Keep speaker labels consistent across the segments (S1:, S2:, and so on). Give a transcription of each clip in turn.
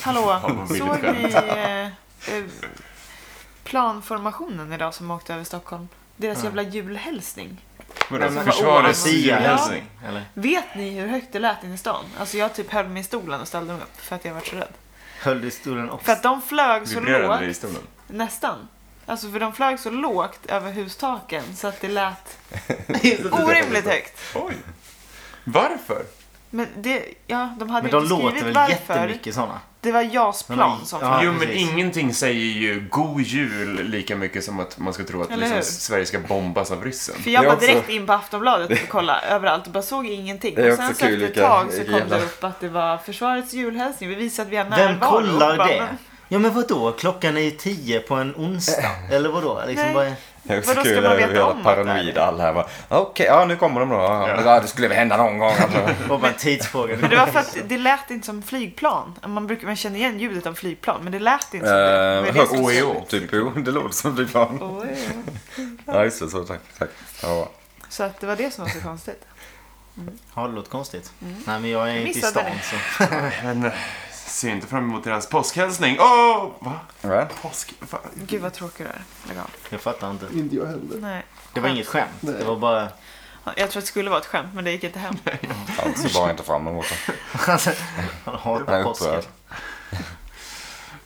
S1: Hallå,
S2: Har man
S1: såg
S2: bildskämt.
S1: ni eh, eh, planformationen idag som åkte över Stockholm? Deras jävla julhälsning.
S2: Vadå,
S1: men- alltså,
S2: försvarets
S1: Åh, Lucia.
S2: julhälsning?
S3: Eller?
S1: Vet ni hur högt det lät inne i stan? Alltså jag typ höll mig i stolen och ställde mig upp för att jag var så rädd.
S3: Höll du stolen upp?
S1: För att de flög så
S2: Vibrerade det i
S1: lågt,
S2: stolen?
S1: nästan. Alltså för de flög så lågt över hustaken så att det lät orimligt
S3: Orimligt
S1: högt.
S2: Oj! Varför?
S1: Men det, ja, de hade ju
S3: Men de
S1: inte
S3: låter
S1: skrivit
S3: väl
S1: varför.
S3: jättemycket sådana?
S1: Det var JAS plan
S3: Men-
S1: som
S3: Ja,
S2: jo, men
S3: precis.
S2: ingenting säger ju god jul lika mycket som att man ska tro att
S1: Eller
S2: liksom,
S1: hur?
S2: Sverige ska bombas av ryssen.
S1: För jag
S4: Det är
S1: var
S4: också-
S1: direkt in på Aftonbladet och kollade överallt och bara såg ingenting.
S4: Det är
S1: Och sen
S4: också
S1: så
S4: kul
S1: efter ett
S4: vilka
S1: tag så kom
S4: jävla-
S1: det upp att det var försvarets julhälsning. Vi visade att vi har
S3: Vem
S1: närvaro. Och
S3: kollar
S1: bara,
S3: det?
S1: men
S3: Ja men vadå? Klockan är ju tio på en onsdag. Eller vadå? Liksom
S1: Nej.
S3: bara...
S4: Det är också
S1: Vadå, ska
S4: kul
S1: man
S4: hur
S1: veta
S4: jävla
S1: om att det är
S4: paranoida
S1: det?
S4: alla här var. Okej, ja nu kommer de då. Ja, men Det skulle väl hända någon gång. Alltså.
S3: Och bara en tidsfråga.
S1: Men det var för att det lät inte som flygplan. Man, brukar, man känner igen ljudet av flygplan, men det lät inte som det.
S4: Eh,
S1: Vad är det
S4: högt
S1: som-
S4: OEO. Typ, jo, det låter som flygplan.
S1: Oj, oj.
S4: Ja, just det. Så, tack. tack. Ja.
S1: E Så att det var det som var så konstigt.
S3: Har det låter konstigt? Nej men jag är inte i
S1: Mm. missade
S3: stan
S1: det.
S3: så...
S2: Men eh, ser inte fram emot deras påskhälsning. Åh! va?
S4: Ja.
S2: Påsk? Fan.
S1: Gud vad tråkig du är. Lägg av.
S3: Jag fattar inte.
S5: Inte jag heller.
S1: Nej.
S3: Det var inget skämt. Det var bara...
S1: Ja, Jag tror att det skulle vara ett skämt, men det gick inte hem.
S4: Alltså bara inte fram emot det.
S3: Han
S4: Jag är
S3: hatar påsken.
S4: upprörd.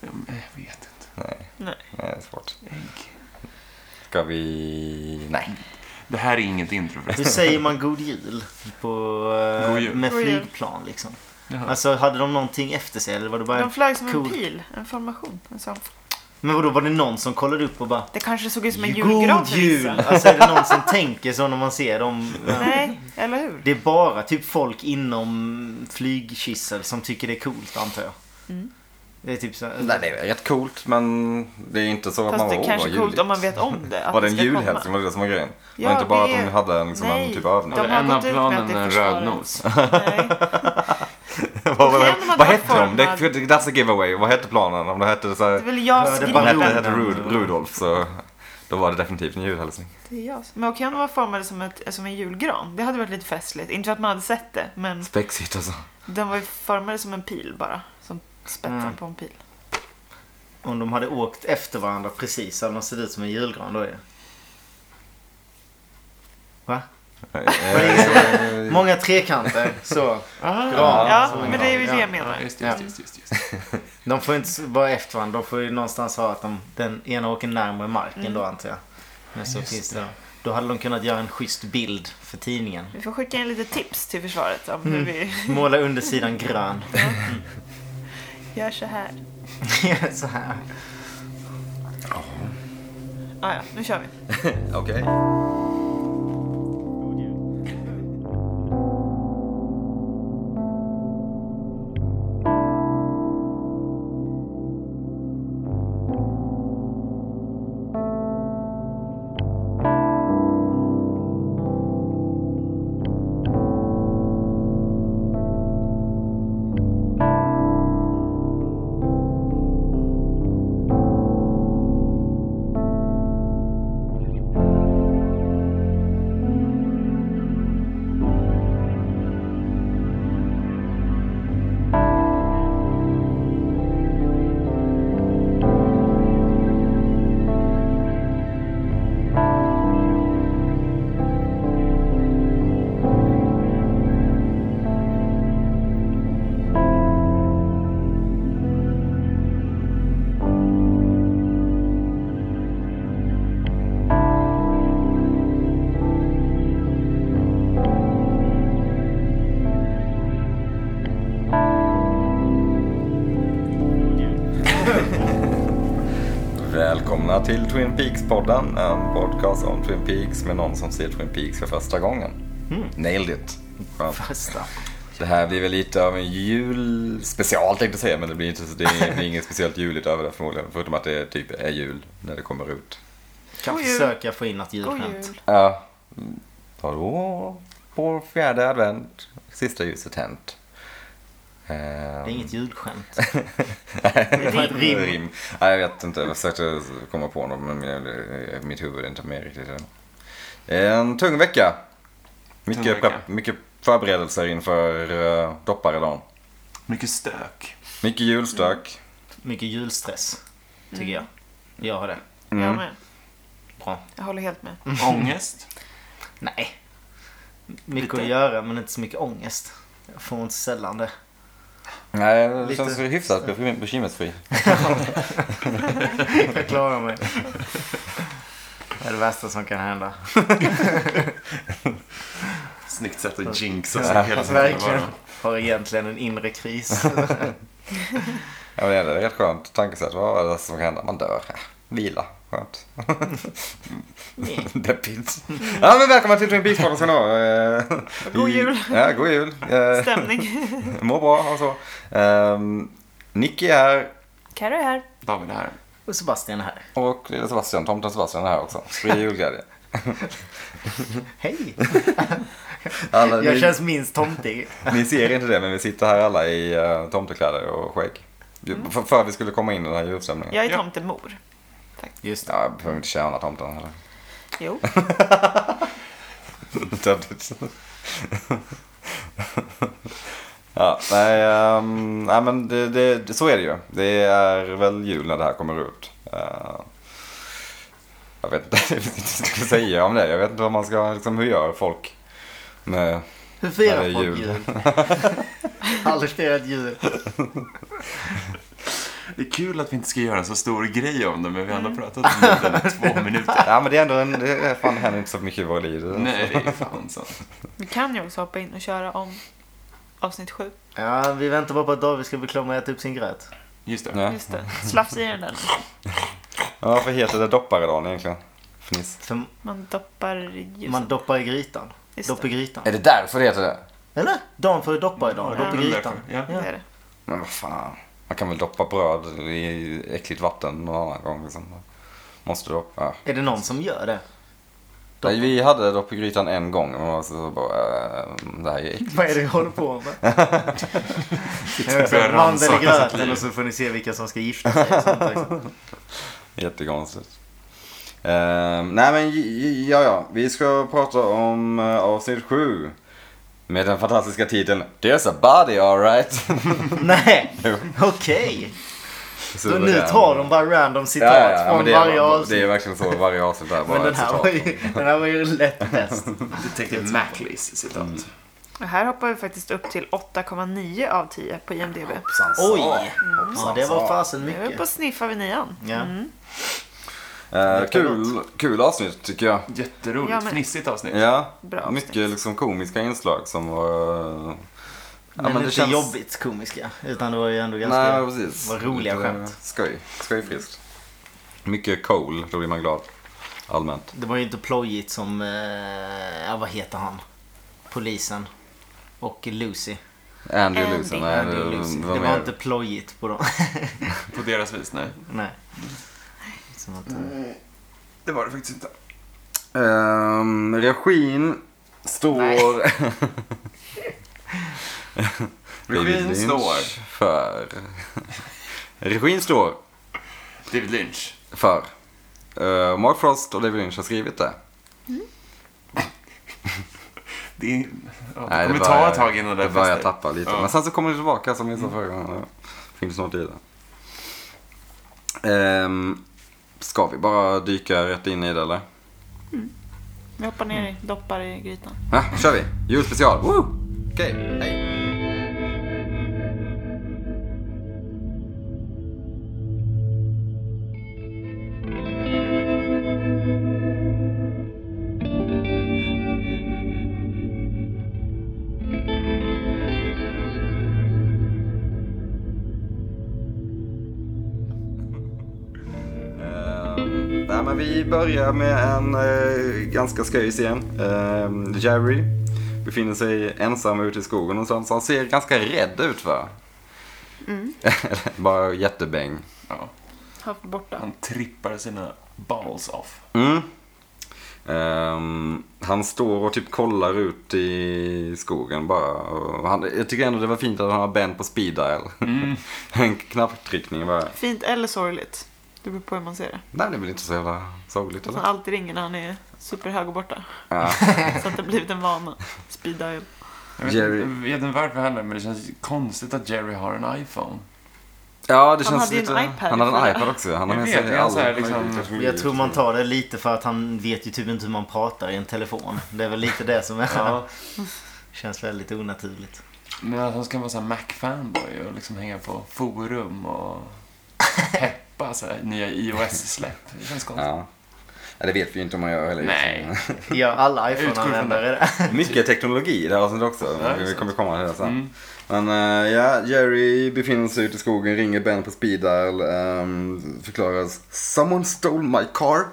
S2: Jag vet inte.
S4: Nej, det är svårt. Ska vi... Nej.
S2: Det här är inget intro förresten.
S3: Hur säger man god jul? På, eh,
S2: God jul.
S3: Med
S1: God jul.
S3: flygplan liksom. Alltså hade de någonting efter sig eller var det bara...
S1: De flög som en
S3: cool-
S1: pil, en formation. En sån.
S3: Men vadå var det någon som kollade upp och bara...
S1: Det kanske såg ut som en julgran
S3: God
S1: för
S3: jul!
S1: vissa.
S3: Alltså är det någon som tänker så när man ser dem?
S1: Nej, eller hur?
S3: Det är bara typ folk inom flygkissel som tycker det är coolt antar jag.
S1: Mm.
S3: Det är typ så...
S4: Nej, det är rätt coolt men det är inte så att man
S1: Fast det
S4: var "Åh,
S1: kanske
S4: vad
S1: är coolt
S4: juligt."
S1: om man vet om det. att
S4: Var det en
S1: ska komma.
S4: julhälsning? Var det det som var grejen?
S1: Ja,
S4: var inte bara
S1: det-
S4: att de hade liksom en
S1: Nej,
S4: typ av övning?
S1: de
S2: Var
S1: har
S2: en av
S1: gått ut med att
S2: planen
S1: det är
S2: en
S1: försvaret.
S2: rödnos?
S1: Nej.
S4: vad,
S1: Vad
S4: vad,
S1: händer om man
S4: vad
S1: tar
S4: hette de? Det,
S1: formad-
S4: that's a giveaway. Vad hette planen? Om det hette så
S1: Det är
S4: här,
S1: väl jag
S3: Ja,
S1: som
S3: det
S4: om det
S3: var
S1: hittar
S4: hette,
S3: Rudolf.
S4: hette Rud, Rudolf så då var det definitivt en julhälsning.
S1: Det är jag som- Men okej om de var formade som, ett, som en julgran. Det hade varit lite festligt. Inte för att man hade sett det, men
S4: Spexigt alltså.
S1: den var ju formade som en pil bara. Som spetsen
S3: Mm.
S1: på en pil.
S3: Om de hade åkt efter varandra precis så hade de sett ut som en julgran då är det. Va?
S4: eh,
S3: Många trekanter så.
S4: Ah.
S3: Gran.
S1: Ja,
S3: som en
S1: men det är ju
S3: gran.
S1: det jag
S2: Ja,
S1: menar.
S2: just, just, just, just, just.
S3: De får inte vara efter varandra. De får ju någonstans ha att de, den ena åker närmare marken
S1: Mm.
S3: då antar jag. Men så finns det. Då hade de kunnat göra en schysst bild för tidningen.
S1: Vi får skicka in lite tips till försvaret om
S2: Mm.
S1: hur vi
S3: Måla undersidan grön.
S1: gör så här.
S3: så här.
S1: Ah, ja, nu kör vi.
S4: Okej. Välkomna till Twin Peaks-podden. En podcast om Twin Peaks med någon som ser Twin Peaks för första gången. Nailed it. Skönt.
S3: Första.
S4: Det här blir väl lite av en julspecial tänkte jag säga, men det blir, inte, det är- det blir inget speciellt juligt över det förmodligen. Förutom att det typ är jul när det kommer ut.
S3: Kan
S1: God jul.
S3: försöka få in något
S1: God
S3: julskämt.
S1: jul.
S4: Ja. Ta då på fjärde advent, sista ljuset tänt. Det
S3: Det är inget julskämt.
S4: Nej,
S3: ett rim.
S4: rim. Nej, jag vet inte. Jag försökte komma på något men min- mitt huvud är inte med riktigt än. En tung vecka. Mycket,
S2: Tung vecka.
S4: Prep, mycket förberedelser inför uh, dopparedagen.
S2: Mycket stök.
S4: Mycket julstök.
S3: Mycket julstress, tycker
S1: Mm.
S3: jag. Jag har det.
S1: Jag med.
S3: Bra.
S1: Jag håller helt med.
S2: Ångest.
S3: Nej. Mycket att göra, men inte så mycket ångest. Jag får inte sällan det.
S4: Nej, det
S3: Lite-
S4: känns hyfsat bekym- bekymmersfri.
S3: Jag klarar mig. Det är det värsta som kan hända.
S2: Snyggt sätt att jinxa sig hela sin
S3: Verkligen.
S2: tillvaro.
S3: Har egentligen en inre kris.
S4: Ja, men det är ett rätt skönt tankesätt. Vad är det som kan hända? Man dör. Ja, Vila. Skönt. Deppigt. Ja, men välkomna till Twin Peaks-podden ska ni ha. Eh,
S1: God
S4: vi-
S1: jul.
S4: Ja, god jul. Eh,
S1: Stämning.
S4: Må bra och så. Ehm, Nicky är här
S1: Carro är här.
S2: David är här.
S3: Och Sebastian är här.
S4: och lilla Sebastian, tomten Sebastian är här också. Sprid julglädje.
S3: Hej!
S4: Alla,
S3: Jag
S4: ni,
S3: känns minst tomtig.
S4: ni ser inte det, men vi sitter här alla i eh, tomtekläder och skägg. Ju- För, för att vi skulle komma in i den här julstämningen.
S1: Jag är
S2: Ja.
S1: tomtemor.
S3: Just det.
S4: Ja, jag behöver inte tjäna tomten heller.
S1: Jo.
S4: Töntigt. ja, nej, ehm, nej men det, det, det, så är det ju. Det är väl jul när det här kommer ut. Eh, jag vet inte jag vet inte vad jag ska säga om det. Jag vet inte vad man ska, liksom, hur gör folk med...
S3: Hur
S4: Ja, det
S3: firar
S4: är
S3: folk
S4: jul.
S3: jul? Aldrig firat jul.
S2: Det är kul att vi inte ska göra en så stor grej om det, men vi har ändå pratat om det i två minuter.
S4: Ja men det är ändå en, det är- fan, det händer inte så mycket i våra liv.
S2: Nej, det är fan sant.
S1: Vi kan ju också hoppa in och köra om avsnitt sju.
S3: Ja, vi väntar bara på att David ska bli klar med att äta upp sin gröt.
S2: Just det.
S4: Ja.
S1: Just det. Slafs i den där.
S4: Ja, varför heter det dopparedagen egentligen? Fniss.
S3: För
S1: Man doppar ljuset.
S3: man doppar i grytan.
S1: Just
S3: Dopp i grytan.
S4: Är det därför det heter det?
S3: Eller? Dagen före doppa idag.
S2: Ja,
S3: Dopp i
S2: det är
S3: grytan.
S2: därför. Ja.
S1: det är det.
S4: Men vad fan. Man kan väl doppa bröd i äckligt vatten någon annan gång liksom. Måste doppa. Ja.
S3: Är det någon som gör det?
S4: Nej, vi hade dopp i grytan en gång och så bara, eh, det här är äckligt.
S3: Vad är det vi håller på med?
S2: Börjar
S3: Mandel i
S2: rannsaka sitt
S3: gröten
S2: liv.
S3: och så får ni se vilka som ska gifta sig. och sånt också.
S4: Jättekonstigt. Eh, nej men j- j- ja, ja. Vi ska prata om eh, avsnitt 7. Med den fantastiska titeln There's a body alright.
S3: Nej, okej. Så Nu tar de bara random citat
S4: ja, ja, ja, men
S3: från
S4: det är,
S3: varje
S4: Det är
S3: avsnitt.
S4: verkligen så varje avsnitt är bara
S3: Men den
S4: ett
S3: här,
S4: citat.
S3: var ju, den här var ju lätt bäst. Mm.
S2: Detective Mackleys citat.
S1: Och här hoppar vi faktiskt upp till 8,9 av 10 på IMDB.
S4: Hoppsan, sa.
S3: Oj! Ja, det var fasen
S1: Nu är vi
S3: mycket.
S1: på sniffar vid nian. Mm.
S3: Ja.
S4: Eh, kul, kul avsnitt tycker jag.
S2: Jätteroligt.
S1: Ja, men-
S2: Fnissigt avsnitt.
S4: Ja,
S1: Bra
S4: mycket
S1: avsnitt.
S4: liksom komiska inslag som var...
S3: Men, inte jobbigt komiska. Utan det var ju ändå ganska...
S4: Nej, precis.
S3: Vad roliga
S4: Lite eh,
S3: skämt.
S4: Skoj. Skojfriskt. Mycket cool, då blir man glad. Allmänt.
S3: Det var ju inte plojigt som... Eh, ja, vad heter han? Polisen. Och Lucy.
S4: Andy
S1: Andy.
S4: och Lucy. Nej,
S3: Andy och Lucy.
S4: det
S3: Det
S4: var
S3: var,
S4: mer-
S3: inte plojigt på dem.
S4: Mm.
S2: På deras vis, nej.
S3: Nej. Som att, eh,
S2: Det var det faktiskt inte.
S4: Ehm, regin står... David
S2: Regin
S4: Lynch
S2: står.
S4: För... regin står
S2: David Lynch.
S4: för... eh, Mark Frost och David Lynch har skrivit det.
S2: Det, är, ja, det
S4: Nej,
S2: kommer
S4: börjar-
S2: ta ett tag innan det
S4: det börjar
S2: fäster.
S4: tappa lite.
S2: Ja.
S4: Men sen så kommer det tillbaka som vi sa förra gången. Ja. Finns snart i det. Ehm, ska vi bara dyka rätt in i det eller?
S1: Vi hoppar ner
S4: Mm.
S1: i, doppar i grytan.
S4: Ja, kör vi. Julspecial. Woo! Okej, hej. Ehm, Nej, men vi börjar med en eh, ganska skoj scen. Ehm, Jerry befinner sig ensam ute i skogen och sånt, så han ser ganska rädd ut va? Bara jättebäng.
S2: Ja.
S1: Haft borta.
S2: Han trippar sina balls off.
S4: Mm. Ehm, han står och typ kollar ut i skogen bara. Och han, jag tycker ändå det var fint att han har band på speed dial.
S2: Mm.
S4: en knapptryckning bara.
S1: Fint eller sorgligt. Det beror på hur man ser det.
S4: Nej, det är väl inte så jävla sorgligt
S1: Att
S4: eller?
S1: han alltid ringer när han är superhög och borta.
S4: Ja.
S1: Så att det har blivit en vana. Speed dial.
S2: Jag vet,
S4: Jerry.
S2: inte, jag vet inte varför heller, men det känns konstigt att Jerry har en iPhone.
S4: Ja,
S1: Han
S4: det känns
S1: hade ju en
S4: lite...
S1: iPad
S4: han hade en
S1: förra.
S4: iPad också. Han har
S2: Jag
S4: med
S2: vet,
S4: sig
S2: är han så här
S4: alla.
S2: liksom...
S3: Jag tror man tar det lite för att han vet ju typ inte hur man pratar i en telefon. Det är väl lite det som är...
S2: Ja,
S3: Känns väldigt onaturligt.
S2: men att han ska vara såhär Mac-fanboy och liksom hänga på forum och peppa så här nya iOS-släpp. Det känns konstigt.
S4: Ja. ja, det vet vi ju inte om man gör heller. liksom.
S2: Nej.
S3: Ja, alla
S2: utgår från
S3: iPhone-användare är det.
S4: Mycket teknologi i det här avsnittet också.
S2: Ja, det är
S4: vi
S2: sant.
S4: kommer komma till det sen.
S2: Mm.
S4: Men eh, ja, Jerry befinner sig ute i skogen, ringer Ben på speeddial. Um, förklarar “Someone stole my car”.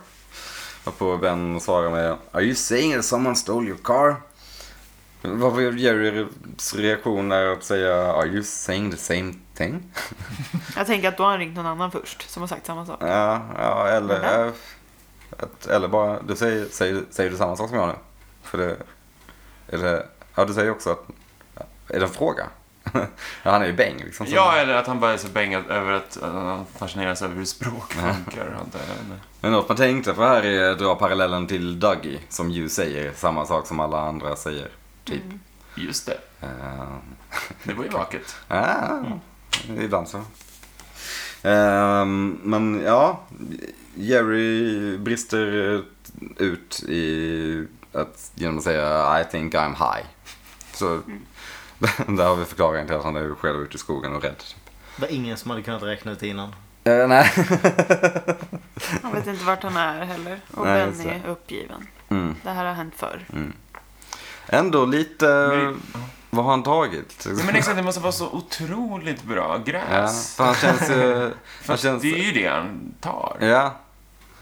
S4: Varpå Ben svarar med “Are you saying that someone stole your car?” Varför Jerrys reaktion är att säga “Are you saying the same thing?”
S1: Jag tänker att då har han ringt någon annan först som har sagt samma sak.
S4: Ja, ja eller,
S1: Mhm.
S4: eh, att, eller bara, du säger, säger, säger du samma sak som jag nu? För det, är det, ja du säger också att, är det en fråga? ja, han är ju bäng liksom. så-
S2: Ja, eller att han bara är så bängad över att att han fascineras över hur språk funkar. antar jag. Men-
S4: Men något man tänkte på här är att dra parallellen till Dougie, som ju säger samma sak som alla andra säger. Typ.
S2: Just det,
S4: Eh,
S2: det var ju vaket.
S4: Ja, Eh, ibland så. Ehm, men ja, Jerry brister ut i att, genom att säga I think I'm high. Så där har vi förklaringen till att han är själv ute i skogen och rädd. typ.
S3: Det var ingen som hade kunnat räkna ut innan.
S4: Eh, nej.
S1: Han vet inte vart han är heller. Och
S4: Nej, just
S1: Ben
S4: det.
S1: är uppgiven.
S4: Mm.
S1: Det här har hänt förr.
S4: Ändå lite,
S2: Men-
S4: vad har han tagit?
S2: Ja, men exakt, det måste vara så otroligt bra
S4: Ja,
S2: gräs.
S4: för han känns ju... Han
S2: Fast
S4: känns,
S2: det är ju det han tar.
S4: ja,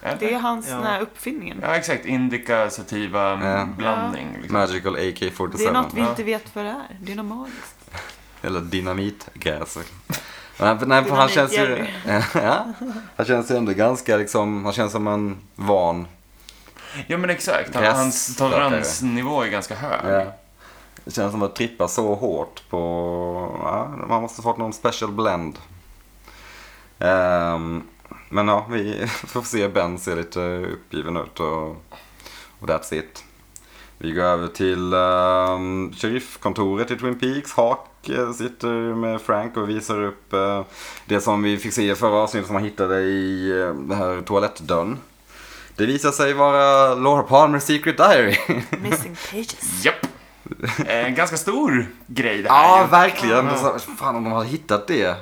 S2: eller?
S1: Det är hans
S3: Ja.
S1: den här uppfinningen.
S2: Ja, exakt. Indica, sativa,
S4: Ja.
S2: blandning. Liksom.
S4: Magical
S1: Det är något
S4: AK47.
S1: vi inte vet vad det är. Det är något magiskt.
S4: Eller dynamitgräs. Nej, för- nej, för han känns ju... ja, han känns ju ändå ganska liksom, han känns som en van.
S2: Ja, men exakt. Han,
S4: Gräs-
S2: hans toleransnivå är ganska hög.
S4: Ja. Det känns som att trippa så hårt på... Ja, man måste fått någon special blend. Ehm, men ja, vi får se. Ben ser lite uppgiven ut och, och that's it. Vi går över till um, sheriffkontoret i Twin Peaks. Hawk eh, sitter med Frank och visar upp eh, det som vi fick se i förra avsnittet som han hittade i eh, den här toalettdörren. Det visar sig vara Laura Palmers Secret Diary.
S1: Missing pages.
S2: Japp. En ganska stor grej det här.
S4: Ja,
S2: ju.
S4: verkligen. Så, fan, om de hade hittat det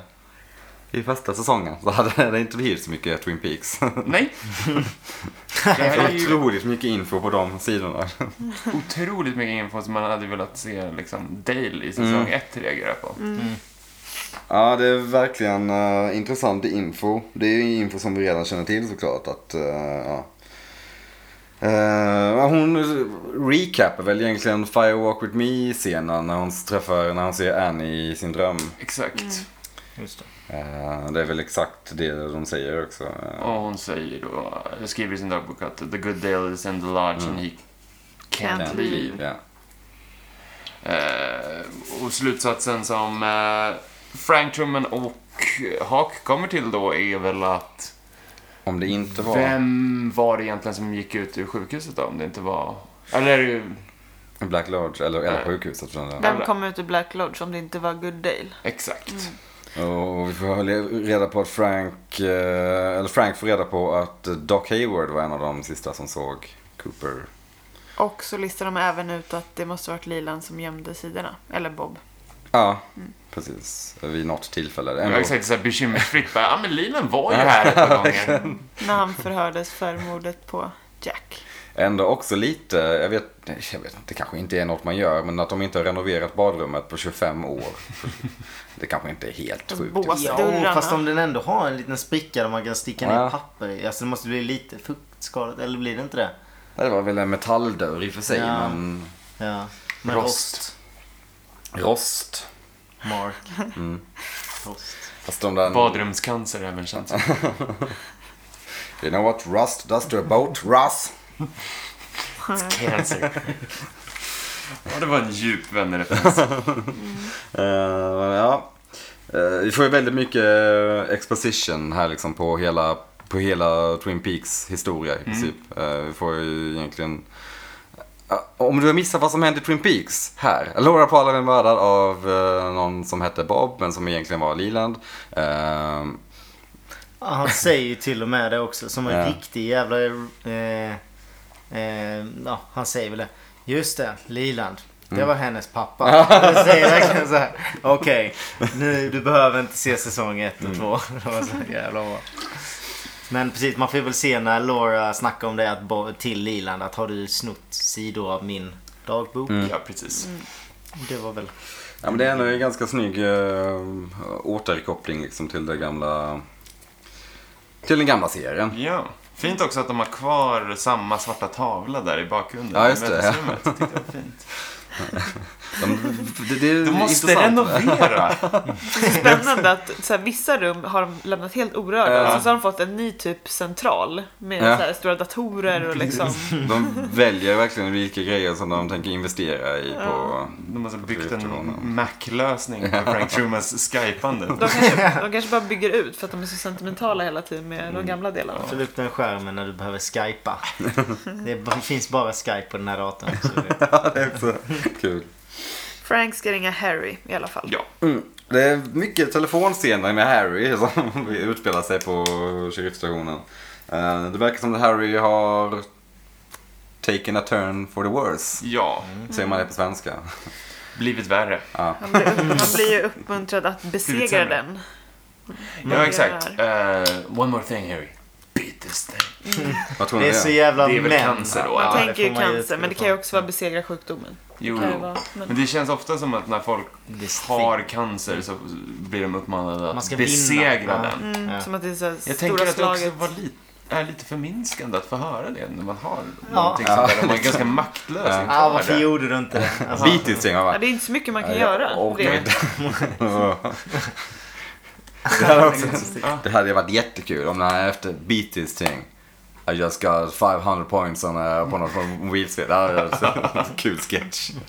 S4: i första säsongen så hade det inte blivit så mycket Twin Peaks.
S2: Nej. Det här är ju
S4: Otroligt mycket info på de sidorna.
S2: otroligt mycket info som man hade velat se liksom, Dale i
S4: Mm.
S2: säsong ett reagera på.
S4: Ja, det är verkligen eh, intressant info. Det är ju info som vi redan känner till såklart. Att, eh, ja. Eh, hon recapar väl egentligen Fire Walk With Me-scenen när hon träffar, när hon ser Annie i sin dröm.
S2: Exakt.
S3: Just det.
S4: Eh, det är väl exakt det de säger också. Eh,
S2: Och hon säger då, skriver i sin dagbok att the good Dale is in the lodge and he can't
S1: Can't
S2: leave.
S1: leave.
S4: Ja.
S2: Eh, och slutsatsen som eh, Frank Truman och Hawk kommer till då är väl att
S4: Om det inte var...
S2: vem var det egentligen som gick ut ur sjukhuset då om det inte var... Eller
S4: Black Lodge, eller, eller
S2: Nej.
S4: sjukhuset för den delen.
S1: Vem kom ut ur Black Lodge om det inte var Good Dale?
S2: exakt.
S4: Och vi får le- reda på att Frank, eh, eller Frank får reda på att Doc Hayward var en av de sista som såg Cooper.
S1: Och så listar de även ut att det måste varit Lilan som gömde sidorna. Eller Bob.
S4: Ja, precis. Vid något tillfälle.
S2: Det
S4: Ändå.
S2: var exakt såhär bekymmersfritt bara, ja men Lilan var ju här ett par gånger.
S1: När han förhördes för mordet på Jack.
S4: Ändå också lite, jag vet, jag vet inte, det kanske inte är något man gör, men att de inte har renoverat badrummet på 25 år. Det kanske inte är helt
S1: Alltså,
S4: sjukt.
S1: bås-
S3: Ja,
S1: Dörrarna.
S3: fast om den ändå har en liten spricka där man kan sticka ner
S4: Ja.
S3: papper i. Alltså det måste bli lite fuktskadat, eller blir det inte det?
S4: Det var väl en metalldörr i och för sig,
S3: Ja.
S4: men
S3: Ja. Men
S4: Rost.
S3: rost.
S4: rost.
S3: Mark.
S4: Mm.
S3: Rost.
S4: Fast de där...
S2: Badrumscancer även känns som.
S4: You know what rust does to a boat? Rust!
S2: Cancer. Ja, det var en djup vännerreferens.
S4: Eh, ja. Eh, vi får ju väldigt mycket eh, exposition här liksom på hela, på hela Twin Peaks historia i princip. Eh, vi får ju egentligen Om du har missat vad som hände i Twin Peaks, här. Laura Palmer är mördad av eh, någon som hette Bob, men som egentligen var Leland. Eh,
S3: Ja, Han säger ju till och med det också som en
S4: Ja.
S3: riktig jävla... Eh, eh, ja, han säger väl det. Just det, Liland. Det var hennes pappa. Han säger verkligen så här. Okej, nu du behöver inte se säsong 1 och 2. Det var så jävla bra. Men precis, man får väl se när Laura snackar om det att, Bo- till Liland att har du snott sidor av min dagbok?
S2: Ja, precis.
S3: Det var väl...
S4: ja, men det är ändå en ganska snygg eh, återkoppling liksom, till det gamla... Till den gamla serien.
S2: Ja. Fint också att de har kvar samma svarta tavla där i bakgrunden.
S4: Ja, just
S2: i
S4: det.
S2: mötesrummet. Jag tyckte det var fint.
S4: De, det, det är
S2: Du måste
S4: intressant.
S2: renovera!
S1: Spännande att så här, vissa rum har de lämnat helt orörda
S4: Ja.
S1: och sen så har de fått en ny typ central med
S4: Ja.
S1: så här, stora datorer och liksom.
S4: De väljer verkligen vilka grejer som de tänker investera i på...
S2: De har så byggt
S4: Trumans.
S2: en Mac-lösning på Frank Trumans skypande.
S1: De kanske, de kanske bara bygger ut för att de är så sentimentala hela tiden med de gamla delarna.
S3: Fyll upp den skärmen när du behöver skypa. Det b- finns bara skype på den här datorn. Så det,
S4: Ja, det är också kul.
S1: Frank ska ringa Harry i alla fall.
S2: Ja.
S4: Mm. Det är mycket telefonscener med Harry som utspelar sig på sheriffstationen. Eh, Det verkar som att Harry har taken a turn for the worse.
S2: Ja,
S4: Säger man det på svenska.
S2: blivit värre.
S1: Han, blir, han blir ju uppmuntrad att
S2: Blivit
S1: besegra
S2: sämre.
S1: den.
S2: Ja, exakt. Eh, one more thing Harry. Beat this thing.
S4: Vad tror ni
S3: det är så jävla
S2: Det är väl
S3: män.
S2: cancer då,
S1: Man
S2: Ja,
S1: tänker
S3: det
S1: ju
S3: får man
S1: cancer, men det kan ju också vara besegra sjukdomen.
S2: Jo,
S1: Kan det
S2: jo.
S1: vara, men-
S2: Men det känns ofta som att när folk
S3: Det
S2: har cancer så blir de uppmanade
S3: Man
S2: att
S3: ska
S2: besegra
S3: vinna. Ja.
S2: den.
S3: Ja.
S1: Som att det är så här,
S2: Jag
S1: Mm. stora
S2: tänker att det också
S1: slaget.
S2: var lite, är lite förminskande att få höra det när man har
S3: Ja.
S2: någonting sånt där. Man är ganska maktlös inför
S3: Ah, varför
S2: det.
S3: gjorde du inte det? Alltså,
S4: Beat it säger man
S1: Ja,
S4: va?
S1: det är inte så mycket man kan
S4: Ja,
S1: göra.
S4: och-
S1: Det.
S4: Det hade, också, det hade varit jättekul om den här efter beat this thing. I just got 500 points on, eh, på något mobilspel. Det hade varit en kul sketch.
S3: men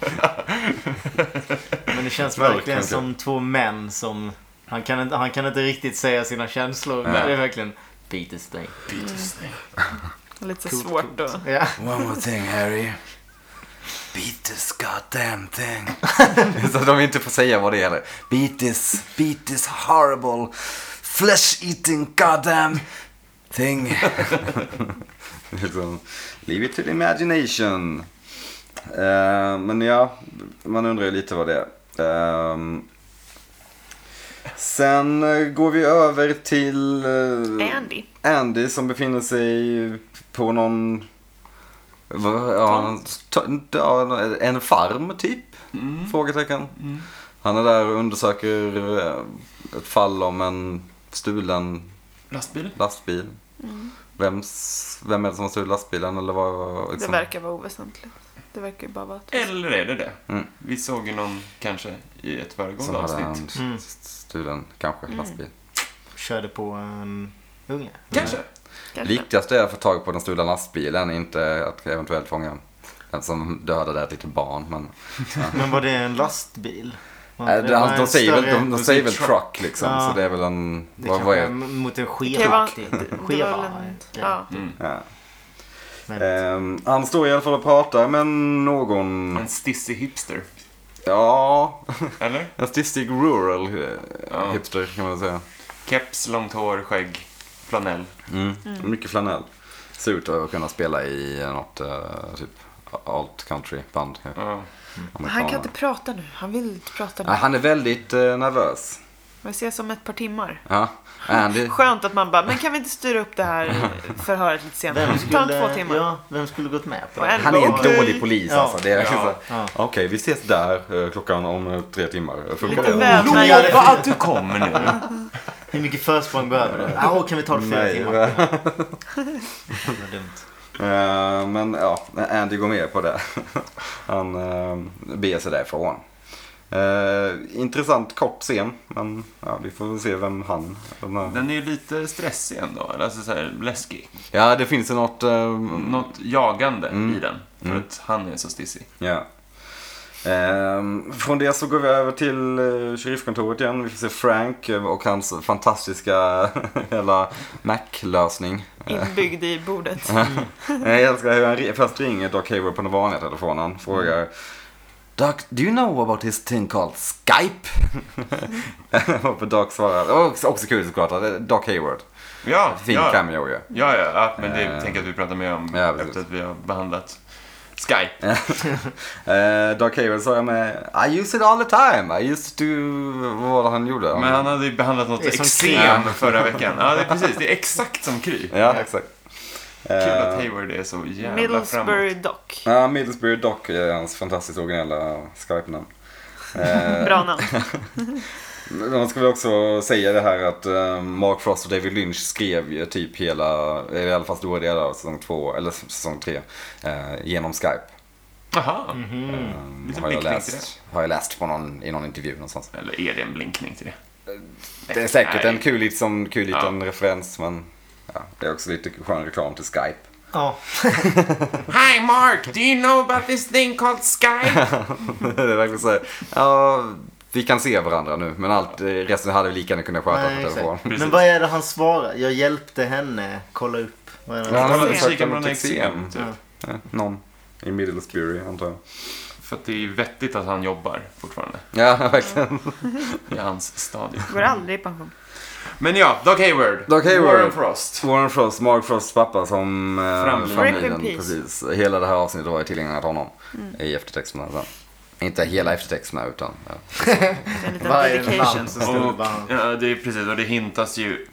S3: det känns
S4: Verkligen
S3: verkligen
S4: kul.
S3: som två män som... Han kan inte, han kan inte riktigt säga sina känslor.
S4: Nej.
S3: Men det är verkligen... Beat this thing.
S2: Beat this thing.
S1: Lite så svårt att...
S3: Ja.
S4: One more thing Harry. Beat this goddamn thing. Så de inte får säga vad det gäller. Beat this, beat this horrible flesh eating goddamn thing. liksom, leave it to the imagination. Eh, men ja, man undrar ju lite vad det är. Ehm, sen eh, går vi över till eh,
S1: Andy.
S4: Andy som befinner sig på någon... vad- Ja, en, t- ja, en farm typ?
S1: Mm.
S4: Frågetecken. Han är där och undersöker eh, ett fall om en stulen
S2: Lastbil?
S4: lastbil. Vems, vem är det som har stulit lastbilen eller vad?
S1: Det
S4: Liksom?
S1: verkar vara oväsentligt. Det verkar ju bara vara att...
S2: Eller är det det?
S4: Mm.
S2: Vi såg ju någon kanske i ett
S4: som
S2: föregående
S4: hade en
S2: avsnitt.
S4: st-
S1: Mm.
S4: stulen, kanske, lastbil.
S3: Körde på en unge.
S2: Kanske.
S1: Kanske.
S4: Viktigast är att få tag på den stora lastbilen, inte att eventuellt fånga den som dödade ett litet barn. Men...
S3: Men var det en lastbil? Var
S4: Nej,
S3: inte
S4: det,
S3: var
S4: alltså, de
S3: en
S4: säger väl,
S3: större-
S4: de, de
S2: de
S4: säger
S2: säger
S4: väl
S2: truck.
S4: truck liksom,
S3: Ja.
S4: så det är väl en...
S3: Det
S4: Vad,
S3: kanske var
S4: vad är
S3: mot en
S1: Det kan
S3: skeva.
S1: vara- det var väl
S3: Skeva.
S1: en-
S3: Ja.
S1: Ja.
S4: ja.
S3: Men-
S4: Ehm, Han står i alla fall och pratar med
S3: Mm.
S4: någon...
S2: En stissig hipster.
S4: Ja,
S2: Eller?
S4: en stistig rural eh,
S2: Ja.
S4: hipster kan man säga.
S2: Keps, långt hår, skägg, flanell.
S4: Mm. Mycket flanell. Surt att kunna spela i något eh, typ alt country band. eh,
S2: Ja.
S1: Han kan inte prata nu. Han vill inte prata nu.
S4: Nej, Han är väldigt eh, nervös.
S1: Vi ses om ett par timmar.
S4: Ja. Andy,
S1: Skönt att man bara, men kan vi inte styra upp det här förhöret lite senare?
S3: Vem
S1: Ta två
S3: skulle,
S1: timmar.
S3: ja, vem skulle gått med på
S1: Och
S3: det?
S1: en-
S4: han är en
S1: Okej.
S4: dålig polis
S3: Ja.
S4: alltså. Det är
S2: Ja.
S4: så-
S3: Ja.
S4: Okej, vi ses där eh, klockan om eh, tre timmar. Funkar
S1: Lite
S4: det?
S1: väl-
S2: Lova
S1: Nej, det-
S2: att du kommer nu!
S3: Hur mycket försprång behöver du? Ja, kan vi ta det fyra
S4: Nej, eh,
S3: timmar?
S4: va?
S3: Det var dumt.
S4: Eh, men ja, Andy går med på det. Han uh, beger sig därifrån. Uh, intressant kort scen, men ja, vi får väl se vem han... Den här...
S2: Den är ju lite stressig ändå, alltså så här läskig.
S4: Ja, det finns ju något... eh, Mm.
S2: Något jagande i den, för att han är så stissig.
S4: Ja. Ehm, från det så går vi över till eh, sheriffkontoret igen. Vi får se Frank eh, och hans fantastiska hela Mac-lösning.
S1: Inbyggd i bordet.
S4: Jag älskar hur han ri- först ringer Doc Hayward på den vanliga telefonen. Frågar. Doc, do you know about this thing called Skype? och Doc svarar. och Också, också kul såklart. att det är Doc Hayward.
S2: Ja,
S4: Fin
S2: ja, ja,
S4: cameo ju.
S2: ja, ja, men det
S4: Eh.
S2: tänker jag att vi pratar mer om
S4: Ja, precis.
S2: efter att vi har behandlat Skype.
S4: Eh, Doc Hayward sa jag med. I use it all the time. I used to... Vad var det han gjorde?
S2: Men han hade ju behandlat något
S3: Det är som
S2: eksem förra veckan. Ja, det är precis. Det är exakt som Kry.
S4: Ja, exakt. Eh,
S2: Kul att Hayward är så jävla framåt.
S1: Middlesbury Dock.
S4: Ja, Middlesbury Doc är hans fantastiskt originella Skype-namn. Eh,
S1: Bra namn.
S4: Man ska väl också säga det här att eh, Mark Frost och David Lynch skrev ju typ hela, eller i alla fall stora delar av säsong två, eller säsong tre, eh, genom Skype.
S2: Jaha.
S3: Mhm.
S4: Mm,
S2: Lite
S4: har, jag
S2: blinkning
S4: läst, har jag läst på någon, i någon intervju någonstans.
S2: Eller är det en blinkning till det?
S4: Det är säkert
S2: Nej.
S4: en kul, liksom, kul liten referens, men ja, det är också lite skön reklam till Skype.
S3: Ja.
S2: Hi Mark, do you know about this thing called Skype?
S4: det är verkligen så här, ja, vi kan se varandra nu, men allt, eh, resten hade vi lika gärna kunnat sköta
S3: Nej,
S4: på telefon.
S3: exakt. Men vad är det han svarar? Jag hjälpte henne kolla upp. Vad är det
S4: Ja,
S2: Han
S1: men
S2: hade
S1: det
S2: kikat på
S4: är
S2: någon
S4: eksem,
S2: eksem, typ.
S3: Ja.
S4: Ja, någon i Middlesbury, antar jag.
S2: För att det är ju vettigt att han jobbar fortfarande
S4: Ja, verkligen.
S2: i hans stadie.
S1: Går aldrig i pension.
S2: Men ja, Doc Hayward.
S4: Doc Hayward.
S2: Warren Frost.
S4: Warren Frost, Mark Frosts pappa som eh,
S2: Framliden.
S1: Rip in
S4: framliden.
S1: peace. Mm.
S4: Precis. Hela det här avsnittet var ju tillägnat honom i eftertexterna. Sen. Inte hela eftertexterna utan... Ja.
S1: En liten
S3: Varje
S1: dedication.
S3: namn så står det
S2: Och,
S3: bara han.
S2: ja, det är precis, och det hintas ju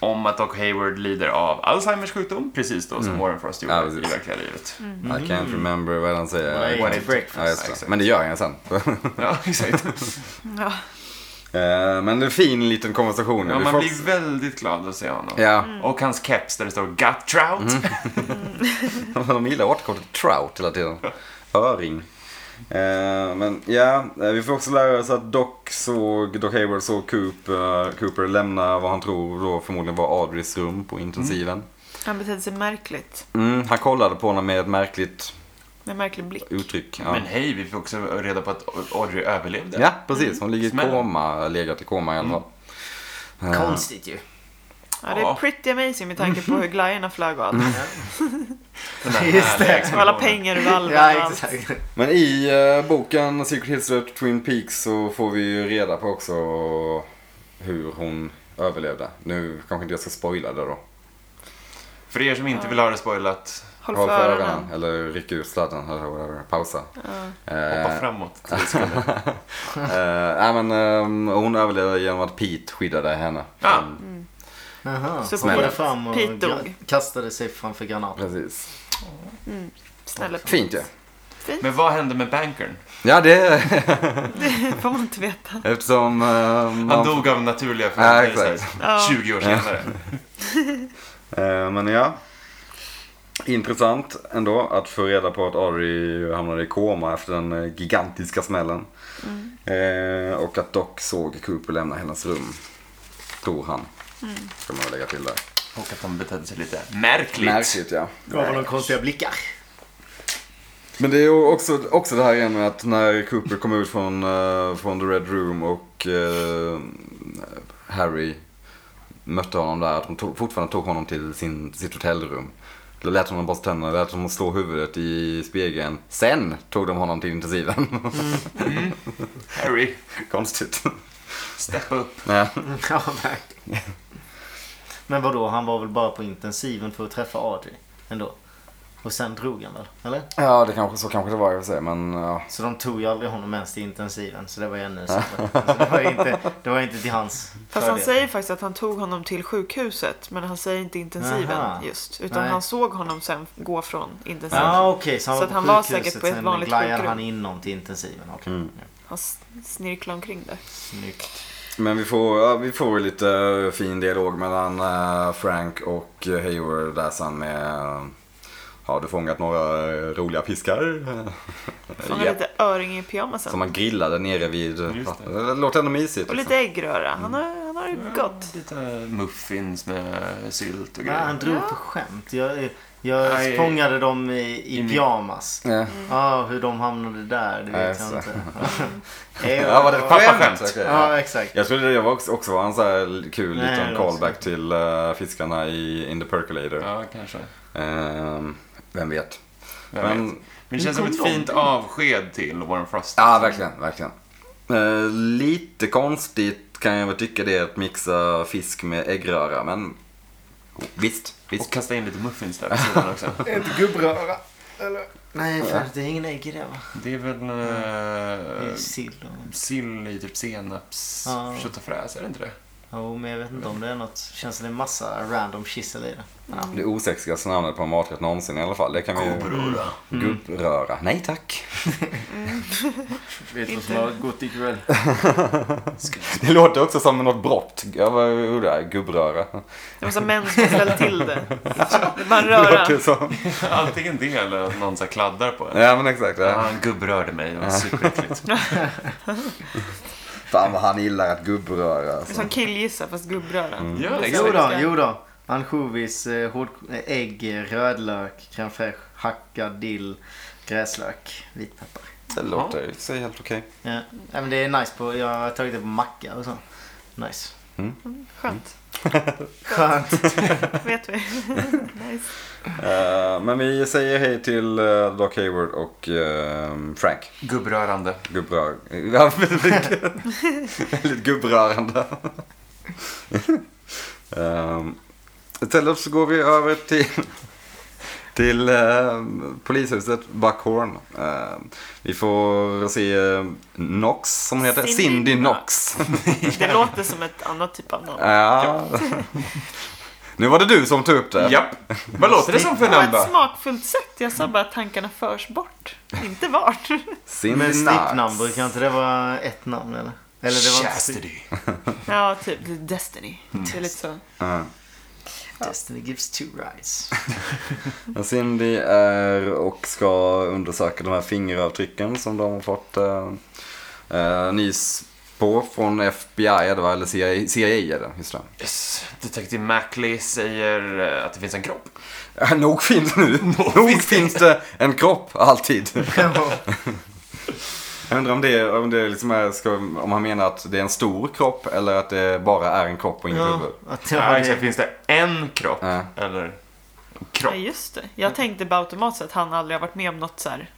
S2: om att Doc Hayward lider av Alzheimers sjukdom, precis då som Warren Frost gjorde
S4: Mm. Ja,
S2: i
S4: precis.
S2: verkliga livet.
S4: I can't remember vad han säger.
S3: What I ate
S4: Ja,
S3: to breakfast.
S4: just det.
S2: Exakt.
S4: Men det gör han sen.
S2: Ja, exakt.
S1: Ja.
S4: Eh, Men en fin liten konversation.
S2: Ja,
S4: Vi
S2: man
S4: får-
S2: blir väldigt glad att se honom.
S4: Ja, Mm,
S2: Och hans keps där det står Gut Trout.
S4: de gillar återkortet trout hela tiden. Öring. Eh, men ja, eh, vi får också lära oss att Doc såg, Doc Hayward såg Coop, eh, Cooper lämna vad han tror då förmodligen var Audreys rum på intensiven.
S1: Han betedde sig märkligt.
S4: Mm, han kollade på honom med ett märkligt
S1: Med en märklig blick.
S4: uttryck. Ja,
S2: Men hej, vi fick också reda på att Audrey överlevde.
S4: ja precis. Hon ligger i
S2: Smällen.
S4: koma, legat i koma i alla
S2: Mm.
S4: fall.
S3: Konstigt ju.
S1: Ja, det är
S2: Ja.
S1: pretty amazing med tanke på
S3: Mm.
S1: hur glajjorna flög och allt.
S2: Den där
S3: Just
S2: härliga
S3: det.
S1: Och
S2: explosionen.
S1: alla pengar och valven och
S3: Ja,
S1: allt.
S3: exakt.
S4: Men i eh, boken Secret History of Twin Peaks så får vi ju reda på också hur hon överlevde. Nu kanske inte jag ska spoila det då.
S2: För er som inte vill ha det spoilat,
S1: Håll för öronen.
S4: Eller ryck ut sladden eller whatever. Pausa.
S2: hoppa
S4: Eh,
S2: framåt. tio sekunder.
S4: eh, nej, men, ehm, hon överlevde genom att Pete skyddade henne. Mm,
S2: Ja.
S3: Jaha.
S1: Så
S3: Så
S1: kommer
S3: hoppade fram och
S1: Pete
S3: gra-
S1: dog.
S3: kastade sig framför granaten.
S4: Precis.
S1: Snälla,
S4: Fint ju.
S2: Men vad hände med bankern?
S4: Ja, det
S1: det får man inte veta.
S4: eftersom... eh,
S2: Han
S4: man-
S2: dog av naturliga
S4: Ja,
S2: förändringar
S4: exakt.
S1: Ja.
S2: 20 år senare.
S4: Eh, Men ja. Intressant ändå att få reda på att Ari hamnade i koma efter den eh, gigantiska smällen. Eh, och att Doc såg Cooper lämna hennes rum. Tror han. Ska man väl lägga till där.
S2: Och att han betedde sig lite märkligt.
S4: Märkligt ja.
S3: Gav honom konstiga blickar.
S4: Men det är ju också, också det här igen med att när Cooper kom ut från, eh, från The Red Room och eh, Harry mötte honom där, att de tog, fortfarande tog honom till sin, sitt hotellrum. Lät honom borsta tänderna, lät honom slå huvudet i spegeln. Sen tog de honom till intensiven.
S2: Harry,
S4: Konstigt.
S2: step up.
S4: Ja.
S1: Mm.
S3: Ja, verkligen. Men vadå, han var väl bara på intensiven för att träffa Audrey ändå. Och sen drog han väl, eller?
S4: ja, det kanske, så kanske det var i och för sig, men ja.
S3: Så de tog ju aldrig honom ens till intensiven. Så det var ju ännu sämre. Alltså, det, var ju inte, det var ju inte till hans
S1: Fast han säger faktiskt att han tog honom till sjukhuset. Men han säger inte intensiven
S3: Aha.
S1: just. Utan
S3: Nej.
S1: han såg honom sen gå från intensiven.
S3: Ja ah, okej, så han
S1: Så
S3: var
S1: att
S3: på
S1: han var
S3: sjukhuset,
S1: säkert på ett
S3: sen
S1: vanligt
S3: glajade
S1: sjukrum.
S3: han inom till intensiven. Okay.
S4: Mm.
S1: Han s- snirklade omkring där.
S3: Snyggt.
S4: Men vi får, ja, vi får lite eh, fin dialog mellan eh, Frank och eh, Hayward där sen med eh, Har du fångat några eh, roliga fiskar?
S1: Han har
S4: Ja.
S1: lite öring i pyjamasen.
S4: Som man grillade nere vid...
S2: Just det.
S4: Det låter ändå mysigt.
S1: Och
S4: liksom.
S1: lite äggröra. Han har, han har
S3: Mm.
S1: Gott.
S2: Lite muffins med sylt och
S3: Nej, han
S2: grejer.
S3: drog på skämt. Jag, jag
S2: Nej.
S3: fångade dem i, i
S2: I-
S3: pyjamas.
S2: Mm.
S4: Ja.
S3: Ja, hur de hamnade där, det vet
S4: Nej,
S3: jag
S4: så.
S3: inte.
S4: Ja, var det ett pappaskämt?
S2: Skämt.
S4: Okej, ja.
S3: Ja, exakt.
S4: Jag trodde det var också, också var en så här kul
S3: Nej,
S4: liten
S3: det var
S4: callback till eh, fiskarna i In the Percolator.
S2: Ja, kanske.
S4: Ehm, vem vet?
S2: Vem
S4: Men,
S2: vet. Men det känns som
S1: kom
S2: ett
S1: de?
S2: fint avsked till Warren Frost.
S4: Ja, verkligen. verkligen. Eh, lite konstigt kan jag väl tycka det är att mixa fisk med äggröra, men visst.
S2: Och
S4: visst.
S2: kasta in lite muffins där vid sidan också.
S3: Ett gubbröra. Eller? Nej, för det är ingen ägg i det va?
S2: Det är väl
S3: Det är
S2: eh,
S3: sill och...
S2: sill i typ senaps,
S3: Ja.
S2: köttfärssås, är det inte det?
S3: Jo, men jag vet inte om det är något. Känns som det är massa random kissel i det. Ja.
S4: Det osexigaste namnet på en maträtt någonsin i alla fall. Det kan vi ju...
S2: Gubbröra.
S4: Mm. Gubbröra. Nej tack.
S3: Vet
S1: du vad som har
S3: gått ikväll?
S4: Det låter också som något brott. Jag var ju där, gubbröra.
S1: Det var så män som ställde till det. Det var en
S4: Det
S1: röra.
S4: låter som...
S2: Antingen det eller att någon så här kladdar på en.
S4: Ja men exakt.
S2: Ja,
S4: Ja.
S2: han gubbrörde mig, det var superäckligt.
S4: Fan vad han gillar att gubbröra.
S1: Det är
S4: Alltså.
S1: som killgissa fast gubbröra.
S2: Ja,
S3: Jo
S2: exakt.
S3: då, jo då. Ansjovis, eh, hård, eh, ägg, eh, rödlök, crème fraîche, hackad dill, gräslök, vitpeppar.
S4: Det låter ju i och för sig helt okej.
S3: Ja. ja, men det är nice på, jag har tagit det på macka och så. Nice.
S1: Skönt.
S3: Skönt.
S1: Vet vi. nice.
S4: Eh, men vi säger hej till eh, Doc Hayward och eh, Frank.
S2: Gubbrörande.
S4: Gubbrör... Ja, väldigt- Väldigt gubbrörande. um, istället så går vi över till, till ehm, polishuset Buckhorn. Ehm, vi får se ehm, Knox, som hon heter.
S1: Cindy
S4: Cindy Knox.
S1: Det låter som ett annat typ av namn.
S4: ja. Nu var det du som tog upp det.
S2: Japp. Vad låter det som för
S1: På ett
S2: namn
S1: smakfullt sätt. Jag sa bara att tankarna förs bort. Inte vart.
S4: Cindy
S3: Men
S4: Knox.
S3: snippnamn, brukar inte det vara ett namn eller? Eller det var inte...
S2: Chastity.
S1: Ja, typ. Det är Destiny.
S3: Mm.
S1: Det är lite så.
S4: Ja.
S3: Destiny gives two rides.
S4: Men Cindy är och ska undersöka de här fingeravtrycken som de har fått eh, eh, nys på från FBI, det var, eller CIA, CIA är det, just det.
S2: Yes. Detektiv Mackley säger eh, att det finns en kropp.
S4: Ja, Äh, nog finns det nu, nog finns det en kropp alltid. Jag undrar om det, om det liksom är, ska, om han menar att det är en stor kropp eller att det bara är en kropp och Eh, inget
S3: ja,
S4: huvud.
S3: att det
S2: Ja,
S3: var
S2: exakt.
S3: det.
S2: Finns det en kropp?
S4: Ja.
S2: Eller en
S1: Ja,
S2: kropp?
S1: just det. Jag tänkte bara automatiskt att han aldrig har varit med om något så här.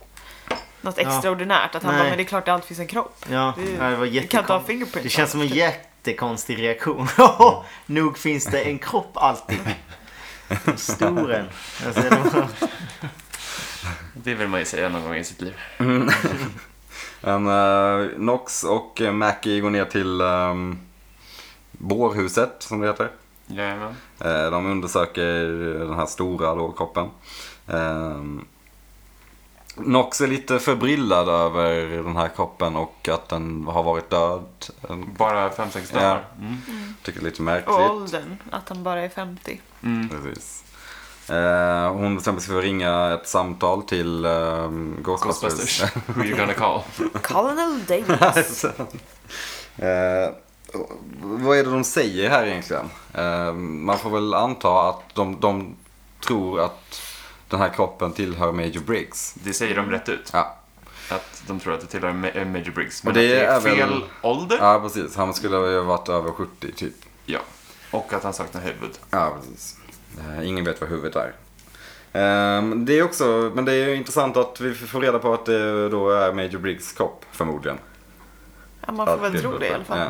S1: Något
S3: Ja.
S1: extraordinärt. Att han
S3: Nej.
S1: bara, men det är klart det alltid finns en kropp.
S3: Ja,
S1: Det-
S3: ja, det var
S1: Vi kan inte ha
S3: jättekonstigt.
S1: fingerprint.
S3: Det känns som en jättekonstig reaktion. Nog finns det en kropp alltid. En Stor en. Alltså, det var-
S2: Det vill man ju säga någon gång i sitt liv.
S4: Men eh, Knox och eh, Mackie går ner till um, bårhuset, som det heter.
S2: Jajamän.
S4: Eh, De undersöker den här stora då, kroppen. Ehm, Nox är lite förbryllad över den här kroppen och att den har varit död. Han
S2: Bara fem sex
S4: Ja.
S2: dagar. Mm.
S4: tycker det är lite
S1: Och
S4: märkligt.
S1: åldern. Att han bara är 50.
S2: Mm.
S4: Precis. Eh, Hon bestämmer sig för att ringa ett samtal till ehm, Ghostbusters.
S2: Ghostbusters. Who you gonna call?
S1: Colonel Davis.
S4: Eh, vad är det de säger här egentligen? Eh, man får väl anta att de, de tror att den här kroppen tillhör Major Briggs.
S2: Det säger de rätt ut.
S4: Ja,
S2: Att de tror att det tillhör Ma- eh, Major Briggs. Men
S4: Och det
S2: att det
S4: är
S2: är
S4: väl-
S2: fel ålder.
S4: Ja, precis. Han skulle ha varit över 70 typ.
S2: Ja. Och att han saknar huvud.
S4: Ja, precis. Eh, Ingen vet vad huvudet är. Ehm, Det är också, men det är ju intressant att vi får reda på att det då är Major Briggs kropp förmodligen.
S1: Ja, man får
S4: Att
S1: väl tro det i alla fall.
S4: Ja.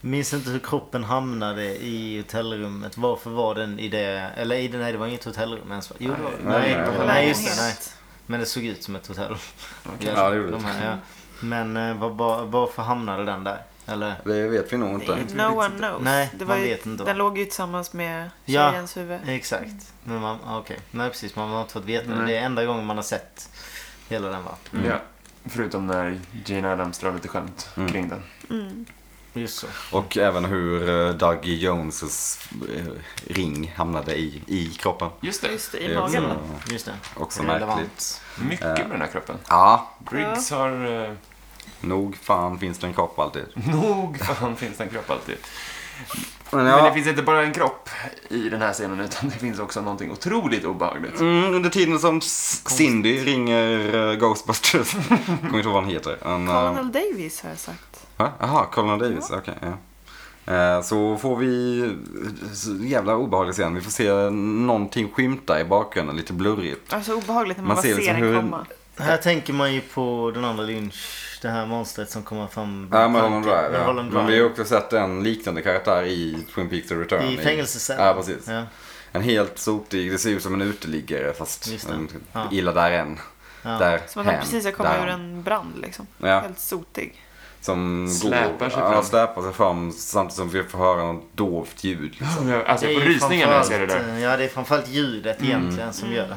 S3: Minns inte hur kroppen hamnade i hotellrummet. Varför var den i det? Eller i den, nej det var inget hotellrum ens. va? Jo det var det.
S4: Nej,
S3: Nej,
S4: nej,
S3: nej,
S4: nej.
S3: just det. Nej.
S1: Lägenhet.
S3: Men det såg ut som ett hotell.
S4: Ja, det gjorde
S3: de
S4: det.
S3: här, ja. Men eh, var, var, varför hamnade den där? Eller?
S4: Det vet vi nog inte.
S1: No one knows.
S3: Nej,
S1: det var
S3: man
S1: ju,
S3: vet inte.
S1: Den låg ju tillsammans med
S3: Ja.
S1: tjejens huvud.
S3: Exakt. Men man, ah, okej. Nej precis, man har inte fått veta. Det är enda gången man har sett hela den va?
S4: Mm.
S2: Ja. Förutom när Gina Adams drar lite skämt
S4: Mm.
S2: kring den.
S3: Just så.
S4: Och även hur eh, Dougie Jones ring hamnade i, i kroppen.
S2: Just det.
S1: Just det,
S4: Det
S1: i
S4: är också,
S1: magen.
S3: Mm. Just det.
S4: också
S3: Relevant.
S4: märkligt.
S2: Mycket med den här kroppen.
S4: Ja,
S2: Briggs har eh,
S4: Nog fan finns det en kropp alltid.
S2: Nog fan finns det en kropp alltid.
S4: Men
S2: Men
S4: ja,
S2: det finns inte bara en kropp i den här scenen utan det finns också någonting otroligt obehagligt.
S4: mm, under tiden som S- Cindy ringer eh, Ghostbusters. Kommer inte ihåg vad han heter. En, eh,
S1: Colonel Davis har jag sagt.
S4: Va? Jaha, Colonel Davis, okej. ja. Eh, Så får vi eh, så jävla obehaglig scen. Vi får se någonting skymta i bakgrunden, lite blurrigt.
S1: Alltså obehagligt när man,
S4: Man
S1: bara
S4: ser
S1: ser,
S4: liksom
S1: den
S4: hur-
S1: komma.
S3: Här tänker man ju på den andra Lynch, det här monstret som kommer fram.
S4: Ja, med Holland
S3: Med
S4: Drive. Ja.
S3: Holland
S4: Men vi har
S3: Drive.
S4: också sett en liknande karaktär i Twin Peaks The Return.
S3: I fängelsecellen.
S4: Ja, precis.
S3: Ja.
S4: En helt sotig, det ser ut som en uteliggare fast
S3: Just det.
S4: en,
S3: Ja.
S4: illa där än.
S3: Ja.
S4: Där
S1: Som att han
S4: hen,
S1: precis har kommit
S4: där
S1: ur
S4: han.
S1: en brand liksom.
S4: Ja.
S1: Helt sotig.
S4: Som
S2: Släpar sig
S4: går, Ja,
S2: fram.
S4: släpar sig fram samtidigt som vi får höra något dovt ljud. liksom.
S2: Alltså jag
S3: Det
S2: får
S3: är
S2: rysningar när jag ser det
S3: framförallt,
S2: där. Mm.
S3: eh, Ja, det är framförallt ljudet egentligen som gör det.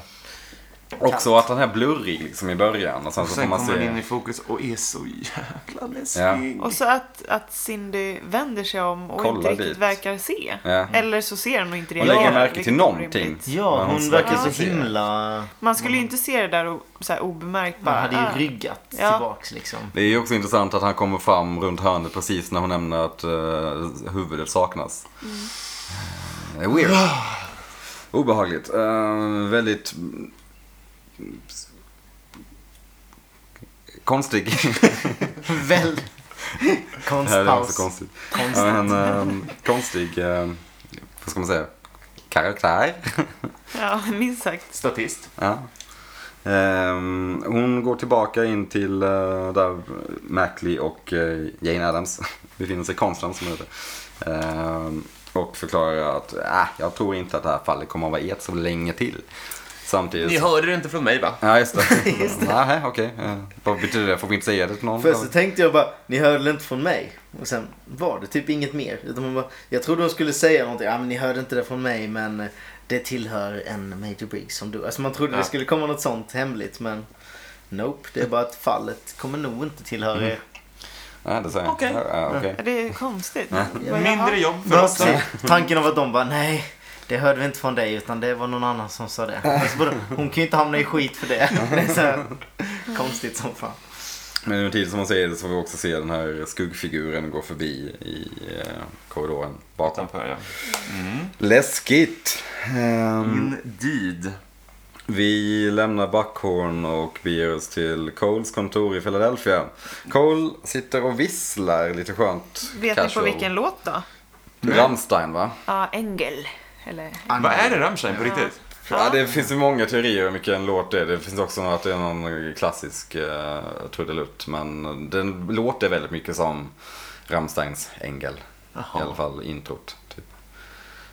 S4: Också att den här blurrig liksom i början och sen
S2: Och
S4: så
S2: sen
S4: får man
S2: kommer man
S4: se...
S2: in i fokus och är så jävla läskig.
S1: Och så att, att Cindy vänder sig om och
S4: Kollar
S1: inte riktigt
S4: dit.
S1: verkar se.
S4: Ja.
S1: Eller så ser hon och inte
S4: Hon
S1: reagerar.
S4: lägger märke
S1: vilket
S4: till
S1: är
S4: någonting.
S1: orimligt.
S3: Ja,
S4: Men
S3: hon
S4: verkar
S3: verkar så
S4: inte se.
S3: himla...
S1: Man skulle ju inte se det där och, så här, obemärkt bara.
S3: Man hade
S1: "Ah."
S3: ju ryggat
S1: Ja.
S3: tillbaks liksom.
S4: Det är ju också intressant att han kommer fram runt hörnet precis när hon nämner att eh, huvudet saknas. Det är weird. Obehagligt. Eh, väldigt... mm, Konstig.
S3: Väl...
S4: det här är också
S3: Konstpaus.
S4: konstigt.
S3: Konst-
S4: Ja, men, eh, konstig, eh, vad ska man säga, karaktär.
S1: Ja, minst sagt.
S2: Statist.
S4: Ja. Ehm, hon går tillbaka in till eh, där Mackley och eh, Jane Addams befinner sig, konstnären som heter. Ehm, och förklarar att äh, jag tror inte att det här fallet kommer att vara ert så länge till. Samtidigt
S2: Ni hörde det inte från mig va?
S4: Ja, just det. Nej, okej. Eh, Vad betyder det? Får vi inte säga det till någon?
S3: Först så tänkte jag bara, ni hörde inte från mig? Och sen var det typ inget mer. Utan man bara, jag trodde hon skulle säga någonting. Ja, men ni hörde inte det från mig men eh, det tillhör en Major Briggs som du. Alltså man trodde
S2: Ja.
S3: det skulle komma något sånt hemligt men Nope, det är bara att fallet kommer nog inte tillhöra
S2: Mm.
S3: er.
S4: Nej, det säger jag.
S2: Okej.
S4: Ja, okej.
S1: Ja, Det är konstigt. Vad jag har-
S2: Mindre jobb
S3: Men
S2: för oss.
S3: också tanken av att de bara, nej, det hörde vi inte från dig utan det var någon annan som sa det. Alltså, bara, hon kan ju inte hamna i skit för det. det är så här, konstigt som fan.
S4: Men under tiden som hon säger det så får vi också se den här skuggfiguren gå förbi i eh, korridoren bakom.
S2: Utanför, ja.
S4: Läskigt! Ehm,
S2: Mm. Indeed.
S4: Vi lämnar Buckhorn och beger oss till Coles kontor i Philadelphia. Cole sitter och visslar lite skönt.
S1: Vet ni på
S4: casual.
S1: vilken låt då?
S4: Rammstein va?
S1: Ja, Engel. Eller...
S2: Vad är det Rammstein på riktigt?
S4: Ja, det finns ju många teorier om vilken låt det är. Det finns också att det är någon klassisk eh, trudelutt. Men den låter väldigt mycket som Rammsteins Engel. I alla fall introt. Typ.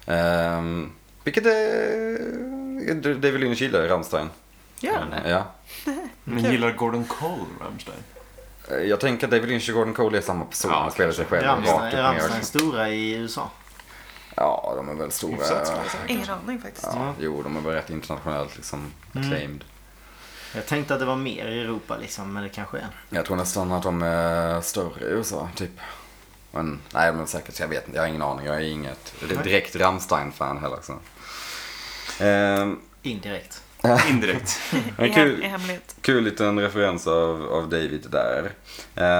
S4: Ehm, vilket är... David Lynch gillar Rammstein.
S1: Gör han det?
S4: Ja.
S2: Men gillar Gordon Cole Rammstein?
S4: Eh, Jag tänker att David Lynch och Gordon Cole är samma person.
S2: Ja,
S4: han spelar sig själv rakt
S3: Rammstein
S4: upp och ner.
S3: Rammstein stora i USA.
S4: Ja, de är väl stora.
S2: Hyfsat skulle jag säga. Mm.
S1: Ingen aning faktiskt.
S4: Ja, jo, de är väl rätt internationellt liksom acclaimed.
S3: Jag tänkte att det var mer i Europa liksom, men det kanske är.
S4: Jag tror nästan att de är större i USA, typ. Men nej, de är säkert, jag vet inte, jag har ingen aning. Jag är inget direkt Rammstein-fan heller. Så. Ehm,
S3: Indirekt.
S2: Indirekt.
S1: I,
S4: men
S1: hem, I
S4: kul,
S1: hemlighet.
S4: kul liten referens av, av David där.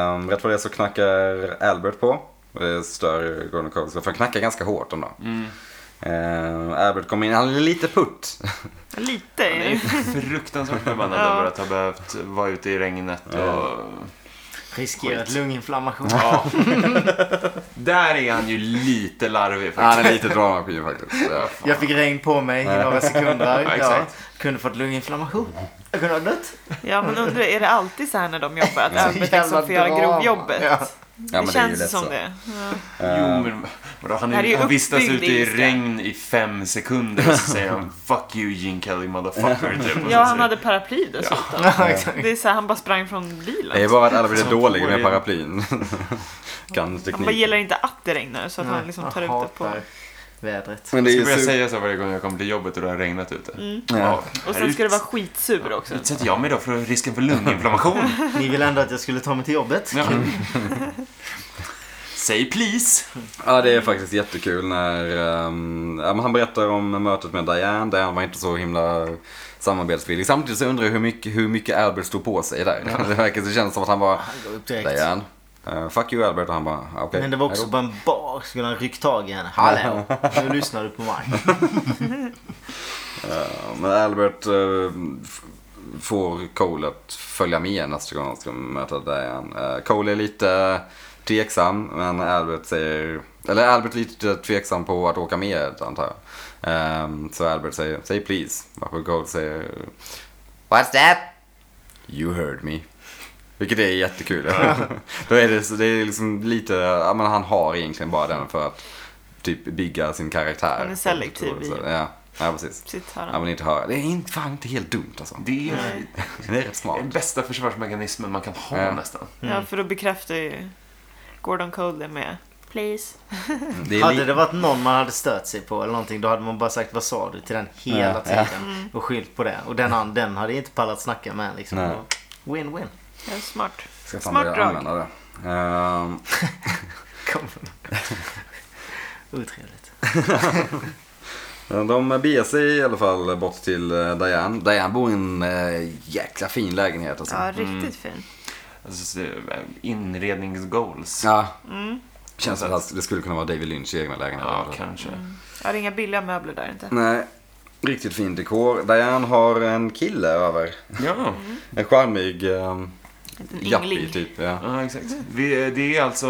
S4: Um, rätt vad det är så knackar Albert på. Och det stör Gordon Coles, för han knackar ganska hårt om dem.
S2: Mm.
S4: Ehm, Albert kommer in, han är lite putt.
S1: Lite.
S2: Han är ju fruktansvärt förbannad
S1: Ja.
S2: över att ha behövt vara ute i regnet och...
S3: Riskerat lunginflammation.
S2: Ja. Där är han ju lite larvig faktiskt.
S4: Han är lite dramaskinn faktiskt. Ja.
S3: Jag fick regn på mig i några
S2: Ja,
S3: sekunder. ja,
S2: exakt.
S3: kunde fått lunginflammation. Jag kunde ha dött.
S1: Ja, men undrar, är det alltid så här när de jobbar? Att Albert
S3: jävla
S1: liksom får
S3: drama.
S1: göra grovjobbet?
S3: Ja.
S4: men
S1: det
S4: det är ju
S1: känns
S4: lätt
S1: som
S4: så.
S1: det. Ja.
S2: Jo, Eh, men vadå, han,
S1: Här är ju
S2: är, han vistas
S1: uppbyggd
S2: ute i
S1: ilska.
S2: regn i fem sekunder och så säger han 'Fuck you Gene Kelly motherfucker' typ. Och
S1: ja,
S2: så
S1: han
S2: säger-
S1: hade paraply dessutom.
S3: Ja, exakt.
S1: Det är så här, han bara sprang från bilen.
S4: Det är bara att Albert är
S2: Som
S4: dålig
S2: får
S4: med
S2: det.
S4: paraplyn. kan
S1: Han bara gillar
S4: teknik.
S1: inte att det regnar så att han liksom tar
S3: Jag
S1: ut det på...
S3: hatar vädret.
S4: Men det
S2: Jag
S4: är
S2: ska börja
S4: ju super-
S2: säga så varje gång jag kommer till jobbet och det har regnat ute.
S4: Ja.
S1: Och sen ska det vara skitsur också.
S2: Utsätter jag mig då för risken för lunginflammation?
S3: Ni ville ändå att jag skulle ta mig till jobbet.
S2: Ja. Say please.
S4: Ja, det är faktiskt jättekul när ehm, ja, men han berättar om mötet med Diane. Diane var inte så himla samarbetsvillig. Samtidigt så undrar jag hur mycket, hur mycket Albert stod på sig där. Det verkar det känns som att han bara,
S3: Han går upp direkt.
S4: Diane, eh, fuck you Albert. Och han bara, "Ah, okej.
S3: Men det var också
S4: hejdå."
S3: på en bar. Skulle han ryckt tag i henne. Hallå, nu lyssnar du på mig.
S4: Ja, Men Albert eh, f- får Cole att följa med nästa gång han ska möta Diane. Eh, Cole är lite tveksam, men Albert säger... Eller Albert är lite tveksam på att åka med, antar jag. Ehm, så Albert säger, säg please. Varpå Cole säger... What's that? You heard me. Vilket är jättekul. Då är det, så- det är liksom lite, ja, men han har egentligen bara den för att typ bygga sin karaktär.
S1: Han är selektiv i-
S4: Ja, ja precis.
S1: Sitt
S4: Ja,
S1: här.
S4: men inte höra. Det är inte, fan inte helt dumt alltså.
S2: Det är
S1: Nej.
S4: Det är rätt smart.
S2: den bästa försvarsmekanismen man kan ha
S4: Ja.
S2: nästan.
S3: Mm.
S1: Ja, för då bekräftar ju Gordon Cole det med Please.
S4: Det är
S3: Hade
S4: li-
S3: det varit någon man hade stört sig på eller någonting då hade man bara sagt vad sa du till den hela
S4: Ja, ja.
S1: Mm.
S3: tiden och skyllt på det. Och den, an- den hade inte pallat snacka med liksom.
S4: Nej.
S3: Win-win.
S1: Ja, smart.
S4: Ska fan
S1: smart
S4: börja
S1: drag.
S4: använda det. Ehm,
S3: Kom. Otrevligt.
S4: Ehm, de beger sig i alla fall bort till eh, Diane. Diane bor i en eh, jäkla fin lägenhet alltså.
S1: Ja, riktigt fin.
S2: Alltså, så, eh, inredningsgoals.
S4: Ja.
S1: Mm.
S4: Känns som att det skulle kunna vara David Lynchs egna lägenhet.
S2: Ja, kanske.
S1: Ja, det är inga billiga möbler där inte.
S4: Nej, riktigt fin dekor. Diane har en kille över.
S1: Mm.
S2: Ja,
S4: En charmig um,
S1: En
S4: yuppie
S1: yngling.
S4: typ. Ja.
S2: ja exakt. Vi, det är alltså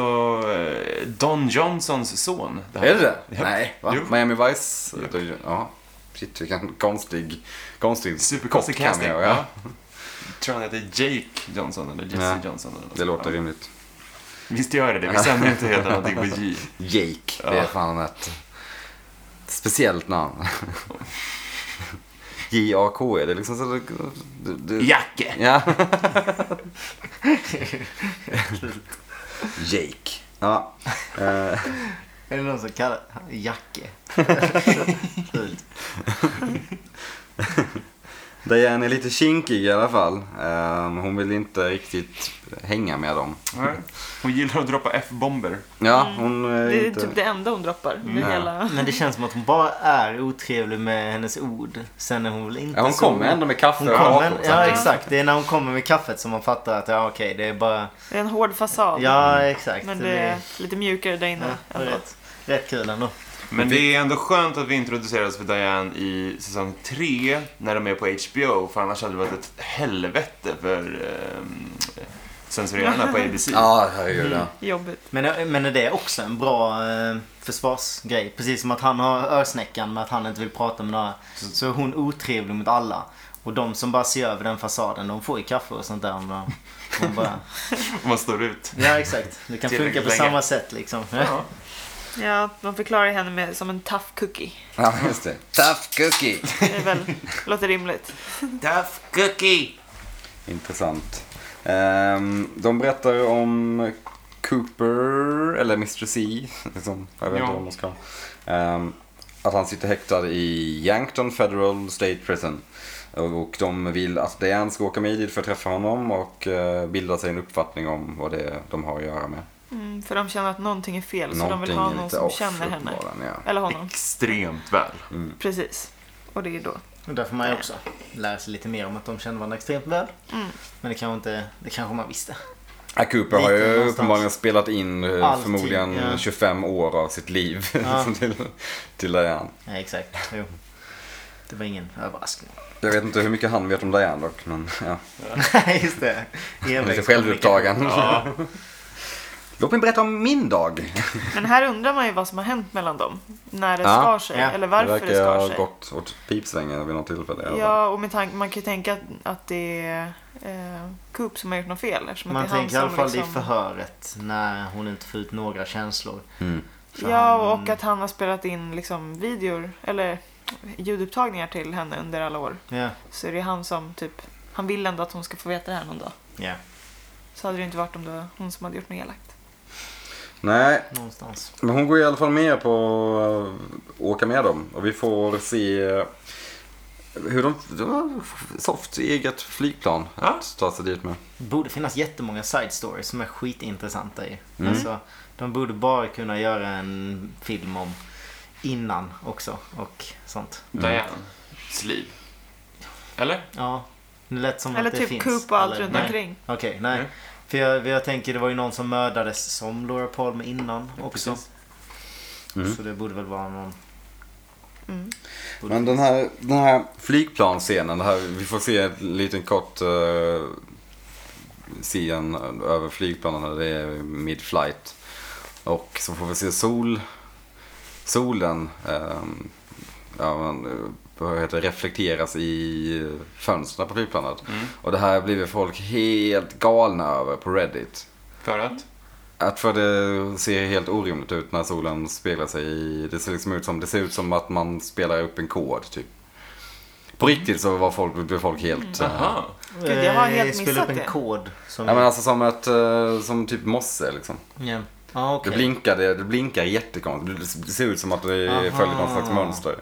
S2: eh, Don Johnsons son. Det här.
S4: Är det det?
S2: Ja.
S4: Nej, va?
S2: Jo.
S4: Miami Vice? Ja. Shit, vilken konstig, konstig
S2: Superkonstig
S4: kort cameo,
S2: casting.
S4: ja.
S2: Ja. Tror han heter Jake Johnson eller Jesse
S4: Ja,
S2: Johnson. Eller något
S4: Det
S2: sånt.
S4: låter
S2: Ja.
S4: rimligt.
S2: Visst gör det det. Vi sänder inte hela någonting på J.
S4: Jake, det är
S2: Ja.
S4: fan ett speciellt namn. J-A-K är det liksom så... Det, det,
S2: Jacke!
S4: Ja. Jake. Ja. Eh,
S3: Är det någon som kallar han Jacke? Fult.
S4: Diane är lite kinkig i alla fall. Eh, hon vill inte riktigt hänga med dem.
S2: Nej. Hon gillar att droppa F-bomber.
S4: Ja,
S2: Mm.
S4: hon är
S1: Det är
S4: inte...
S1: typ det enda hon droppar. Det
S3: Mm.
S4: Ja.
S1: hela.
S3: Men det känns som att hon bara är otrevlig med hennes ord. Sen är hon väl inte
S4: Ja, hon
S3: så-
S4: kommer ändå med kaffe
S3: Hon kommer,
S4: kakor, så
S3: ja
S4: att-
S3: exakt. Det är när hon kommer med kaffet som man fattar att ja okej det är bara...
S1: Det är en hård fasad.
S3: Ja exakt.
S1: Men
S3: det
S1: det
S3: blir-
S1: är lite mjukare där
S3: Ja,
S1: inne.
S3: det är
S1: ändå.
S3: rätt, rätt kul ändå.
S2: Men det är ändå skönt att vi introduceras för Diane i säsong 3 när de är på HBO för annars hade det varit ett helvete för um, censurerarna på ABC.
S4: Ja, herregud. ja.
S1: Jobbigt.
S3: Men, men är det också en bra eh, försvarsgrej? Precis som att han har örsnäckan med att han inte vill prata med några. Så är hon otrevlig mot alla. Och de som bara ser över den fasaden, de får ju kaffe och sånt där. om de- om bara,
S2: Om man står ut.
S3: ja exakt, det kan funka
S2: Tillräckligt
S3: på
S2: länge.
S3: samma sätt liksom. Ja.
S1: Ja, de förklarar henne med, som en tough cookie.
S4: Ja, just det. Tough cookie.
S1: Det är väl, låter rimligt.
S2: Tough cookie!
S4: Intressant. Ehm, de berättar om Cooper, eller Mr C, liksom, jag vet inte
S2: Ja.
S4: vad man ska. Ehm, att han sitter häktad i Yankton Federal State Prison. Och de vill att Diane ska åka med dit för att träffa honom och eh, bilda sig en uppfattning om vad det är de har att göra med.
S1: Mm, för de känner att någonting är fel så de
S4: Någonting
S1: vill
S4: är
S1: ha någon
S4: lite
S1: som
S4: off,
S1: känner henne.
S4: uppenbarligen, Mm. Ja.
S1: Eller honom.
S2: Extremt väl.
S1: Precis. Och det är då.
S3: Och där får man ju också lära sig lite mer om att de känner varandra extremt väl. Men det kanske, inte, det kanske man visste.
S4: Ja, Cooper har ju
S3: Lite någonstans.
S4: uppenbarligen spelat in eh,
S3: Allting,
S4: förmodligen
S3: ja.
S4: 25 år av sitt liv
S3: Ja.
S4: till, till Diane.
S3: Ja, exakt, jo. Det var ingen överraskning.
S4: Jag vet inte hur mycket han vet om Diane dock, men ja.
S3: Nej, just det.
S4: Han är lite
S3: Envägskommunikation.
S4: självupptagen.
S2: Ja.
S4: Låt mig berätta om min dag.
S1: Men här undrar man ju vad som har hänt mellan dem. När det
S4: Ja.
S1: skar sig.
S3: Ja.
S1: Eller varför det,
S4: verkar
S1: skar
S4: ha
S1: sig.
S4: gått åt pipsvängen vid något tillfälle. i alla fall.
S1: Ja, och med tanke, man kan ju tänka att, att det är eh, Coop som har gjort något fel. Eftersom
S3: Man
S1: att det är
S3: tänker i
S1: han som
S3: alla fall i
S1: liksom...
S3: förhöret när hon inte får ut några känslor.
S4: Mm.
S3: För
S1: Ja,
S3: han-
S1: och att han har spelat in liksom videor, eller ljudupptagningar till henne under alla år.
S3: Ja,
S1: Så är det han som typ, han vill ändå att hon ska få veta det här någon dag.
S3: ja
S1: Så hade det inte varit om det var hon som hade gjort något elakt.
S4: Nej,
S3: någonstans.
S4: men hon går i alla fall med på att åka med dem. Och vi får se eh, hur de, det var soft eget flygplan att ta sig dit med.
S3: borde finnas jättemånga side stories som är skitintressanta i.
S4: Mm.
S3: Alltså, de borde bara kunna göra en film om innan också och sånt.
S2: Dianes liv. Eller?
S3: Ja, det lät som
S1: Eller
S3: att det
S1: typ
S3: finns.
S1: Coop och allt
S3: Eller-
S1: runt
S3: nej.
S1: omkring.
S3: Okej, nej.
S4: Mm.
S2: Nej.
S3: För jag, jag tänker det var ju någon som mördades som Laura Palmer innan också.
S2: precis.
S4: Mm.
S3: Så det borde väl vara någon...
S4: Men den här, den här flygplansscenen, det här, vi får se en liten kort eh, scen över flygplanen, det är mid-flight. Och så får vi se sol, solen eh, ja, men, eh, vad heter, det, reflekteras i fönstren på flygplanet. Och det här blir folk helt galna över på Reddit.
S2: För att?
S4: Att för det ser helt orimligt ut när solen speglar sig i... Det ser liksom ut som, det ser ut som att man spelar upp en kod typ. På
S3: Mm.
S4: riktigt så var folk, blev folk helt... eh,
S2: Aha.
S1: Gud, jag har
S3: Eh,
S1: helt
S3: spela upp
S1: missat
S3: en
S1: det.
S3: kod som...
S4: Ja men alltså som ett, eh, som typ mosse liksom.
S3: Ja. Ah,
S4: Det
S3: okej.
S4: blinkade, det blinkar jättekonstigt. Det ser ut som att det
S3: Aha.
S4: följer någon slags mönster.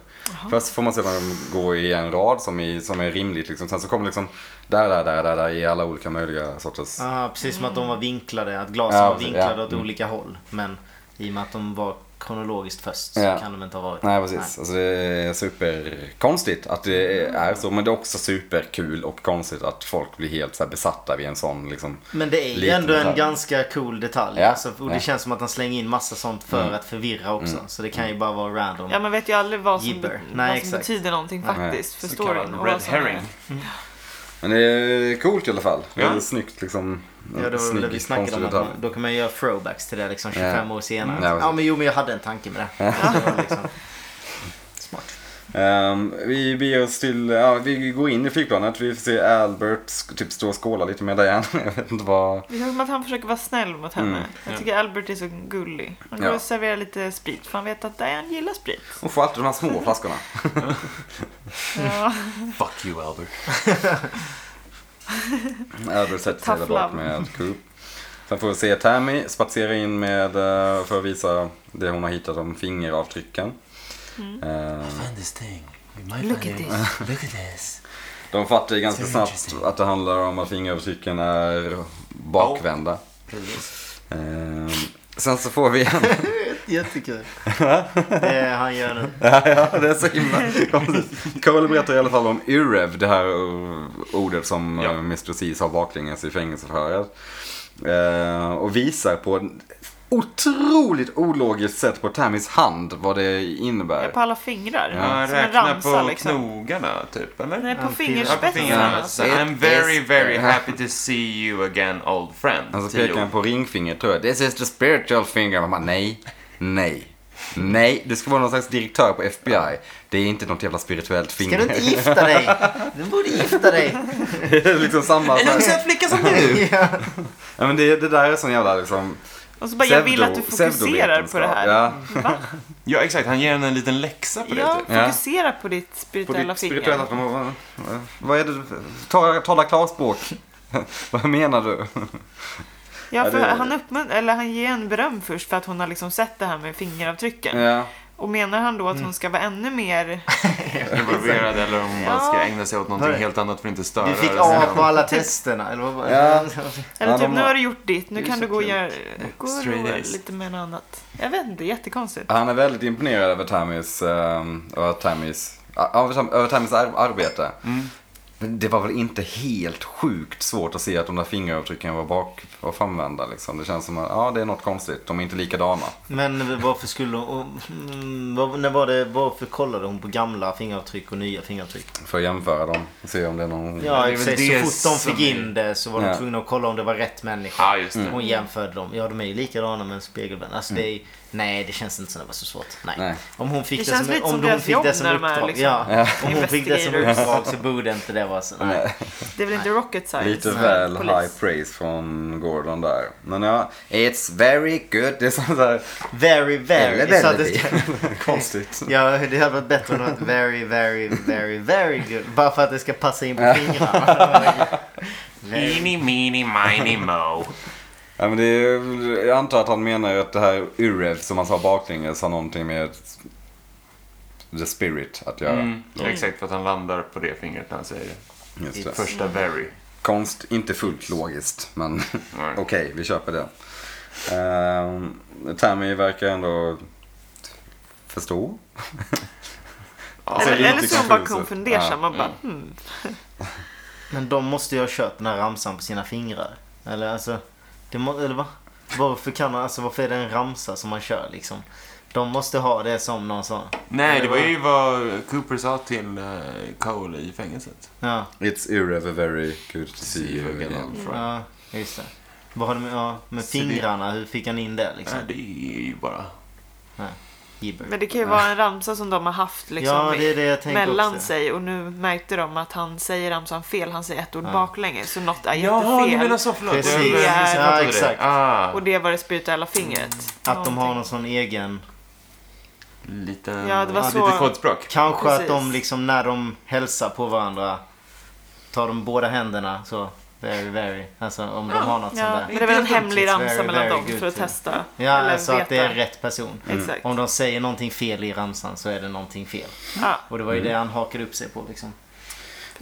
S4: Först får man se dem gå i en rad som är, som är rimligt liksom. Sen så kommer liksom där, där, där, där, där i alla olika möjliga sorters...
S3: Ah, precis som att de var vinklade, att glasen
S4: Ja,
S3: var
S4: precis,
S3: vinklade
S4: ja.
S3: åt olika håll. Men i och med att de var kronologiskt först så
S4: Ja.
S3: kan de inte ha varit
S4: Nej precis, alltså det är superkonstigt att det är så men det är också superkul och konstigt att folk blir helt så här besatta vid en sån liksom
S3: Men det är ju
S4: liten
S3: ändå en
S4: detalj.
S3: ganska cool detalj.
S4: Ja,
S3: Alltså, och det
S4: ja. Mm.
S3: känns som att han slänger in massa sånt för att förvirra också. Så det kan ju bara vara random.
S1: Ja, man vet ju aldrig vad som,
S3: Jibber.
S1: be- vad
S3: Nej,
S1: som
S3: exakt.
S1: betyder någonting faktiskt för
S2: Så kallad
S1: storyn. och
S2: red
S1: vad som är-
S2: herring.
S4: Men det är coolt i alla fall, det är
S2: Ja.
S4: snyggt liksom
S3: Ja, det var väl det vi snackade om. Att
S4: detalj.
S3: man, då kan man göra throwbacks till det liksom 25
S4: Ja.
S3: år senare.
S4: Ja,
S3: Ja, men jo, men jag hade en tanke med det. det var liksom... Smart.
S4: Ehm, vi beger oss till, ja, vi går in i flygplanet, vi får se Albert sk- typ stå och skåla lite med Diane, jag vet inte vad
S1: Det känns som att han försöker vara snäll mot henne.
S4: Mm.
S1: Jag tycker Albert är så gullig. Han går
S4: Ja.
S1: och serverar lite sprit för han vet att Diane gillar sprit.
S4: Hon får alltid de här små flaskorna
S1: Ja.
S2: Fuck you Albert.
S4: Albert Mm, sätter sig där
S1: Tough
S4: bak
S1: love.
S4: med Coop. Sen får vi se Tammy spatsera in med, eh, för att visa det hon har hittat om fingeravtrycken.
S1: Mm.
S4: Eh,
S2: Find this thing. We might
S1: Look
S2: find
S1: at
S2: it. Look at this.
S4: De fattar ju ganska
S2: Very
S4: snabbt
S2: interesting.
S4: att det handlar om att fingeravtrycken är bakvända. Eh, Sen så får vi en...
S3: Jättekul. det han gör nu.
S4: ja, ja, det är så himla konstigt. Cole berättar i alla fall om urev, det här eh, ordet som
S2: Ja.
S4: eh, Mr. C sa baklänges i fängelseförhöret. Eh, Och visar på ett otroligt ologiskt sätt på Tammys hand vad det innebär.
S1: På alla fingrar.
S2: Ja,
S1: Som en
S2: räkna
S1: ramsa
S2: på
S1: liksom.
S2: knogarna typ, eller?
S1: Nej, på alltså.
S3: Ja,
S2: Ja, på fingrarna.
S1: fingerspetsarna.
S2: Så
S4: Ja.
S2: I'm very, very happy to see you again old friend.
S4: Och så
S2: Tio
S4: Alltså, pekar han
S2: år.
S4: på ringfingret tror jag. This is the spiritual finger. Man bara, nej, nej, nej. Du ska vara någon slags direktör på FBI. Det är inte något jävla spirituellt
S3: Ska
S4: finger.
S3: du inte gifta dig? Du borde gifta dig.
S4: det är liksom samma.
S2: En ung söt flicka som du!
S4: Typ.
S3: Ja.
S4: Ja, men det, det där är sån jävla liksom.
S1: Och så bara, jag vill
S4: pseudo-
S1: att du fokuserar på det här.
S4: Ja,
S1: Va?
S2: Ja, exakt. Han ger henne en liten läxa på det
S1: Ja,
S2: typ.
S4: Ja.
S1: fokusera på ditt
S4: på
S1: spirituella
S4: ditt
S1: finger.
S4: spirituella. Vad- vad- Vad är det? Tala, tala klarspråk. Vad menar du?
S1: Ja, för
S4: Ja, det-
S1: han, uppmunt- eller han ger en beröm först för att hon har liksom sett det här med fingeravtrycken.
S4: Ja. Mm.
S1: Och menar han då att hon ska vara ännu mer...
S2: Involverad eller om hon bara ska
S1: Ja.
S2: ägna sig åt någonting
S3: Hörru.
S2: helt annat för att inte störa.
S3: Du fick
S2: resten
S3: A
S2: av-
S3: på alla testerna. Eller vad var det?
S4: Ja.
S1: Eller
S4: Ja,
S1: typ,
S4: de
S1: nu
S4: har-
S1: har du gjort ditt, nu
S4: Det är
S1: kan
S4: så
S1: du gå och
S4: kul.
S1: göra... Gå och
S2: Straight
S1: roa
S2: A's.
S1: lite med något annat. Jag vet inte, jättekonstigt.
S4: Han är väldigt imponerad över Tammys, ehm, över Tammys, ja, över, Tam- över Tammys ar- arbete. Men det var väl inte helt sjukt svårt att se att de där fingeravtrycken var bak och framvända liksom. Det känns som att, ja det är något konstigt. De är inte likadana.
S3: Men varför skulle hon... mm, vad- När var det, varför kollade hon på gamla fingeravtryck och nya fingeravtryck?
S4: För att jämföra dem och se om det är någon...
S3: Ja,
S2: det är
S3: i och för
S2: väl
S3: sig,
S2: det
S3: så fort de
S2: som
S3: fick
S2: är-
S3: in det så var de
S4: Ja.
S3: tvungna att kolla om det var rätt människa.
S2: Ja, just det.
S1: Mm.
S3: Hon jämförde dem. Ja, de är ju likadana men spegelvänd. Alltså, det är, nej, det känns inte som det var så svårt. Nej.
S4: Nej.
S3: Om hon fick
S1: Det
S3: det,
S1: känns
S3: som,
S1: lite
S3: om
S1: som
S3: hon
S1: deras
S3: fick
S1: jobb
S3: det som
S1: när de är
S3: uppdrag.
S1: liksom
S3: ja. Om hon fick det som
S1: investigators.
S3: uppdrag så borde inte det vara så. Nej.
S1: Det är väl inte rocket science.
S4: Lite
S1: men
S4: väl
S1: polis.
S4: high praise från Gordon där. Men ja, it's very good. Det är sånt där...
S3: Very, very.
S4: Eller
S3: Så att
S4: väldigt.
S3: det-
S4: Konstigt.
S3: Ja, det hade varit bättre om det varit very, very, very, very good. Bara för att det ska passa in på fingrarna. Alltså,
S1: Mm.
S3: Very-
S2: Eeny, meeny, miny, mo.
S4: Ja, men det är, jag antar att han menar att det här Urev som han sa baklänges har någonting med the spirit att göra.
S2: Mm,
S4: Låt.
S2: Exakt, för att han landar på det fingret när han säger det.
S4: Just det.
S1: Mm.
S2: Första very.
S4: Konst, inte fullt logiskt, men
S2: Nej.
S4: okej, vi köper det. Um, Tammy verkar ändå förstå.
S2: Ja,
S4: Alltså,
S1: Eller,
S4: det är
S1: eller så
S4: lite
S1: är hon bara
S4: konfus.
S1: konfundersam. Man bara,
S2: Mm.
S1: hmm.
S3: Men de måste ju ha kört den här ramsan på sina fingrar. Eller alltså, det må, eller va? Varför kan man, alltså varför är det en ramsa som man kör liksom? De måste ha det som någon sån.
S2: Nej, det var ju vad Cooper sa till eh, Cole i fängelset.
S3: Ja,
S4: It's irrever very good to see you again.
S3: ja just det. Vad har de med, ja, med
S2: Så det-
S3: fingrarna, hur fick han in det liksom?
S2: Nej, det är ju bara...
S3: Gibber.
S1: Men det kan ju vara en ramsa som de har haft liksom,
S3: ja, det är det jag tänker
S1: mellan
S3: också.
S1: sig. Och nu märkte de att han säger ramsan fel. Han säger ett ord
S3: Ja. alltså-
S1: baklänges. Så något är
S2: Jaha, ni
S1: jättefel.
S2: menar så. alltså, Förlåt.
S3: Precis.
S2: Jag- jag
S1: Ja,
S2: missuppfattade det.
S3: exakt.
S2: Ah,
S1: Och det var det spirituella fingret.
S3: Att de har
S1: Någonting.
S3: någon sån egen...
S2: liten,
S1: Ja, det var
S2: ah,
S1: så-
S2: lite kodspråk.
S3: Kanske att
S1: Precis.
S3: de liksom när de hälsar på varandra tar de båda händerna så. Very, very. Alltså om de har något
S1: Ja,
S3: sånt
S1: men
S3: där.
S1: det var en
S2: It's
S1: hemlig ramsa
S3: very,
S1: mellan
S3: very
S1: dem
S3: good
S1: för att
S3: to-
S1: testa.
S3: Ja,
S1: eller
S3: alltså
S1: veta.
S3: att det är rätt person. Mm.
S1: Exakt.
S3: Om de säger någonting fel i ramsan så är det någonting fel.
S1: Ja.
S3: Och det var ju det han hakade upp sig på liksom.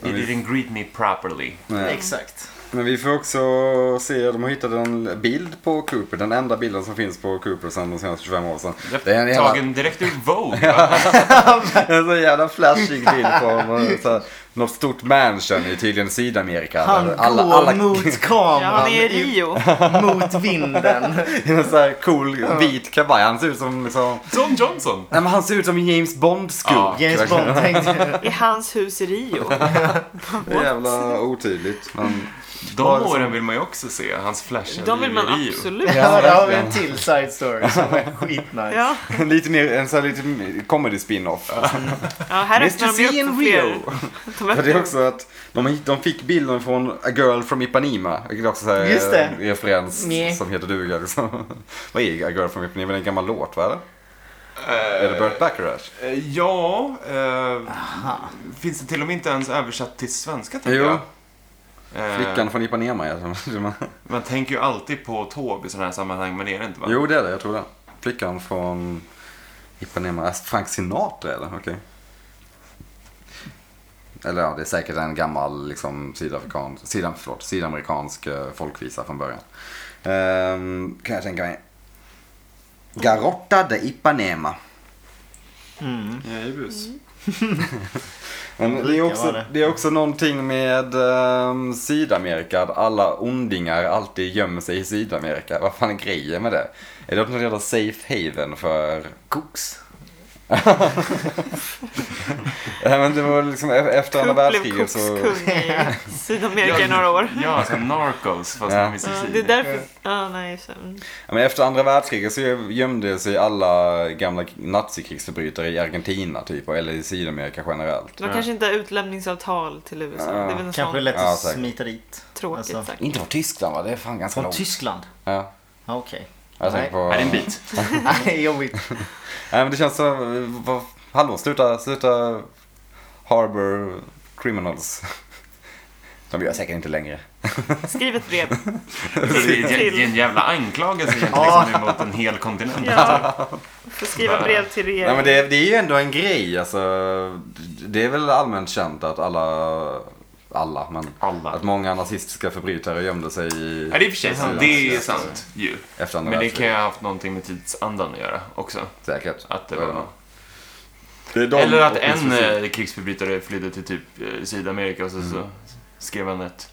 S2: You didn't greet me properly.
S4: Nej.
S3: Exakt.
S4: Men vi får också se, de har hittat en bild på Cooper. Den enda bilden som finns på Cooper sedan de senaste 25 åren sedan. Det är en jävla,
S2: Tagen direkt ur Vogue. va?
S4: en så jävla flashig bild på honom. Så här, något stort mansion i tydligen Sydamerika.
S3: Han
S4: Där
S3: går mot kameran.
S1: Ja, han är i Rio.
S3: mot vinden.
S4: i en så här cool vit kavaj. Han ser ut som liksom,
S2: Don Alltså, Johnson.
S4: nej men han ser ut som en James Bond-skurk.
S2: Ja,
S3: James Bond tänkte...
S1: I hans hus i Rio.
S4: Det är jävla otydligt. Men,
S2: De
S4: Var det som-
S2: åren vill man ju också se. Hans flashiga
S1: De vill
S2: liv i
S1: man
S2: Rio.
S1: absolut.
S3: Ja, där har vi en till side story som är skitnice.
S1: Ja,
S4: lite mer, en sån här lite mer comedy spin-off.
S1: ja här
S4: Mr.
S1: öppnar de ju
S4: C in
S1: upp för
S4: Rio.
S1: fler. De
S4: Ja, det är
S1: öppnar-
S4: också att de, de fick bilden från A Girl from Ipanema. Vilket också är
S3: Just det.
S4: en referens
S3: Nej.
S4: som heter duga. Liksom. Vad är A Girl from Ipanema? Det är en gammal låt, va? eller? Är det Burt Bacharach?
S2: Eh, Ja, eh, finns det till och med inte ens översatt till svenska tänker
S4: Jo.
S2: jag. Eh,
S4: Flickan från Ipanema, ja.
S2: Man tänker ju alltid på Taube i sådana här sammanhang, men det är det inte va?
S4: Jo, det är det. Jag tror det. Flickan från Ipanema. Alltså, Frank Sinatra, eller? Okej. Eller ja, det är säkert en gammal liksom, sydafrikansk, sydam, förlåt, sydamerikansk eh, folkvisa från början. Ehm, kan jag tänka mig. Garota de Ipanema.
S3: Mm.
S2: Jajebus.
S4: Men det, är
S3: brukar
S4: också,
S3: vara det.
S4: det är också någonting med ehm, Sydamerika, att alla ondingar alltid gömmer sig i Sydamerika. Vad fan är grejen med det? Är det någon jävla safe haven för
S3: Koks.
S4: Nej, men det var liksom e- efter andra
S1: Cook blev
S4: världskriget så...
S1: kokskung i Sydamerika i några år.
S2: Ja, alltså Narcos fast
S4: Ja.
S2: med Mississippi.
S1: Ja, det är därför... Ja, nej, just det. Mm.
S4: Ja, men efter andra världskriget så gömde sig alla gamla nazikrigsförbrytare i Argentina typ, eller i Sydamerika generellt.
S1: De kanske inte har utlämningsavtal till USA. Det är väl något
S3: Kanske är
S1: sånt
S3: lätt
S4: Ja,
S3: att
S4: säkert.
S3: smita dit.
S1: tråkigt
S3: Alltså,
S1: sagt.
S4: Inte från Tyskland va? Det är fan ganska
S3: Från
S4: långt.
S3: Tyskland?
S4: ja,
S3: Ja, Okej.
S4: jag tänker
S3: Nej.
S4: på...
S2: Är det en bit?
S3: Nej, jobbigt.
S4: Nej men det känns så... Vad, hallå, sluta, sluta Harbor Criminals. De gör säkert inte längre.
S1: Skriv ett brev.
S2: Det är en- det är en jävla anklagelse egentligen liksom, mot en hel kontinent.
S1: Ja. Får skriva brev till
S4: Nej men
S1: regeringen.
S4: det, är- det är ju ändå en grej alltså. Det är väl allmänt känt att alla... Alla, men...
S2: Alla.
S4: Att många nazistiska förbrytare gömde sig i...
S2: Ja, det är i och för sig sant. Det är
S4: alltså.
S2: sant ju.
S4: Efter andra
S2: Men det kan
S4: världskriget.
S2: ju ha haft någonting med tidsandan att göra också.
S4: Säkert.
S2: Att det
S4: Ja.
S2: var...
S4: Det är de
S2: Eller att
S4: och
S2: en
S4: Mississippi.
S2: eh, krigsförbrytare flydde till typ eh, Sydamerika och så,
S4: Mm.
S2: så skrev han ett,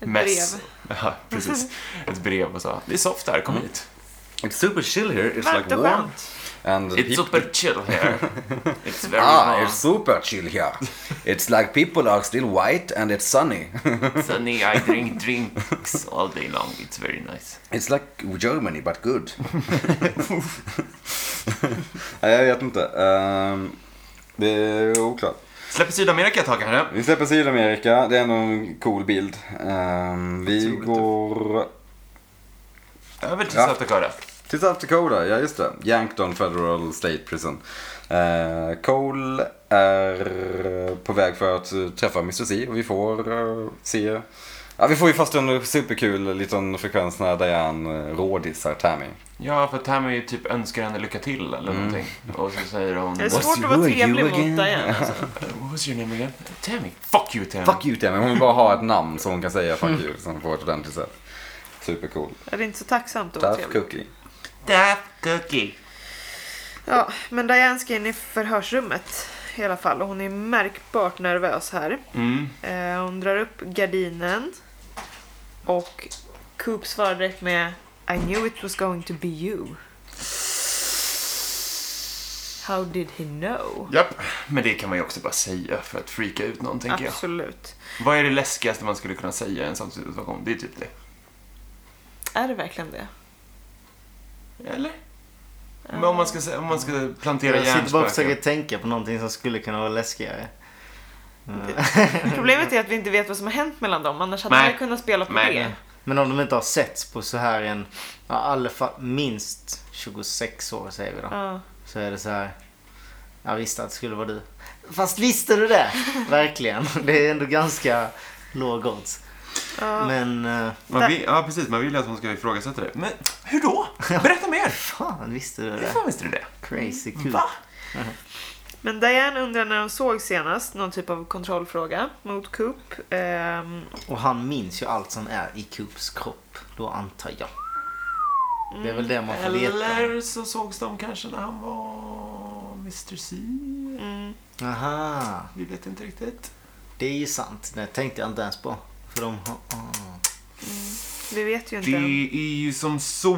S1: Ett
S2: mess. Ja, precis. Ett brev och sa det är soft här,
S4: Mm.
S2: kom hit.
S4: It's super chill here, it's
S1: Varmt
S4: like
S1: och
S4: warm.
S1: skönt.
S4: And the
S2: It's
S4: people-
S2: super chill here. It's very
S4: Ah,
S2: warm.
S4: it's super chill here. It's like people are still white and it's sunny.
S2: Sunny, I drink drinks all day long. It's very nice.
S4: It's like Germany but good. Nej, jag vet inte. Ehm, det är oklart.
S2: Släpper Sydamerika ett tag kanske?
S4: Vi släpper Sydamerika. Det är ändå en cool bild. Ehm, vi
S2: Otroligt.
S4: går
S2: Över till
S4: Ja.
S2: South Dakota.
S4: till South Dakota. Ja, just det. Yankton Federal State Prison. Uh, Cole är på väg för att träffa Mr. C och vi får eh, se Ja, vi får ju först en superkul liten frekvens när Diane eh, rådissar Tammy.
S2: Ja, för Tammy typ önskar henne lycka till
S3: Mm.
S2: eller någonting. Och så säger hon...
S1: Det är
S2: What's,
S1: svårt att vara
S4: wrong,
S1: trevlig
S4: you
S1: mot
S4: again?
S1: Diane. Alltså.
S2: what's your name again? Tammy! Fuck you Tammy!
S4: Fuck you Tammy, hon vill bara ha ett namn som hon kan säga fuck you som på ett ordentligt sätt. Supercool.
S1: Är det inte så tacksamt att vara
S4: Tough
S1: trevlig?
S4: cookie.
S2: Daft cookie!
S1: Ja, men Diane ska in i förhörsrummet i alla fall och hon är märkbart nervös här.
S2: Mm.
S1: Eh, hon drar upp gardinen och Coop svarar direkt med I knew it was going to be you. How did he know?
S2: Japp, men det kan man ju också bara säga för att freaka ut någon, tänker jag.
S1: Absolut.
S2: Vad är det läskigaste man skulle kunna säga i en sån situation? Det är typ det.
S1: Är det verkligen det?
S2: Eller?
S1: Eh.
S2: Men om man ska, sä- om man ska plantera
S3: Jag sitter bara och
S2: hjärnspöken.
S3: försöker tänka på någonting som skulle kunna vara läskigare.
S1: Problemet är att vi inte vet vad som har hänt mellan dem annars hade
S2: Nej.
S1: man kunnat spela på
S2: Nej.
S1: det.
S3: Men om de inte har setts på så här en, ja, i alla fall minst 26 år säger vi då.
S1: Ja.
S3: Så är det så här. Jag visste att det skulle vara du. Fast visste du det? Verkligen. Det är ändå ganska låg odds.
S1: Ja.
S3: Men eh,
S2: Man vill, ja, precis. Man vill ju att hon ska ifrågasätta det. Men hur då? Berätta mer!
S3: fan visste du
S2: Hur
S3: det?
S2: fan visste du det?
S3: Crazy cool.
S2: Va?
S1: Men Diane undrar när de såg senast, någon typ av kontrollfråga mot Coop. Ehm,
S3: Och han minns ju allt som är i Coops kropp. Då antar jag. Det är väl det man får veta.
S2: Eller så sågs de kanske när han var Mr C.
S1: mm,
S3: Aha.
S2: Vi vet inte riktigt.
S3: Det är ju sant. Det tänkte jag inte ens på. För de har... ah.
S1: vi vet ju inte.
S2: Det är ju som så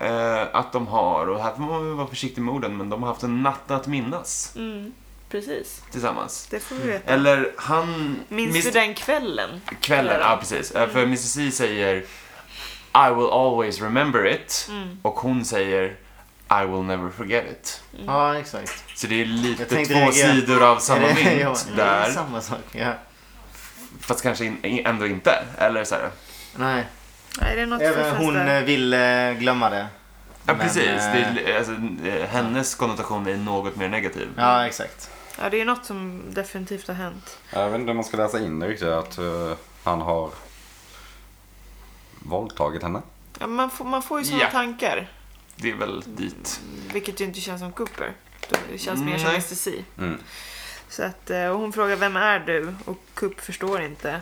S2: eh, att de har, och här får man väl vara försiktig med orden, men de har haft en natt att minnas
S1: Mm, precis,
S2: tillsammans.
S1: det får vi veta.
S2: Eller han...
S1: Minns
S2: Mr.
S1: du den kvällen?
S2: Kvällen, ja precis. Eh, För Mr C säger I will always remember it. Och hon säger I will never forget it.
S1: Mm.
S3: Ja, exakt.
S2: Så det är lite
S3: Jag tänkte
S2: två
S3: reagera.
S2: sidor av samma
S3: Är det- ja,
S2: mynt
S3: det är
S2: där.
S3: Samma sak, ja.
S2: Fast kanske in, ändå inte. Eller så här.
S3: Nej.
S1: Nej, det är något
S3: Även
S1: för
S3: hon eh, vill eh, glömma det.
S2: Ja,
S3: Men,
S2: precis.
S3: eh,
S2: Det är, alltså, eh, hennes konnotation är något mer negativ.
S3: Ja, exakt.
S1: Ja, det är något som definitivt har hänt.
S4: Jag vet inte om man ska läsa in det riktigt att eh, han har våldtagit henne.
S1: Ja, man, får, man får ju sådana
S2: Ja.
S1: tankar,
S2: Det är väl dit.
S1: vilket ju inte känns som Cooper. Det känns mer som
S2: Nej.
S1: Mr. C.
S4: Mm.
S1: Så att, eh, och hon frågar vem är du? Och Coop förstår inte.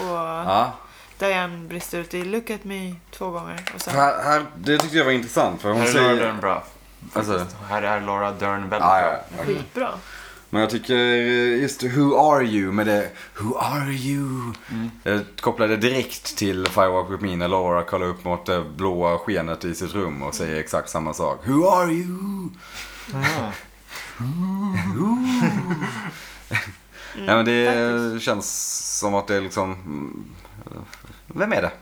S1: Och
S4: Ja,
S1: Diane brister ut i look at me två gånger. Och sen,
S4: här, här, det tyckte jag var intressant för hon
S2: Här är Laura Dern
S4: säger...
S2: bra.
S4: Alltså, Ah,
S2: Här är Laura Dern väldigt
S4: ja,
S2: bra.
S4: ja, ja.
S1: skitbra.
S4: Men jag tycker eh, just Who Are You med det Who Are You. Jag kopplade direkt till Firewalk With Me när Laura kollar upp mot det blåa skenet i sitt rum och säger exakt samma sak. Who Are You?
S3: Ja.
S4: Nej men det känns som att det är liksom... mm, Vem är det?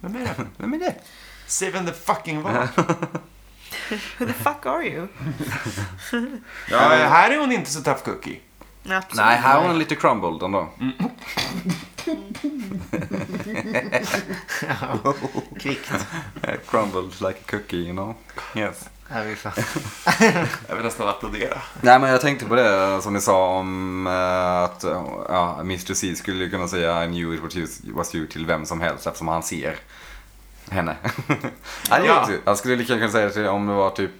S2: Vem är det?
S4: Vem är det?
S2: Säg vem det fucking var.
S1: Who the fuck are you?
S2: Ja, här är hon inte så tough cookie.
S1: Nej, Absolut.
S4: Nej, här har hon lite crumbled ändå.
S3: Kvickt.
S4: Eh, crumbled like a cookie, you know. Yes.
S3: Här vi fan.
S2: Jag vill nästan applådera.
S4: Nej men jag tänkte på det som ni sa om eh, att eh, ja, Mr C skulle ju kunna säga I knew it was you, was you till vem som helst eftersom han ser henne. Han,
S2: Ja.
S4: ja. han skulle lika gärna kunna säga det till- om det var typ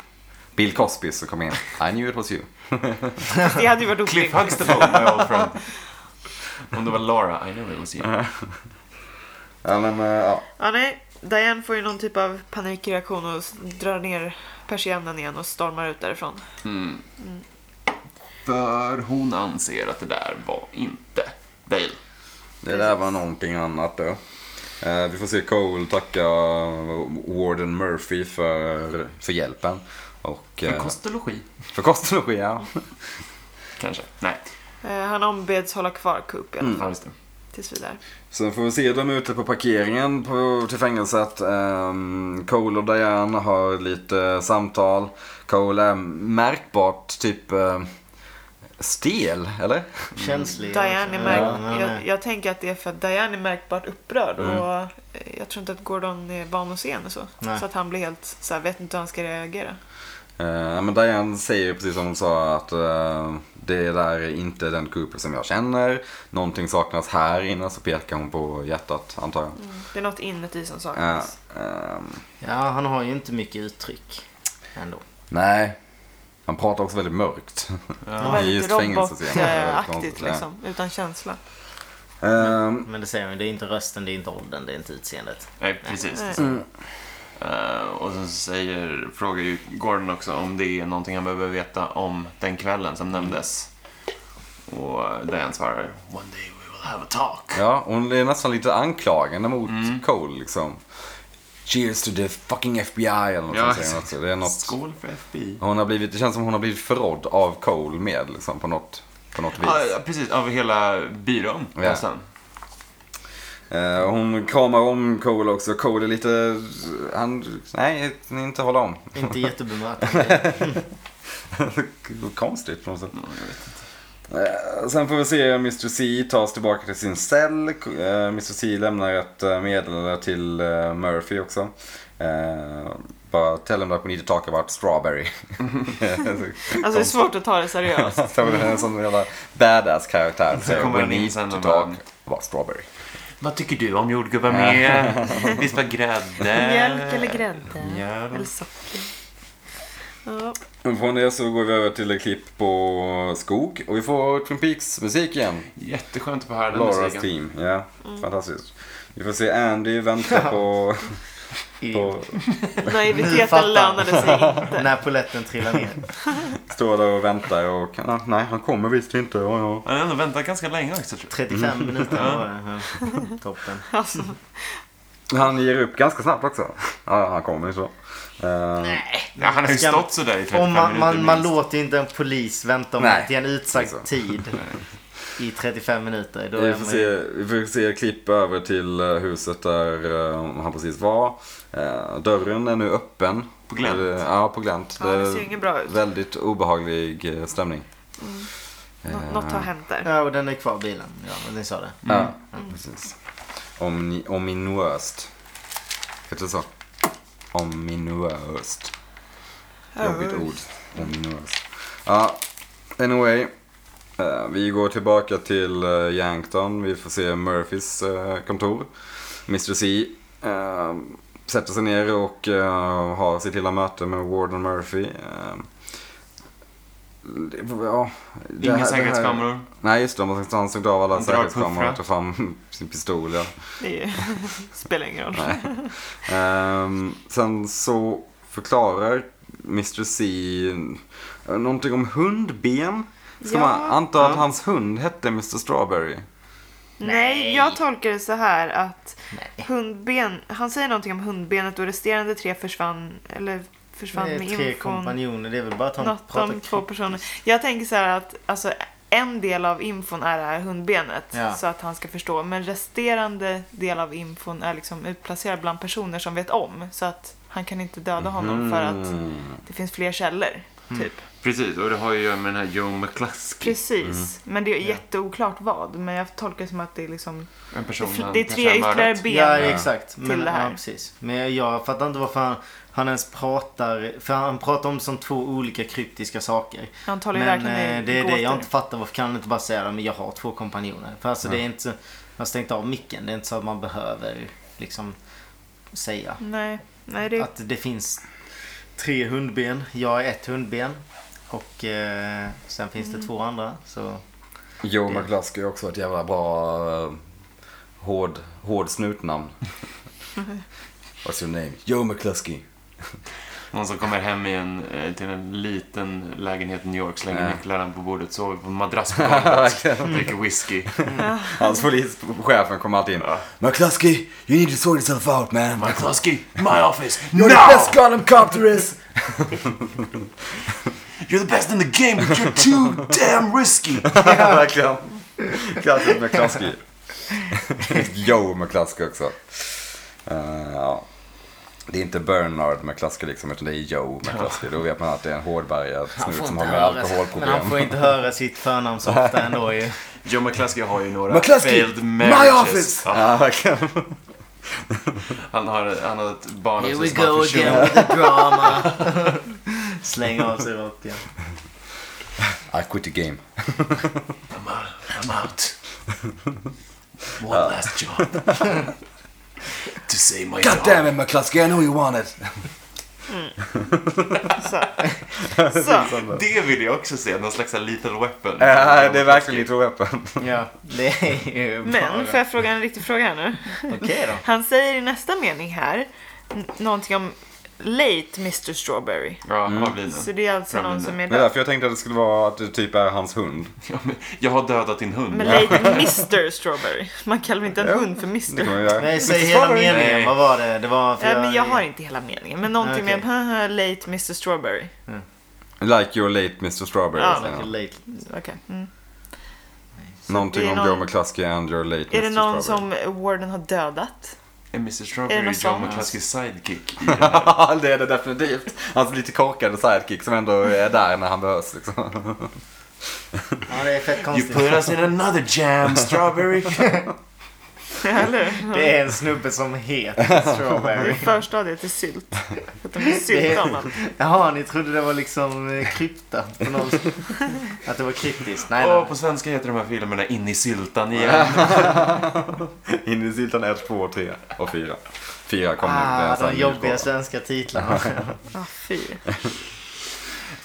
S4: Bill Cosby som kom in. I knew it was you.
S1: Det hade ju varit
S2: Cliff
S1: otrevligt.
S2: Huxtable, my old friend. Om det var Laura, I know it was you.
S4: Ja, men, eh, ja.
S1: Ja, nej. Diane får ju någon typ av panikreaktion och s- drar ner persiennen igen och stormar ut därifrån.
S2: För hon anser att det där var inte Dale.
S4: Det där var någonting annat då. Eh, vi får se Cole tacka Warden Murphy för, för hjälpen. Och,
S2: För
S4: eh,
S2: kost och logi,
S4: för kosten och skia.
S2: kanske. Nej,
S1: Eh, han ombeds hålla kvar Coop i alla
S4: Mm.
S1: fall
S2: ja, just det.
S1: tills vidare.
S4: Sen får vi se dem ute på parkeringen på, till fängelset. Ehm, Cole och Diane har lite eh, samtal. Cole är märkbart typ eh, stel, eller?
S3: Känslig.
S1: Diane är
S3: också.
S1: märk-
S3: Ja, men, eh,
S1: jag, jag tänker att det är för att Diane är märkbart upprörd
S4: Mm.
S1: och eh, jag tror inte att Gordon är van att se henne så.
S3: Nej.
S1: Så att han blir helt så här, vet inte hur han ska reagera.
S4: Eh, men Diane säger ju precis som hon sa att eh, det där är inte den Cooper som jag känner. Någonting saknas här inne så pekar hon på hjärtat antar jag.
S1: Det är något inuti som
S4: Eh,
S1: saknas.
S4: ehm,
S3: Ja, han har ju inte mycket uttryck ändå.
S4: nej, han pratar också väldigt mörkt.
S1: Ja,
S4: i
S1: väldigt
S4: just fängelset igen. Det är
S1: robotaktigt
S4: konstigt, ja.
S1: liksom, utan känsla.
S4: Ehm,
S3: Men det säger hon ju, det är inte rösten, det är inte åldern, det är inte utseendet.
S2: Nej, precis.
S1: Nej.
S2: Eh, och sen säger, frågar ju Gordon också om det är någonting han behöver veta om den kvällen som nämndes. Och Diane svarar One day we will have a talk.
S4: Ja, hon är nästan lite anklagande mot
S2: Mm.
S4: Cole liksom. Cheers to the fucking FBI eller något sånt säger hon också. Det är något...
S2: Skål för FBI.
S4: Hon har blivit, det känns som hon har blivit förrådd av Cole med liksom på något, på något vis.
S2: Ja, ja, precis. Av hela byrån
S4: Ja.
S2: nästan.
S4: Eh, hon kramar om Cole också. Cole är lite, han, nej, inte hålla om.
S3: Inte jättebemötande.
S4: Konstigt på något sätt. Eh, Sen får vi se om Mr. C tas tillbaka till sin cell. Eh, Mr. C lämnar ett eh, meddelande till eh, Murphy också. Eh, Bara tell him that we need to talk about strawberry.
S1: Alltså det är svårt att ta det seriöst.
S4: Så det är en sån jävla badass karaktär.
S2: Så kommer
S4: We
S2: han in
S4: need
S2: sen
S4: to
S2: och
S4: talk
S2: bara-
S4: about strawberry.
S2: Vad tycker du om jordgubbar med? Vispa grädde?
S1: Eh, Mjölk eller grädde?
S2: Mjöl.
S1: Eller socker? Ja.
S4: Men Från det så går vi över till ett klipp på skog och vi får Twin Peaks musik igen.
S2: Jätteskönt att få höra den
S4: Laras
S2: musiken.
S4: team, ja.
S1: Mm.
S4: Fantastiskt. Vi får se Andy vänta på... på
S1: Naiviteten lönade sig inte.
S3: När poletten trillar ner.
S4: står där och väntar och ja, nej han kommer visst inte. Ja, ja.
S2: Han har ändå väntat ganska länge också tror
S3: 35 minuter var det. Ja, Toppen.
S1: Alltså,
S4: Han ger upp ganska snabbt också. Ja, han kommer ju så. Eh,
S2: jag. Ja, han har ju
S3: Ska-
S2: stått sådär i 35
S3: Och man,
S2: minuter
S3: man, man
S2: minst.
S3: låter ju inte en polis vänta om
S4: Nej.
S3: till en utsagd
S4: Liksom.
S3: tid i 35 minuter. Då
S4: vi,
S3: är
S4: får
S3: man
S4: se,
S3: ju...
S4: vi får se klipp över till eh, huset där eh, han precis var. Eh, dörren är nu öppen.
S2: På glänt.
S4: Eh, Ja, på glänt.
S1: ja, det ser ju inget bra ut. Mm.
S4: Väldigt obehaglig eh, stämning.
S1: Nå- något har hänt där.
S3: Ja, och den är kvar bilen. Ja, ni sa det.
S4: Ja, Mm. precis. Omni- Ominuöst. Heter det så? Ominuöst. Jobbigt ord. Ominuöst. Ja, anyway. Eh, Vi går tillbaka till eh, Yankton. Vi får se Murphys eh, kontor. Mr C eh, sätter sig ner och eh, har sitt lilla möte med Warden Murphy. Eh, det- ja, det här- det
S2: Inga
S4: här-
S2: säkerhetskameror.
S4: Nej just det, de har- han stod av alla
S2: Han drar
S4: säkerhetskameror
S2: puffra.
S4: och tar fram sin pistol. Ja.
S1: Det är ju, spelar ingen roll.
S4: Nej. Ehm, sen så förklarar Mr C någonting om hundben. Ska
S1: Ja.
S4: man anta att hans hund hette Mr Strawberry?
S1: Nej, jag tolkar det så här att hundben, han säger någonting om hundbenet och resterande tre försvann, eller försvann
S3: Det
S1: med
S3: är tre
S1: infon.
S3: kompanjoner. Det är väl bara att han
S1: Något om två personer. Jag tänker så här att alltså, en del av infon är det här hundbenet
S3: Ja.
S1: så att han ska förstå. Men resterande del av infon är liksom utplacerad bland personer som vet om så att han kan inte döda honom för att
S3: Mhm.
S4: Mm.
S1: det finns fler källor. Typ.
S2: Precis, och det har ju att göra med den här Joe McCluskey.
S1: Precis, men det är jätteoklart vad. Men jag tolkar det som att det är liksom
S2: En person han
S1: Det är
S2: kanske
S1: tre
S2: har
S1: ytterligare
S2: mördat.
S1: ben.
S3: Ja, exakt. Men,
S1: det här.
S3: ja, precis. Men jag fattar inte varför han, han ens pratar. För han pratar om som två olika kryptiska saker.
S1: Han talar ju
S3: Men
S1: verkligen i
S3: eh, det är det
S1: gåtor.
S3: jag inte fattar. Varför kan han inte bara säga det? Men jag har två kompanjoner. För alltså
S4: Mm.
S3: det är inte så. Jag har stängt av micken. Det är inte så att man behöver liksom säga.
S1: Nej, nej det är...
S3: Att det finns tre hundben. Jag är ett hundben. Och eh, sen finns
S1: Mm.
S3: det två andra. Så
S4: Joe McCluskey är också ett jävla bra eh, hård, hård snutnamn. What's your name? Joe McCluskey.
S2: Någon som kommer hem i en, eh, till en liten lägenhet i New York, slänger
S4: Ja.
S2: nycklarna på bordet, sover på en madrass på golvet, dricker whisky.
S4: Hans polischefen kommer alltid in. McCluskey, you need to sort yourself out man.
S2: McCluskey, my office,
S4: You're the best
S2: now!
S4: Gotham cop there is!
S2: You're the best in the game, but you're too damn risky!
S4: Ja, verkligen. Klassiskt McCluskey. Joe McCluskey också. Eh, ja. Det är inte Bernard McCluskey liksom, utan det är Joe McCluskey. Då vet man att det är en hårdbärgad snut som har med
S3: men
S4: alkoholproblem.
S3: han får inte höra sitt förnamn så ofta ändå ju.
S2: Joe McCluskey har ju några
S4: McCluskey,
S2: failed
S4: my
S2: marriages.
S4: office!
S2: Ja,
S4: Ja, verkligen.
S2: han, har, han har ett barn
S3: Here
S2: också
S3: we
S2: som han
S3: go
S2: försörjer.
S3: again with the drama. Slänga av sig råttjan.
S4: I quit the game.
S2: I'm out. I'm out. One last job. to save my dog.
S4: it McCluskey, I know you want it.
S1: Så. Så.
S2: Det vill jag också se, någon slags little weapon.
S4: Ja, det är verkligen lite weapon.
S3: Ja, det är ju bara...
S1: Men får jag fråga en riktig fråga här nu?
S3: Okej då.
S1: Han säger i nästa mening här n- någonting om late Mr Strawberry.
S2: Ja, vad blir
S1: Så
S2: det?
S1: det är alltså
S2: Framlinjen.
S1: någon som är
S4: Det är
S1: död.
S4: därför jag tänkte att det skulle vara att det typ är hans hund.
S2: Ja, men Jag har dödat din hund.
S1: Men late Mr Strawberry. Man kallar väl inte en hund för
S4: Det kommer
S1: Mr?
S4: jag göra.
S3: Nej, säg hela meningen.
S2: Nej.
S3: Vad var det? Det var...
S1: Ja, Äh, men jag har inte hela meningen, men någonting
S3: Okej.
S1: med "Haha, late Mr Strawberry.
S4: Like your late Mr Strawberry.
S1: Ja,
S4: säger
S3: Like a
S4: han.
S3: late-
S1: Okej. Mm.
S4: Någonting
S1: det är
S4: om
S1: någon-
S4: Joe McCluskey and your late
S1: Är
S4: Mr
S1: det någon
S4: Strawberry.
S1: som Warden har dödat?
S2: Är
S1: Är
S2: Mr
S1: det
S2: Strawberry
S1: någon
S2: Joe
S1: sån?
S2: McCluskeys sidekick i det här?
S4: Ja, det är det definitivt. Hans lite korkade sidekick som ändå är där när han behövs. Liksom.
S3: Ja, det är fett
S2: You
S3: konstigt.
S2: put us in another jam, Strawberry.
S1: Eller
S3: Det är en snubbe som heter
S1: Det är
S3: Strawberry.
S1: förstadiet till sylt. För att de är
S3: Det är-
S1: sylta om allt.
S3: Jaha, ni trodde det var liksom eh, kryptat på något Att det var kryptiskt? Nej, nej.
S2: Och på svenska heter de här filmerna In i syltan igen.
S4: In i syltan 1, 2, 3 och 4. 4 kom nu. det är
S3: Ah,
S4: så här
S3: de jobbiga
S4: nyutgåva.
S3: svenska titlarna.
S1: Ah, fy.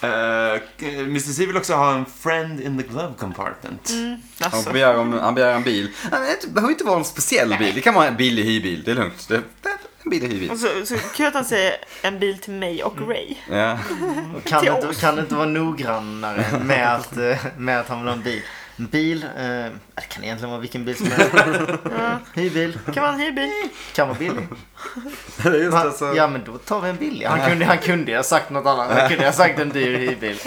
S2: Eh, Mr. C vill också ha en friend in the glove compartment.
S4: Han
S1: Alltså.
S4: begär, om, han begär en bil. Han är inte- Det behöver inte vara en speciell bil. Det kan vara en billig hyrbil. Det är lugnt. Det, det, en billig hyrbil.
S1: Och
S3: Alltså-
S1: så, så kul att han säger en bil till mig och Ray.
S4: Ja.
S3: Och kan,
S1: Till
S3: det inte,
S1: oss.
S3: kan det inte vara noggrannare med att, eh, med att han vill ha en bil? En bil, eh, det kan egentligen vara vilken bil som helst. Hyrbil,
S1: Kan man hyra bil?
S3: kan vara billig.
S4: Det är just alltså-
S3: Han,
S4: det, så-
S3: Ja men då tar vi en billig. Han kunde, han kunde ju ha sagt något annat. Han kunde ha sagt en dyr hyrbil.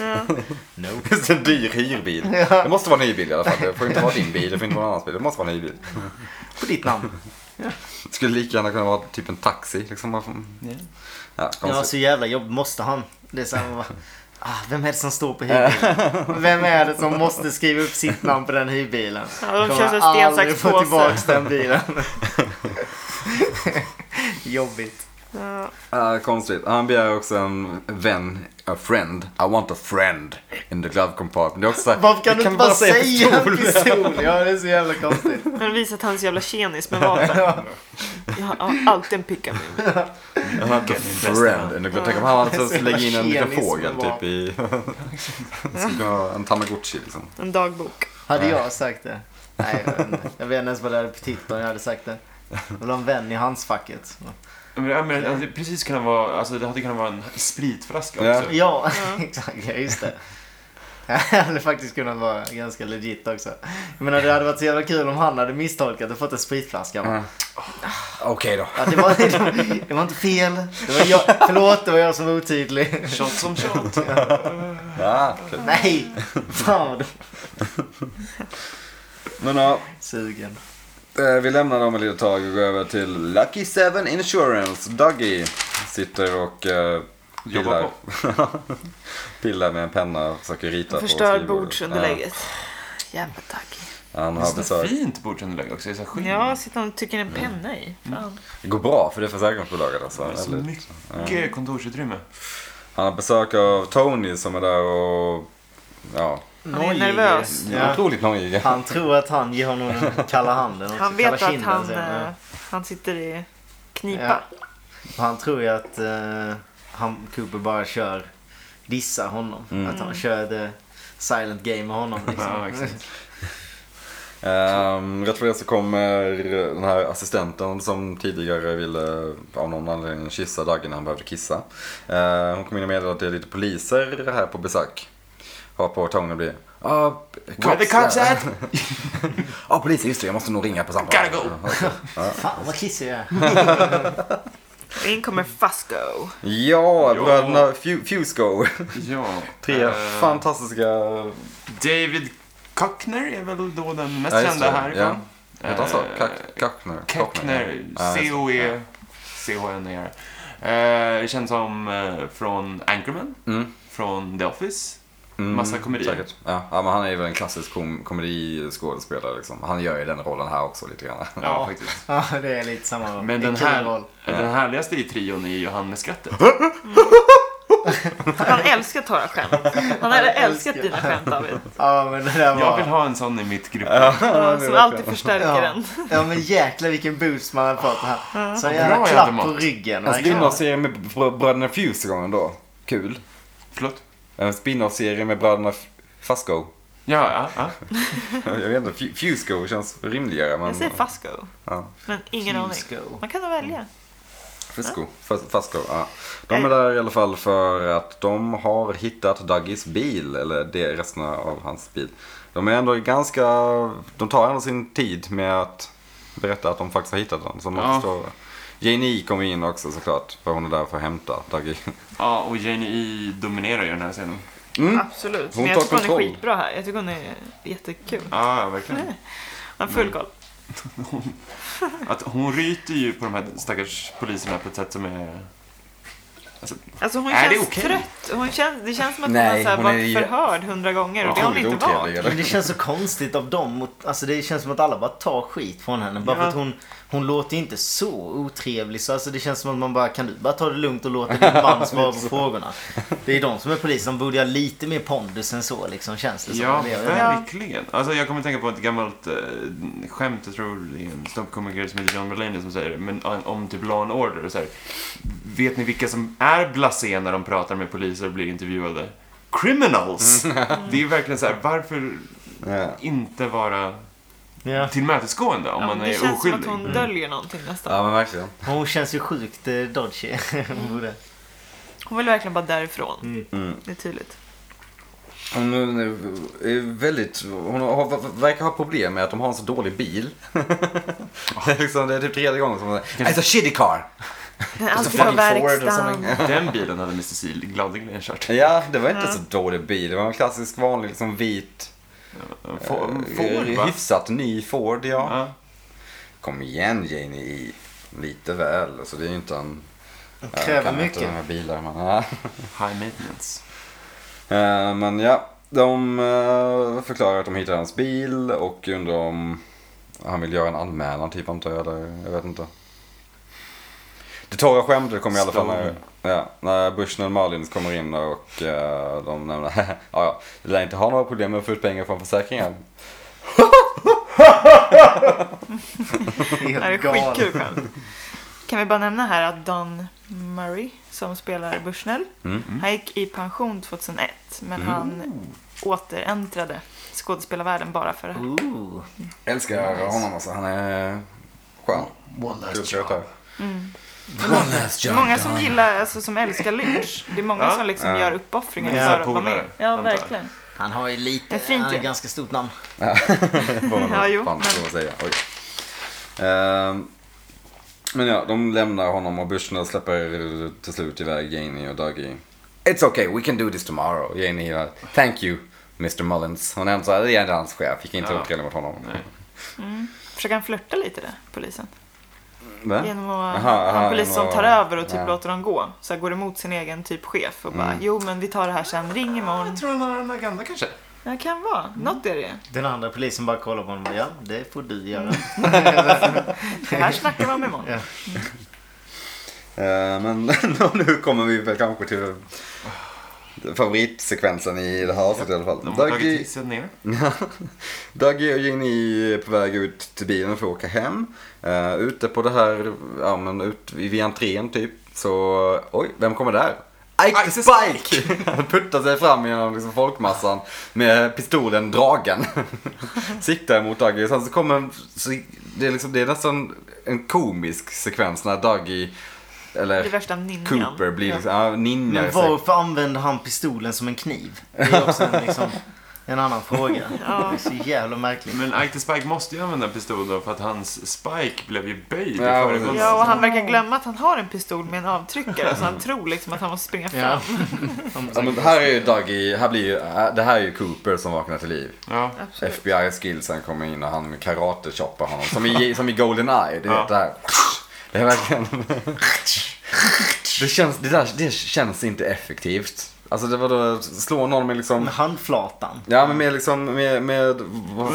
S3: No.
S4: Just en dyr hyrbil.
S3: Ja.
S4: Det måste vara en hyrbil i alla fall. Det får inte vara din bil. Det får inte vara någon annans bil. Det måste vara en hyrbil.
S3: På ditt namn.
S4: Det skulle lika gärna kunna vara typ en taxi. Liksom. Man får- Ja,
S3: Ja,
S4: konstigt.
S3: så jävla jobb måste han. Det är så här, man bara, ah, vem är det som står på hyrbilen? Vem är det som måste skriva upp sitt namn på den hyrbilen?
S1: Ja, de
S3: Kommer
S1: kör så sten,
S3: aldrig
S1: sax,
S3: få tillbaka
S1: påse.
S3: den bilen. Jobbigt.
S1: Ja.
S4: Ja, Ah, konstigt. Han begär också en vän. A friend. I want a friend. In the glove compartment. Det är också så här,
S3: Varför kan
S4: det
S3: du inte bara säga
S4: pistol?
S3: en pistol? Ja, det är så jävla konstigt.
S1: Men visar att han är så jävla tjenis med vapen. Jag har alltid en picka med mig.
S4: Han hade friend. Ändå, tänk om han hade så lägga in en liten
S3: Tjenis
S4: fågel
S3: med
S4: typ i... Det skulle vara en tamagotchi liksom.
S1: En dagbok.
S3: Hade jag sagt det? Nej, jag vet inte. Jag vet inte ens vad det hade betytt om jag hade sagt det. Jag vill ha en vän i handskfacket.
S2: Men, ja, men, alltså, det precis kan vara, alltså, det hade kunnat vara en spritflaska
S4: Ja.
S2: också.
S3: Ja, exakt. Ja, just det. Det hade faktiskt kunnat vara ganska legit också. Jag menar, det hade varit så jävla kul om han hade misstolkat och fått en spritflaska. va?
S4: Okej då.
S3: Ja, det, var, det var inte fel. Det var jag, förlåt, det var jag som var otydlig.
S2: Shot som shot.
S4: Ja, kul.
S3: Nej! Fan vad du
S4: Men ja,
S3: sugen.
S4: eh, vi lämnar dem ett litet tag och går över till Lucky Seven Insurance. Dougie sitter och eh,
S2: Jobbar
S4: pillar. pillar med en penna och försöker rita på
S1: Förstör
S4: skrivbordet.
S1: bordsunderlägget. Jävla tack.
S4: Ja, han
S2: Det
S4: har
S2: är så
S4: besök.
S2: fint bordsunderlägg också. Det är så här skinn.
S1: Ja, sitter han och trycker en penna i. Fan.
S4: Det går bra för det är försäkringsbolaget alltså.
S2: Det är så
S4: Väldigt.
S2: mycket kontorsutrymme.
S4: Han har besök av Tony som är där och... Ja,
S1: Han är nervös.
S3: Ja.
S4: otroligt nojig.
S3: Han tror att han ger honom den kalla handen. också,
S1: Han
S3: kalla
S1: vet att
S3: kinden,
S1: han,
S3: säger han.
S1: eh, han sitter i knipa.
S3: Ja. Och Han tror ju att eh, han, Cooper bara kör, dissar honom. Att han kör the silent game med honom.
S2: Mm. Ja,
S3: Liksom.
S2: exakt.
S4: Um, rätt för det så kommer den här assistenten som tidigare ville av någon anledning kyssa Dagge när han behövde kissa. Eh, hon kommer in och meddelar att det är lite poliser här på besök. Varpå Tony blir ah
S2: Where the cops at?
S4: Ja, ah, polisen, just det. Jag måste nog ringa på samtal.
S2: Gotta go.
S3: Fan vad kissig jag är.
S1: Och In kommer Fusco.
S2: Ja.
S4: Ja, bröderna Fu- Fusco.
S2: Ja.
S4: Tre
S2: eh,
S4: fantastiska...
S2: David Cockner är väl då den mest
S4: Ja, just
S2: kända
S4: det. Ja.
S2: härifrån.
S4: Heter han så?
S2: Eh,
S4: Kack- Kackner?
S2: Kockner,
S4: Ja, just det.
S2: C-O-E, C-H-N-E-R. E Eh, känns som eh, från Anchorman,
S4: Mm.
S2: från The Office.
S4: Mm,
S2: Massa komedier.
S4: Säkert. Ja. ja, men han är ju väl en klassisk kom komediskådespelare liksom. Han gör ju den rollen här också lite grann.
S2: Ja,
S3: Ja.
S2: faktiskt.
S3: Ja, det är lite samma roll.
S2: Men
S3: det är
S2: den,
S3: en kul
S2: här,
S3: roll.
S2: den härligaste i trion är ju han med skrattet.
S1: Han älskar torra skämt. Han hade älskat dina skämt David.
S3: Ja, men det där var...
S2: Jag vill ha en sån i mitt grupp.
S1: Ja, som alltid förstärker
S3: Ja.
S1: den.
S3: ja men jäklar vilken boost man har fått här. Så en jävla
S2: Bra
S3: klapp
S2: jobbat.
S3: på ryggen.
S4: En
S3: verkligen.
S4: spin-off-serie med br- bröderna Fuse igång då. Kul.
S2: Förlåt?
S4: En spin-off-serie med bröderna F- Fusco.
S2: Ja, ja, ja.
S4: Jag vet inte, Fu- Fusco känns rimligare. Men...
S1: Jag säger Fasco,
S4: Ja,
S1: men ingen aning.
S3: Fusco.
S1: Man kan nog välja.
S4: Fusco. Fus- Fusco, ja. De är där i alla fall för att de har hittat Dougies bil, eller det resterna av hans bil. De är ändå ganska, de tar ändå sin tid med att berätta att de faktiskt har hittat den. Som man
S2: Ja.
S4: förstår. Janie E kommer in också såklart, för hon är där för att hämta Dougie.
S2: ja och Janie E dominerar ju den här scenen.
S4: Mm.
S1: Absolut.
S4: Hon
S1: men jag
S4: tar
S1: tycker hon är
S4: kontroll.
S1: skitbra här. Jag tycker hon är jättekul.
S2: Ja, ja, verkligen.
S1: Han har full koll.
S2: Att hon ryter ju på de här stackars poliserna på ett sätt som är...
S1: Alltså hon
S2: Är det
S1: känns
S2: okej?
S1: trött. Hon känns, det känns som att
S4: Nej,
S1: hon har så
S4: hon
S1: här
S4: är
S1: varit
S4: ju-
S1: förhörd hundra gånger och det har hon
S4: Otroligt
S1: inte varit.
S4: otrevlig,
S3: Men
S4: eller?
S3: det känns så konstigt av dem. Mot, alltså det känns som att alla bara tar skit från henne. Bara för
S1: Ja.
S3: att hon, hon låter inte så otrevlig. Så alltså det känns som att man bara kan du bara ta det lugnt och låta din man svara på frågorna. Det är de som är poliser. De borde ha lite mer pondus än så liksom känns det som.
S2: Ja,
S3: Det är-
S2: verkligen. Alltså, jag kommer att tänka på ett gammalt eh, skämt, jag tror det är en ståuppkomiker som heter John Mulaney som säger det, men om- om typ Law and Order. och Så här, vet ni vilka som är blasé när de pratar med poliser och blir intervjuade? Criminals! Det är verkligen så här, varför
S4: Ja.
S2: inte vara
S3: Ja.
S2: tillmötesgående om
S1: Ja,
S2: man
S1: det
S2: är
S1: känns som att
S2: oskyldig? Mm.
S1: hon döljer någonting nästan.
S4: Ja men verkligen.
S3: Hon känns ju sjukt eh, dodgy. Hon borde-
S1: Hon vill verkligen bara därifrån.
S4: Mm.
S1: Det är tydligt.
S4: Hon är väldigt, hon har, verkar ha problem med att de har en så dålig bil. det, är liksom, det är typ tredje gången som hon säger It's a shitty car!
S1: Den är alltid på
S4: fucking Ford or
S1: verkstaden.
S4: something.
S2: Den bilen hade Mr. Seal gladeligen kört.
S4: Ja, det var inte så dålig bil. Det var en klassisk vanlig liksom vit,
S2: Eh, Få- Ford,
S4: eh,
S2: va?
S4: hyfsat ny Ford ja.
S2: Ja.
S4: Kom igen Janie E. Lite väl, alltså det är ju inte en... jag
S3: kräver
S4: kan inte
S3: mycket.
S4: De här bilar, men, ja.
S2: High maintenance.
S4: Eh, men ja, de eh, förklarar att de hittar hans bil och undrar om han vill göra en anmälan typ antar jag, eller jag vet inte. Det torra skämtet kommer i alla fall när, ja, när Bushen och Malins kommer in och eh, de nämner ja, ja, du lär inte ha några problem med att få ut pengar från försäkringen.
S1: Det här är skitkul skämt. Kan vi bara nämna här att Don Murray som spelar Bushnell, han gick i pension 2001 men han återäntrade skådespelarvärlden bara för det
S3: Oh.
S1: här.
S3: Ooh.
S4: Älskar honom alltså, han är skön.
S2: One
S4: Kul karaktär.
S1: Det är många som gillar, alltså som älskar Lynch. Det är många
S2: Ja.
S1: som liksom
S4: Ja.
S1: gör uppoffringar
S3: Ja,
S1: för att vara
S2: polare,
S1: med. Ja,
S2: antar jag.
S1: verkligen.
S3: Han har ju lite,
S1: Men fint
S3: han har
S1: ju.
S3: ett ganska stort namn.
S4: Får man
S1: Ja, jo,
S4: fan
S1: men-
S4: lov att säga. Oj. Ehm, men ja, de lämnar honom och Bushnell släpper till slut iväg Janie och Dougie. It's okay, we can do this tomorrow. Janie gillar, thank you Mr Mullins. Hon är ändå så här, det är ändå hans chef, gick inte
S2: Ja.
S4: otrevlig mot honom.
S2: Nej.
S1: Försöker han flörta lite där, polisen?
S4: Va?
S1: Genom att
S4: Aha,
S1: ha
S4: aha,
S1: en polis som
S4: genom att-
S1: tar över och typ
S4: ja. Mm.
S1: låter dem gå. Så här går emot sin egen typ chef och bara, jo men vi tar det här sen, ring imorgon.
S2: Jag tror han har en agenda kanske.
S1: Ja, det kan vara. Något är det.
S3: Den andra polisen bara kollar på honom och bara, ja det får du göra.
S1: Det här snackar vi om imorgon.
S3: Ja.
S4: Eh, Men nu kommer vi väl kanske till favoritsekvensen i det här avsnittet i alla fall.
S2: Oh. De har
S4: Dougie-
S2: tagit sig ner.
S4: Dougie och Ginny är på väg ut till bilen för att åka hem. Uh, ute på det här, ja men ut vid entrén typ. Så, oj, vem kommer där? Ike the Spike! Han puttar sig fram genom liksom folkmassan med pistolen dragen. Siktar mot Dougie och sen så kommer en, så det, är liksom, det är nästan en komisk sekvens när Dougie,
S1: Det är
S4: eller
S1: värsta ninjan.
S4: Cooper blir liksom, ja, ninja.
S3: Men varför använder han pistolen som en kniv? Det är också en, liksom, en annan fråga. Det är så jävla märkligt.
S2: Men Ike the Spike måste ju använda pistol då för att hans Spike blev ju böjd
S4: Ja,
S2: i föregående
S1: Ja, och han verkar glömma att han har en pistol med en avtryckare. Så han tror liksom att han måste springa fram.
S3: Ja.
S4: Ja, men här är ju Dougie, här blir ju, äh, det här är ju Cooper som vaknar till liv.
S2: Ja.
S1: Absolut.
S4: FBI-skillsen kommer in och han karate-choppar honom. Som i, som i Goldeneye, du
S2: Ja.
S4: vet det här. Det är verkligen... Det, känns, det, där, det känns inte effektivt. Alltså det var då slå någon med liksom...
S3: Med handflatan.
S4: Ja men med liksom med... med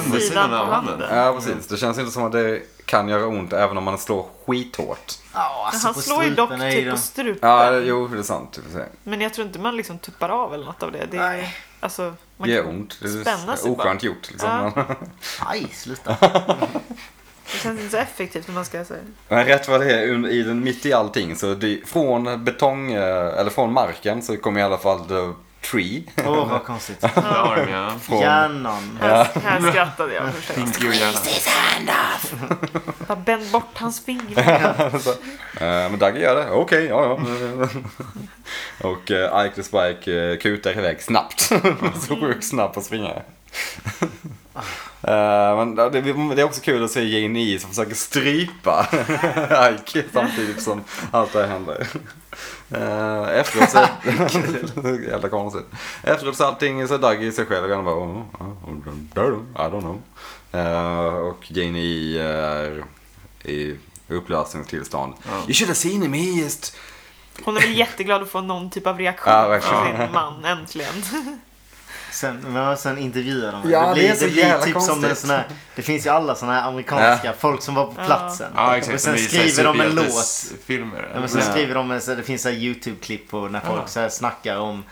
S2: Undersidan av
S1: på
S2: handen.
S4: ja precis, det känns inte som att det kan göra ont även om man slår skithårt.
S3: Ja,
S1: Men
S3: alltså
S1: han
S3: på
S1: slår ju dock
S3: strupen är
S1: typ
S3: de-
S1: på strupen.
S4: Ja, det- jo det är sant. i och för sig.
S1: Men jag tror inte man liksom tuppar av eller något av det. det
S3: Nej.
S1: är, alltså, man
S4: Det gör
S1: kan-
S4: ont. Det
S1: spänna
S4: är
S1: sig bara.
S4: oskönt gjort liksom.
S3: Aj, sluta.
S1: Det känns inte så effektivt när man ska säga.
S4: Men rätt vad det är, un- i den, mitt i allting, så det, från betong, eh, eller från marken så kommer i alla fall the tree.
S3: Åh, vad konstigt.
S2: Arm, ja.
S4: Från,
S3: Hjärnan.
S1: Här, här skrattade jag förstås.
S2: Pinky och hjärna.
S1: Bara bänd bort hans fingrar.
S4: Eh, men Dagge gör det, okej, ja ja. och eh, Ike the Spike eh, kutar iväg snabbt. så sjukt snabb att springa. Eh, men det, det är också kul att se Jane E som försöker strypa Ike samtidigt som allt det här händer. Eh, efteråt så... jävla konstigt. Efteråt så allting så är Dagge i sig själv och han bara... "Oh, oh, I don't know. Eh, och Jane E är i upplösningstillstånd. You should have seen him, he is...
S1: Hon är väl jätteglad att få någon typ av reaktion
S4: Ja,
S1: från
S4: verkligen.
S1: sin man äntligen.
S3: Sen, men sen intervjuar de.
S4: Ja, det är så jävla
S3: typ som
S4: konstigt.
S3: en sån här, Det finns ju alla såna här amerikanska, folk som var på platsen.
S2: Ja, exakt.
S3: Och sen
S2: Det är så här
S3: skriver de en låt.
S2: superhjältesfilmer.
S3: Ja, men sen skriver de, en- så det finns så här YouTube-klipp på när folk så här snackar om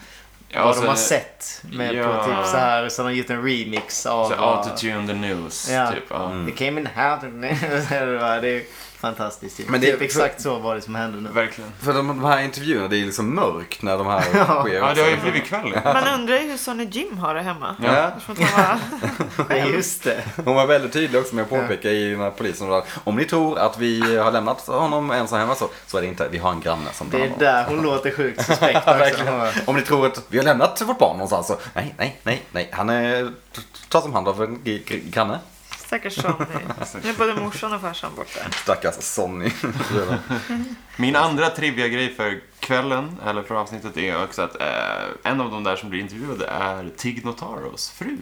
S2: Ja,
S3: vad
S2: så-
S3: de har sett. Med
S2: Ja.
S3: på typ så här, så de har gjort en remix av...
S2: Så
S3: vad-
S2: autotune the news,
S3: Ja. Mm.
S2: typ. Ja.
S3: Det came in half. det är fantastiskt.
S4: Men
S3: Men
S4: det-
S3: det, typ exakt så var det som hände nu.
S2: Verkligen.
S4: För de, de här intervjuerna, det är liksom mörkt när de här sker.
S2: Ja, det har ju
S4: också.
S2: blivit kväll.
S1: Man undrar ju hur Sonny Jim har det hemma.
S4: Ja.
S1: Eftersom att han bara-
S3: Ja, just det.
S4: Hon var väldigt tydlig också med att påpeka i den här polisen. Hon bara, Om ni tror att vi har lämnat honom ensam hemma så, så är det inte. Vi har en granne som tar
S3: Det
S4: hand
S3: är
S4: om
S3: där hon låter sjukt suspekt också. Hon bara,
S4: honom. Om ni tror att vi har lämnat vårt barn någonstans så nej, nej, nej, nej. Han är, tas om hand av en gr- gr- granne.
S1: Stackars Sonny. Nu är både morsan och farsan borta.
S4: Stackars Sonny.
S2: Min andra trivia-grej för kvällen, eller för avsnittet, är också att eh, en av de där som blir intervjuade är Tig Notaros fru.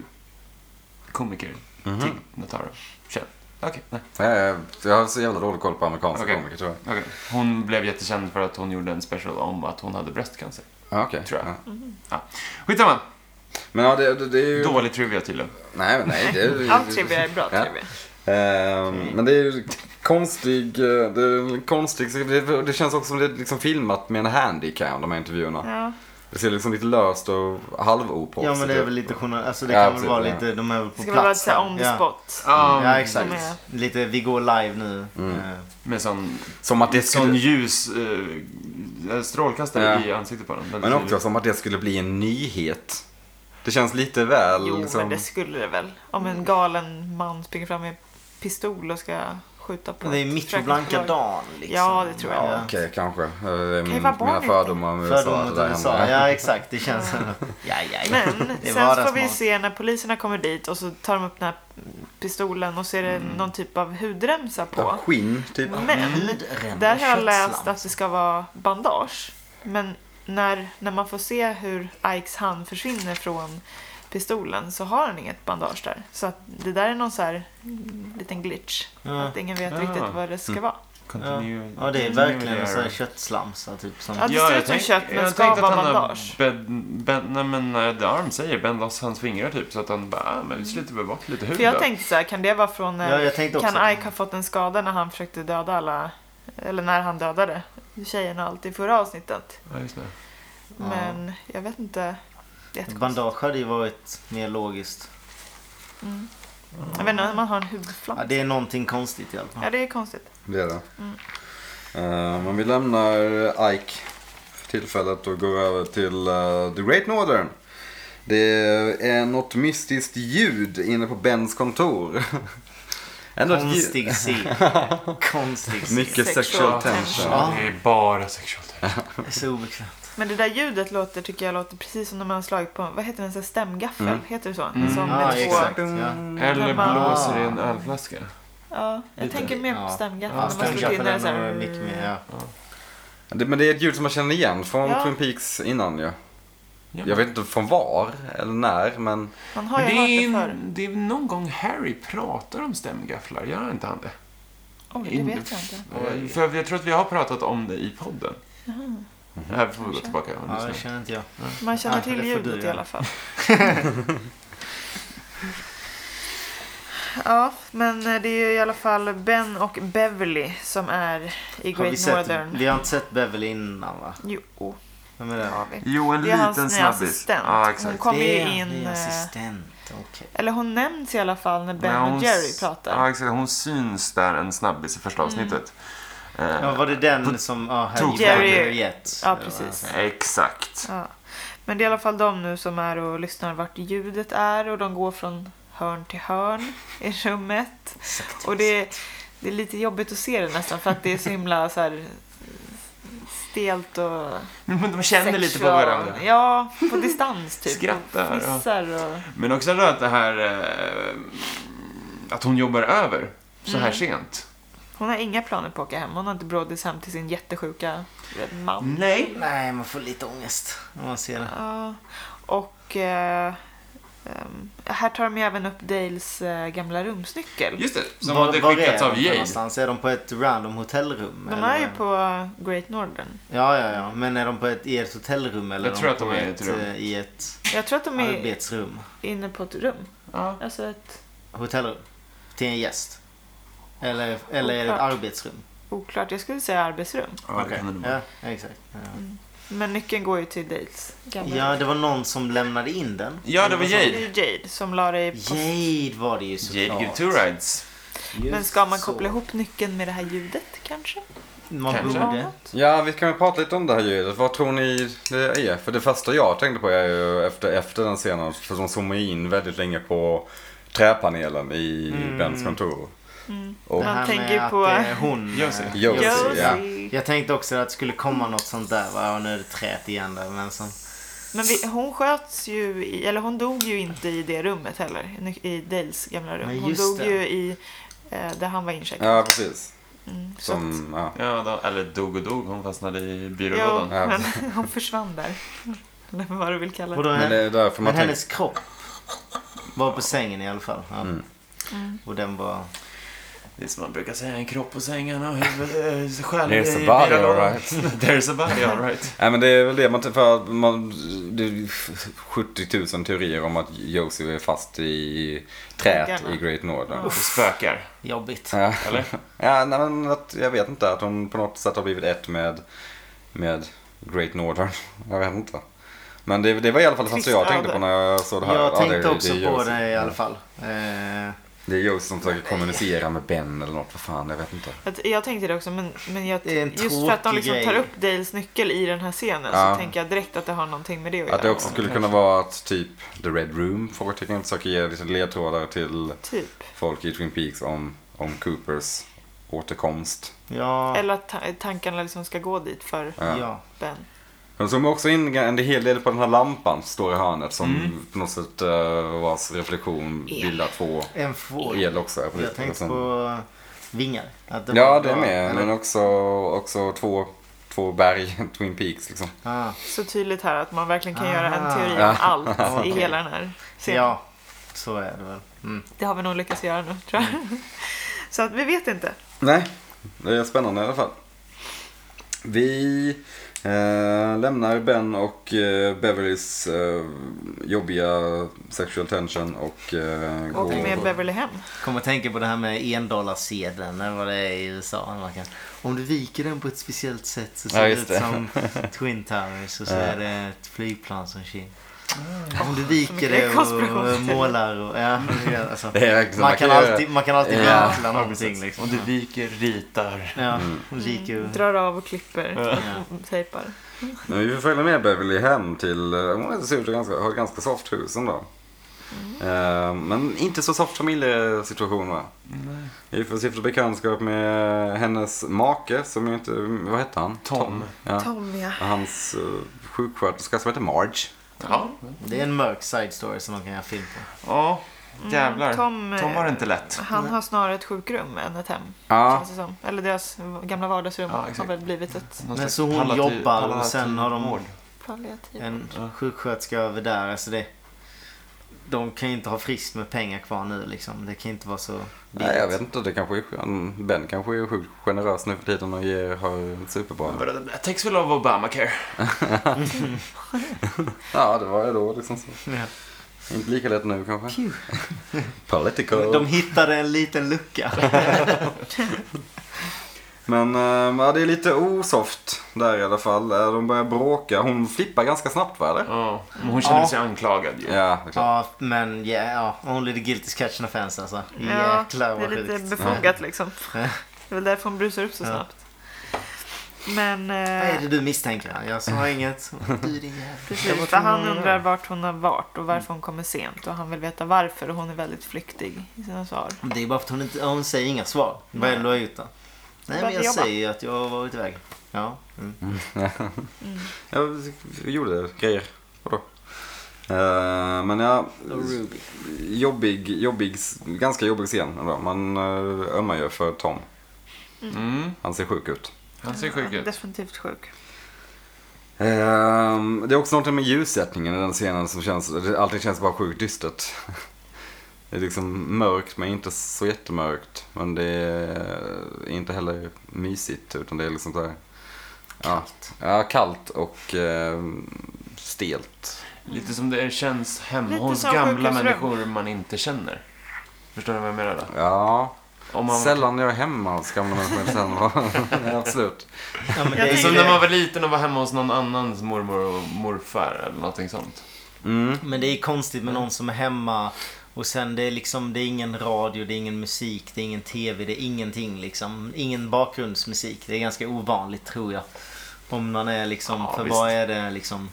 S2: Komiker.
S4: Mhm.
S2: Tig Notaro. Känd. Okej, nej.
S4: Eh, jag har så jävla dålig koll på amerikanska
S2: Okej.
S4: komiker tror jag.
S2: Okej. Hon blev jättekänd för att hon gjorde en special om att hon hade bröstcancer.
S4: Ja, okej.
S2: Tror jag.
S4: Ja.
S2: Ja. Skitsamma.
S4: Men ja, det, det, det är ju...
S2: Dålig trivia tydligen.
S4: Nej, men nej. Det är...
S1: Allt trivia är bra typ.
S4: Ja.
S1: trivia.
S4: Ehm, Men det är ju konstig, eh, det, är en konstig det, det känns också som det är liksom filmat med en handycam de här intervjuerna.
S1: Ja.
S4: Det ser liksom lite löst och halvoproffsigt
S3: Ja men det är
S4: ut.
S3: väl lite journal... Alltså det
S4: Ja,
S3: kan väl
S4: precis,
S3: vara
S4: ja.
S3: lite, de är väl på
S1: Det ska väl vara
S3: plats.
S1: lite on the
S3: ja.
S1: spot.
S2: Ja,
S3: Ja exakt.
S1: De är-
S3: Lite vi går live nu.
S4: Mm.
S3: Eh,
S2: Med sån,
S4: Som att det
S2: sån
S4: skulle,
S2: ljus eh, strålkastare
S4: Ja.
S2: i ansiktet på den.
S4: men också som att det skulle bli en nyhet. Det känns lite väl
S1: Jo, men
S4: liksom.
S1: det skulle det väl. Om en galen man springer fram med pistol och ska skjuta på
S3: Det är
S1: ett
S3: mitt på blanka
S1: försäkringsbolag.
S3: dagen liksom.
S1: Ja, det tror jag.
S4: Ja, okej, kanske. Eh, Det är min,
S1: vara barn
S4: mina
S1: lite.
S4: fördomar med USA.
S3: Fördom
S4: att
S3: mot
S4: det där
S3: USA.
S4: händer.
S3: Ja exakt, det känns som... Ja, ja, ja.
S1: Men
S3: Det
S1: sen
S3: är
S1: får vi
S3: vardagsmat.
S1: se när poliserna kommer dit och så tar de upp den här pistolen och så är det
S3: Mm.
S1: någon typ av hudremsa på.
S4: Skinn, typ.
S1: Men
S3: Hudremsa,
S1: där har jag
S3: köttslam.
S1: läst att det ska vara bandage. Men när, när man får se hur Ikes hand försvinner från pistolen så har han inget bandage där. Så att det där är någon så här mm, liten glitch.
S3: Mm. Ja.
S1: Att ingen vet
S2: Ja.
S1: riktigt vad det ska vara.
S2: Continue,
S3: Ja det är
S2: continue
S3: verkligen
S2: there.
S3: en sån här köttslamsa typ som...
S1: Mm. Ja, det ser ut som kött men
S2: jag
S1: ska
S2: tänkte
S1: vara
S2: att han har
S1: bandage.
S2: bänd- bänd- nej men när The Arm säger bänd loss hans fingrar typ så att han bara, ah, men vi sliter väl bort lite hud
S1: Mm. För jag
S2: då.
S1: tänkte så här, kan det vara från när
S3: Ja, jag tänkte också
S1: Kan
S3: att-
S1: Ike ha fått en skada när han försökte döda alla, eller när han dödade tjejerna allt i förra avsnittet?
S2: Ja, just det.
S1: Men jag vet inte. Det är
S3: Ett
S1: jättekonstigt.
S3: bandage hade ju varit mer logiskt.
S1: Mm. Jag vet inte, man har en
S3: Ja,
S1: hudflams.
S3: det är någonting konstigt i alla fall.
S1: Ja, det är konstigt.
S4: Det är det. Eh, men vi lämnar Ike för tillfället och går över till eh, The Great Northern. Det är något mystiskt ljud inne på Bens kontor. Ändå ett ljud.
S3: Konstig scen. Konstig scen.
S4: Mycket
S1: Sexual
S4: sexual tension.
S1: tension.
S3: Ja.
S2: Det är bara sexuellt.
S3: Det är så obekvämt.
S1: Men det där ljudet låter, tycker jag låter precis som när man har slagit på, vad heter den, så här stämgaffel? Heter det så? Som
S3: Mm.
S1: Mm.
S3: Ja,
S1: med två-
S3: exakt. Ja.
S2: Eller
S1: Men man-
S2: blåser i en ölflaska.
S1: Ja, jag
S3: Lite.
S1: tänker mer på
S3: Ja.
S1: stämgaffel. när
S3: Ja,
S1: man slår in
S3: stämkaffel
S1: den så
S3: är
S1: här,
S3: nog mycket mer, ja.
S4: Det, men det är ett ljud som man känner igen från
S1: Ja.
S4: Twin Peaks innan ju.
S2: Ja.
S4: Jag vet inte från var eller när men
S1: Man har
S2: Men
S1: ju
S2: det,
S1: hört
S2: är,
S1: det förr.
S2: det är någon gång Harry pratar om stämgafflar, gör inte han det?
S1: Oj, det vet jag inte.
S2: Eh, För jag tror att vi har pratat om det i podden. Det här får vi gå tillbaka och
S3: Ja,
S2: lyssna.
S3: det känner inte jag.
S1: Man känner
S3: Ja, det
S1: till
S3: får du
S1: ljudet i
S3: göra.
S1: alla fall. ja, men eh, det är ju i alla fall Ben och Beverly som är i
S3: Har vi,
S1: Great
S3: sett,
S1: Northern.
S3: vi har inte sett Beverly innan va?
S1: Jo,
S3: Vem är
S1: det
S3: det?
S1: har vi.
S2: Jo, en
S1: Det är hans
S2: liten
S1: nya
S2: snabbis.
S1: assistent.
S2: Ja,
S1: Hon
S2: exakt.
S1: kommer ju
S3: Det är en
S1: in...
S3: ny
S1: eh,
S3: assistent. Okej.
S1: Eller hon nämns i alla fall när Ben
S2: Men hon
S1: och Jerry
S2: s-
S1: pratar.
S2: Ja, exakt. Hon syns där en snabbis i första avsnittet. Eh,
S3: Ja, var det den som... Ja, här
S2: Tog-
S3: gick Jerry.
S1: Jerry-
S3: Jet.
S1: Ja,
S3: Eller vad
S1: precis.
S3: han säger.
S2: Exakt.
S1: Ja. Men det är i alla fall de nu som är och lyssnar vart ljudet är och de går från hörn till hörn i rummet. Och det, det är lite jobbigt att se det nästan för att det är så himla så här stelt och
S2: Men de känner lite på
S1: sexual.
S2: varandra.
S1: Ja, på distans typ.
S2: Skrattar,
S1: Och
S2: ja.
S1: fnissar och...
S2: Men också då att det här... Eh, att hon jobbar över så här sent.
S1: Hon har inga planer på att åka hem. Hon har inte brådis hem till sin jättesjuka man.
S2: Nej.
S3: Nej, man får lite ångest när man ser det.
S1: Ja, och eh, ehm, här tar de ju även upp Dales eh, gamla rumsnyckel.
S2: Just det, som
S3: Var-
S2: hade
S3: var
S2: skickats
S3: är
S2: av
S3: de
S2: Jade.
S3: Någonstans? Är de på ett random hotellrum?
S1: De
S3: eller?
S1: är ju på Great Northern.
S3: Ja, ja, ja. Men är de på ett, i ett hotellrum eller
S2: Jag tror att
S3: på
S2: de är i ett rum.
S3: eh, i ett
S1: Jag tror att de är
S3: arbetsrum?
S1: inne på ett rum.
S2: Ja.
S1: Alltså ett
S3: Hotellrum? Till en gäst? Eller, eller är det ett
S1: Oklart.
S3: arbetsrum?
S1: oklart, jag skulle säga arbetsrum.
S2: Ja, det
S3: Okej.
S2: kan det nog vara.
S3: ja, exakt. Ja.
S1: Men nyckeln går ju till Dales gamla
S3: ja,
S1: rum.
S3: det var någon som lämnade in den.
S2: ja, det var
S1: Det
S2: Jade.
S1: är ju Jade som la det i post.
S3: Jade var det ju såklart.
S2: Jade give two rides.
S3: Just
S1: Men ska man
S3: så.
S1: koppla ihop nyckeln med det här ljudet kanske?
S3: Man
S2: Kanske.
S3: borde.
S4: Ja, vi kan väl prata lite om det här ljudet. Vad tror ni det är? För det första jag tänkte på är ju efter, efter den scenen, för de zoomar ju in väldigt länge på träpanelen i
S1: Mm.
S4: Bens kontor. Och
S3: Det
S1: Man
S3: här
S1: tänker
S3: med
S1: ju på-
S3: att det är hon. eh,
S2: Josie.
S4: Josie,
S1: Josie.
S4: ja.
S3: Jag tänkte också att det skulle komma något sånt där. Va? Ja, nu är det trät igen där. Men som...
S1: Men vi, hon sköts ju, i, eller hon dog ju inte i det rummet heller, i- i Dales gamla rum.
S3: Nej,
S1: Hon
S3: just
S1: dog
S3: det.
S1: ju i, eh, där han var incheckad.
S4: Ja, precis.
S1: Mm, så att-
S4: Som, ja.
S2: Ja, då, eller dog och dog. Hon fastnade i
S1: Jo,
S2: byrålådan.
S4: Ja.
S1: men hon försvann där. Eller vad du vill kalla
S3: Och då
S1: det.
S4: Men det är därför man
S3: Men
S4: tänker...
S3: hennes kropp var på sängen i alla fall. Ja.
S4: Mm.
S3: Och den var...
S2: Det är som man brukar säga, en kropp på sängen och huvudet, eh, själen
S4: There's
S2: i
S4: a body,
S2: byrålådan.
S4: all right.
S2: There's a body, all right.
S4: Nej men det är väl det man, för att man, det är 70 000 teorier om att Josie är fast i träet
S1: Väggarna.
S4: i Great Northern.
S2: Det spökar,
S3: Jobbigt.
S4: Ja,
S2: eller?
S4: ja nej, men att, jag vet inte, att hon på något sätt har blivit ett med, med Great Northern. Jag vet inte. Men det, det var i alla fall det första jag
S1: Trist
S4: tänkte på
S1: öde.
S4: när jag såg det här.
S3: Jag
S4: Ja, det-
S3: tänkte
S4: det är
S3: också på
S4: Josie.
S3: det i alla
S4: Ja.
S3: fall. Eh,
S4: Det är Josie som försöker kommunicera med Ben eller något, vad fan, jag vet inte.
S1: Att Jag tänkte det också, men, men jag,
S3: Det är en
S1: just för att de
S3: tråkig
S1: liksom
S3: grej.
S1: tar upp Dales nyckel i den här scenen
S4: Ja.
S1: så tänker jag direkt att det har någonting med det att
S4: Att det
S1: göra.
S4: också skulle kunna vara att typ The Red Room, frågetecken, försöker ge lite ledtrådar till
S1: Typ.
S4: folk i Twin Peaks om, om Coopers återkomst.
S3: ja,
S1: Eller att ta- tankarna liksom ska gå dit för
S4: Ja.
S3: ja.
S1: Ben.
S4: De zoomar också in en hel del på den här lampan som står i hörnet som
S3: Mm.
S4: på något sätt uh, vars reflektion bildar två
S3: En får.
S4: el också. ja, precis.
S3: Jag tänkte
S4: Sen-
S3: på vingar. Att
S4: Ja,
S3: var-
S4: det är med.
S3: eller-
S4: Men också, också två, två berg, Twin Peaks liksom.
S3: Ah,
S1: Så tydligt här att man verkligen kan
S3: Ah.
S1: göra en teori om
S4: Ja.
S1: allt i
S3: Okej.
S1: hela den här scenen.
S3: ja, så är det väl. Mm.
S1: Det har vi nog lyckats göra nu, tror jag. Så att vi vet inte.
S4: Nej, det är spännande i alla fall. Vi eh, lämnar Ben och eh, Beverlys eh, jobbiga sexual tension och eh,
S1: Och med
S4: går...
S1: Beverly hem.
S3: Kommer att tänka på det här med endollarsedeln eller vad det är i USA. Man kan, om du viker den på ett speciellt sätt så ser
S4: Ja,
S3: det
S4: just
S3: ut
S4: det.
S3: som Twin Towers och så är det ett flygplan som kil. Om du viker
S1: mycket
S3: det och
S1: konspirationsteorier.
S3: eh, målar och... Ja, det är alltså.
S4: Det är verkligen-
S3: man, kan alltid, man kan alltid
S4: Ja.
S3: vinkla någonting liksom.
S2: Och du viker, ritar.
S3: Ja,
S4: Mm.
S3: och viker och...
S1: Drar av och klipper
S3: Ja.
S1: och tejpar.
S4: Men vi får följa med Beverly hem till, eh, hon ser ut att ganska, ha ett ganska soft hus ändå. Eh, men inte så soft familjesituation va? Vi får stifta bekantskap med hennes make som ju inte, vad hette han?
S2: Tom.
S4: Ja.
S1: Tom, ja.
S4: Och Hans eh, sjuksköterska som heter Marge.
S2: Ja,
S3: Det är en mörk side story som man kan göra film på.
S2: ja jävlar.
S1: Mm, Tom, eh,
S2: Tom har det inte lätt.
S1: Han har snarare ett sjukrum än ett hem.
S4: Ja,
S1: Känns det som. Eller deras gamla vardagsrum
S2: Ja, exakt.
S1: har väl blivit ett
S2: Någon
S3: Men
S2: slags
S3: så hon
S2: palliativ-
S3: jobbar och
S2: palliativ
S3: sen har de-
S2: vård.
S1: palliativ.
S3: En sjuksköterska över där, alltså det... de kan ju inte ha friskt med pengar kvar nu liksom. Det kan inte vara så billigt.
S4: Nej, jag vet inte. Det kanske är, skön- Ben kanske är sjukt generös nu för tiden och ger, har superbra.
S2: Vadå, det där täcks väl av Obamacare?
S4: Ja, det var ju då liksom så.
S3: Ja.
S4: Inte lika lätt nu kanske. Political.
S3: De hittade en liten lucka.
S4: Men eh, ja, det är lite osoft där i alla fall. Eh, De börjar bråka. Hon flippar ganska snabbt va? Eller?
S2: Ja, Mm. men hon känner
S3: Ja.
S2: sig anklagad ju.
S4: Ja, det är klart.
S3: ja, men ja, ja, only the guilty catch an offense alltså.
S1: Ja, det
S3: Jäklar
S1: är
S3: vad
S1: lite
S3: sjukt.
S1: befogat liksom. Det
S3: Ja.
S1: är väl därför hon brusar upp så
S3: Ja.
S1: snabbt. Men...
S3: Vad
S1: eh,
S3: är det du misstänker? Jag sa inget. Du din jävel. Jag var
S1: Precis, för
S3: tvungen att
S1: han
S3: göra Mm. det.
S1: undrar vart hon har varit och varför hon kommer sent och han vill veta varför och hon är väldigt flyktig i sina svar.
S3: Det är bara för att hon, inte, hon säger inga svar. Vad är det du har gjort då? Nej, men
S1: Började
S3: jag
S1: jobba.
S3: säger ju att jag har varit iväg. Ja. Mm.
S4: Jag gjorde grejer. Vadå? Eh, men ja,
S3: Och Ruby.
S4: jobbig, jobbig, ganska jobbig scen. ändå. Man eh, ömmar ju för Tom.
S2: Mm,
S4: Han ser sjuk ut.
S2: han ser sjuk
S1: Ja,
S2: ut.
S1: Definitivt sjuk.
S4: Ehm, det är också någonting med ljussättningen i den scenen som känns, allting känns bara sjukt dystert. Det är liksom mörkt men inte så jättemörkt. Men det är inte heller mysigt utan det är liksom så här. Kallt. Ja, ja kallt och ehm, stelt.
S2: Lite som det känns hemma
S1: Lite
S2: hos
S1: som
S2: gamla
S1: sjukhusrum.
S2: människor man inte känner. Förstår du vad jag menar? Då?
S4: Ja,
S2: Om man,
S4: sällan jag är hemma hos gamla människor. sällan. Ja, Absolut.
S3: Ja, men
S1: Jag
S3: det
S2: Som
S3: är ju
S1: tänker-
S2: när man
S3: det.
S2: var liten och var hemma hos någon annans mormor och morfar eller någonting sånt.
S4: Mm.
S3: Men det är konstigt med någon som är hemma och sen det är liksom, det är ingen radio, det är ingen musik, det är ingen TV, det är ingenting liksom. Ingen bakgrundsmusik. Det är ganska ovanligt tror jag. Om man är liksom,
S2: Ja,
S3: för
S2: visst.
S3: vad är det liksom?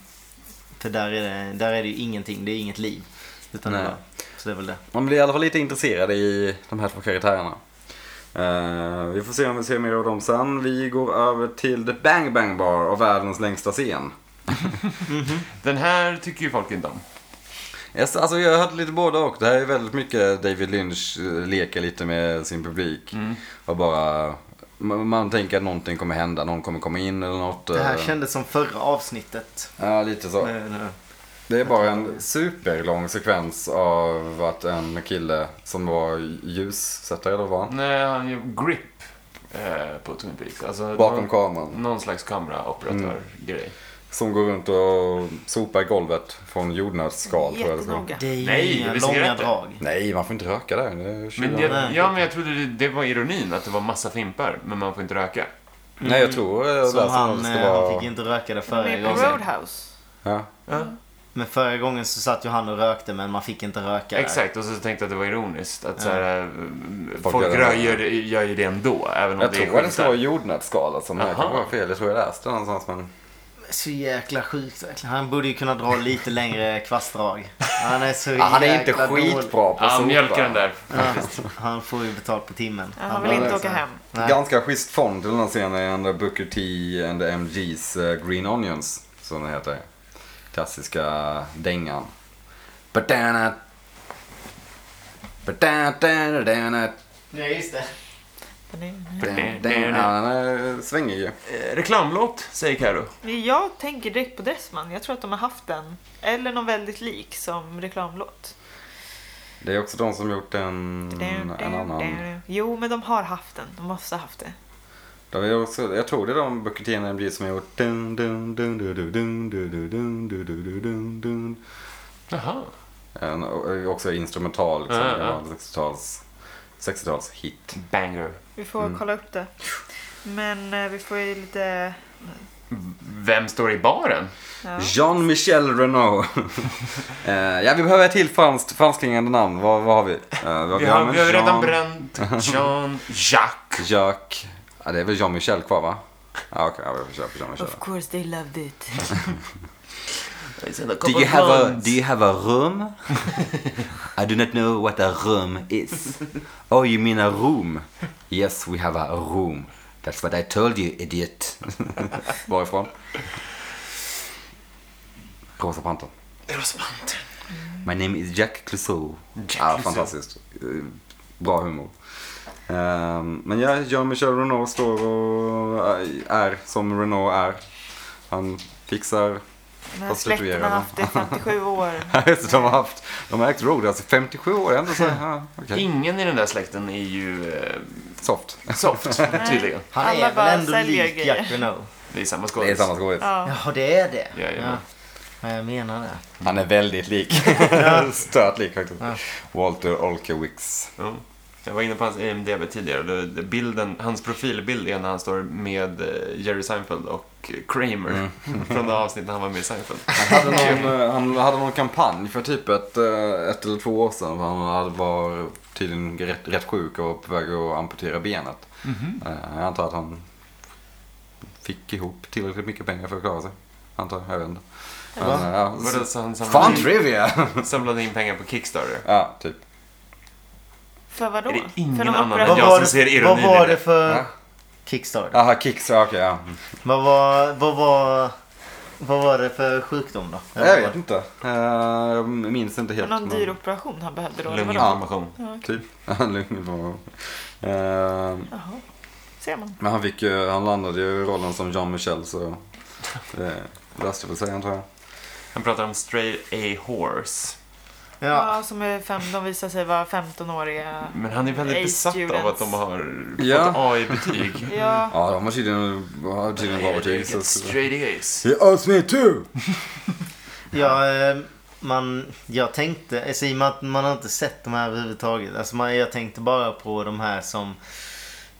S3: För där är det, där är det ju ingenting, det är inget liv. Utan det
S4: Nej.
S3: bara, så det är väl det.
S4: Man blir i alla fall lite intresserad i de här två karaktärerna. Eh, vi får se om vi ser mer av dem sen. Vi går över till The Bang Bang Bar och världens längsta scen.
S2: Den här tycker ju folk inte om.
S4: Yes, alltså jag hörde lite både och. Det här är väldigt mycket David Lynch eh, leker lite med sin publik.
S3: Mm.
S4: Och bara, man, man tänker att någonting kommer hända. Någon kommer komma in eller något.
S3: Det här
S4: eh.
S3: kändes som förra avsnittet.
S4: Ja, lite så.
S3: Nej, nej.
S4: Det är bara en superlång sekvens av att en kille som var ljussättare eller vad han?
S2: Nej, han gör grip eh, på Twin Peaks. Alltså,
S3: Mm.
S4: Bakom
S2: någon,
S4: kameran.
S2: någon slags kameraoperatör-grej.
S4: Mm. Som går runt och sopar golvet från jordnötsskal. tror jag det ska vara.
S1: Jättenoga.
S3: Det är ju
S2: Nej,
S3: inga
S2: det är
S3: långa
S2: cigaretter.
S3: drag.
S4: Nej, man får inte röka där. Det är
S2: Men
S4: tjugo-
S2: jag, ja, men jag trodde det, det var ironin att det var massa fimpar, men man får inte röka.
S4: Nej, jag tror jag
S3: Som
S4: läste
S3: han,
S4: att det
S3: eh,
S4: ska vara...
S3: han fick inte röka det
S1: Hon
S3: förra
S1: är på
S3: gången.
S1: Roadhouse.
S4: Ja.
S2: Ja,
S3: Men förra gången så satt ju han och rökte men man fick inte röka där.
S2: Exakt, och så tänkte jag att det var ironiskt. Att så här, eh, folk
S4: Folk gör det.
S2: röjer, gör ju det ändå, även om
S4: Jag
S2: det är
S4: tror att det ska vara
S2: skyltar.
S4: jordnötsskal alltså. Men jag kan
S2: Aha.
S4: vara fel. Jag tror jag läste det någonstans. Men...
S3: Så jäkla sjukt verkligen. Han borde ju kunna dra lite längre kvastdrag. Han är så
S4: Ja, han är inte
S3: jäkla dålig.
S4: skitbra på
S2: Ja,
S4: sopa.
S2: mjölka den där.
S3: Ja, han får ju betalt på timmen.
S1: Ja, Han vill
S4: Ja,
S1: inte
S4: det
S1: åka hem.
S3: Nej.
S4: Ganska schysst fond till den här scenen är ändå Booker T and the MG's eh, Green Onions. Som den heter. Klassiska dängan. Badana. Badana, badana, badana,
S3: Ja, just det.
S1: Den är-
S4: badana. Den eh, svänger ju.
S2: Eh, reklamlåt, säger Karo.
S1: Jag tänker direkt på Dressman. Jag tror att de har haft den. Eller någon väldigt lik som reklamlåt.
S4: Det är också de som gjort en, Mm, en annan.
S1: Jo, men de har haft den. De måste ha haft det.
S4: Det är också, jag tror det är de Booker T and MG som har gjort... Dun, dun, dun, dun, dun, dun, dun, dun, dun, dun, dun, dun, dun.
S2: Jaha.
S4: En, och också instrumental, liksom,
S2: Ja, ja.
S4: gammal 60-tals 60-tals hit.
S2: Banger.
S1: Vi får
S4: Mm.
S1: kolla upp det. Men eh, vi får ju lite...
S2: Vem står i baren?
S1: Ja.
S4: Jean-Michel Renault. Eh, ja, vi behöver ett till franskt, fransklingande namn. Vad, vad har vi? Eh, vad
S2: Vi har,
S4: med
S2: vi har ju
S4: Jean-
S2: redan bränt Jean, Jacques.
S4: Jacques. Ja, det är väl Jean-Michel kvar, va? Ja, okej. ja, vi kör på Jean-Michel.
S1: Of course they loved it.
S4: Do you have a Do you have a room? I do not know what a room is. Oh, you mean a room? Yes, we have a room. That's what I told you, idiot. Varifrån? Rosa Pantern.
S2: Rosmant.
S4: My name is Jack Clouseau.
S2: Jack
S4: ja,
S2: Clouseau.
S4: fantastiskt. Eh, Bra humor. Ehm, men ja, Jean-Michel Renault står och eh, är som Renault är. Han fixar
S1: Den här
S4: Och
S1: släkten har
S4: prostituerade.
S1: haft det i 57 år.
S4: Så de har haft, de har ägt road alltså 57 år ändå så, ja, okej.
S2: Ingen i den där släkten är ju eh,
S4: Soft.
S2: soft, tydligen.
S3: Han
S1: Alla
S3: är
S1: bara
S3: väl ändå
S1: säljer
S3: lik
S1: grejer.
S3: Jack Renault?
S2: Det är samma skådis.
S4: Det är samma skådis.
S1: Ja.
S3: Ja, det är det.
S2: Jajamän.
S3: Ja, jag menar det.
S4: Han är väldigt lik. Stört lik faktiskt.
S3: Ja.
S4: Walter Olkewicz.
S2: Ja. Jag var inne på hans E IMDB tidigare och det- det- bilden, hans profilbild är när han står med eh, Jerry Seinfeld och Kramer från det avsnitt när han var med i Seinfeld.
S4: Han hade någon, eh, han hade någon kampanj för typ ett, eh, ett eller två år sedan. För han hade- var tydligen rätt, rätt sjuk och var på väg att amputera benet. Eh, Jag antar att han fick ihop tillräckligt mycket pengar för att klara sig. Antar jag, jag vet inte. Men,
S3: Va?
S4: eh, ja,
S2: Var det så han
S4: Fan
S2: samlade
S4: trivia!
S2: in, samlade in pengar på Kickstarter?
S4: ja, typ.
S1: För vadå?
S2: Är det ingen
S1: för de
S2: annan
S1: opererar-
S2: än jag? som ser ironin
S3: vad var
S2: i det.
S3: det för
S4: Ja.
S3: Kickstarter?
S4: Aha, kicks, ja, okej ja.
S3: Vad, var, vad, var, vad var det för sjukdom då?
S4: Jag vet inte. Eh, Jag minns inte helt.
S1: Någon
S4: men-
S1: dyr operation han behövde då? eller vadå?
S2: Lunginflammation.
S1: Ja,
S4: Typ. Lunginflammation. Eh,
S1: Jaha, ser man.
S4: Men han fick ju, han landade ju i rollen som Jean-Michel så det löste väl sig antar jag.
S2: Han pratar om straight A horse.
S1: Ja.
S3: Ja.
S1: som är fem, de visar sig vara 15-åriga.
S2: Men han är väldigt
S1: Hey,
S2: besatt av att
S1: students.
S2: de har
S4: Ja.
S2: fått AI-betyg.
S1: Ja,
S4: Ja, de har tydligen, har tydligen bra betyg. så- så-
S2: Straight A's.
S4: He owes me too!
S3: Ja, eh, man, jag tänkte, alltså, i och med att man har inte sett de här överhuvudtaget. Alltså, man, jag tänkte bara på de här som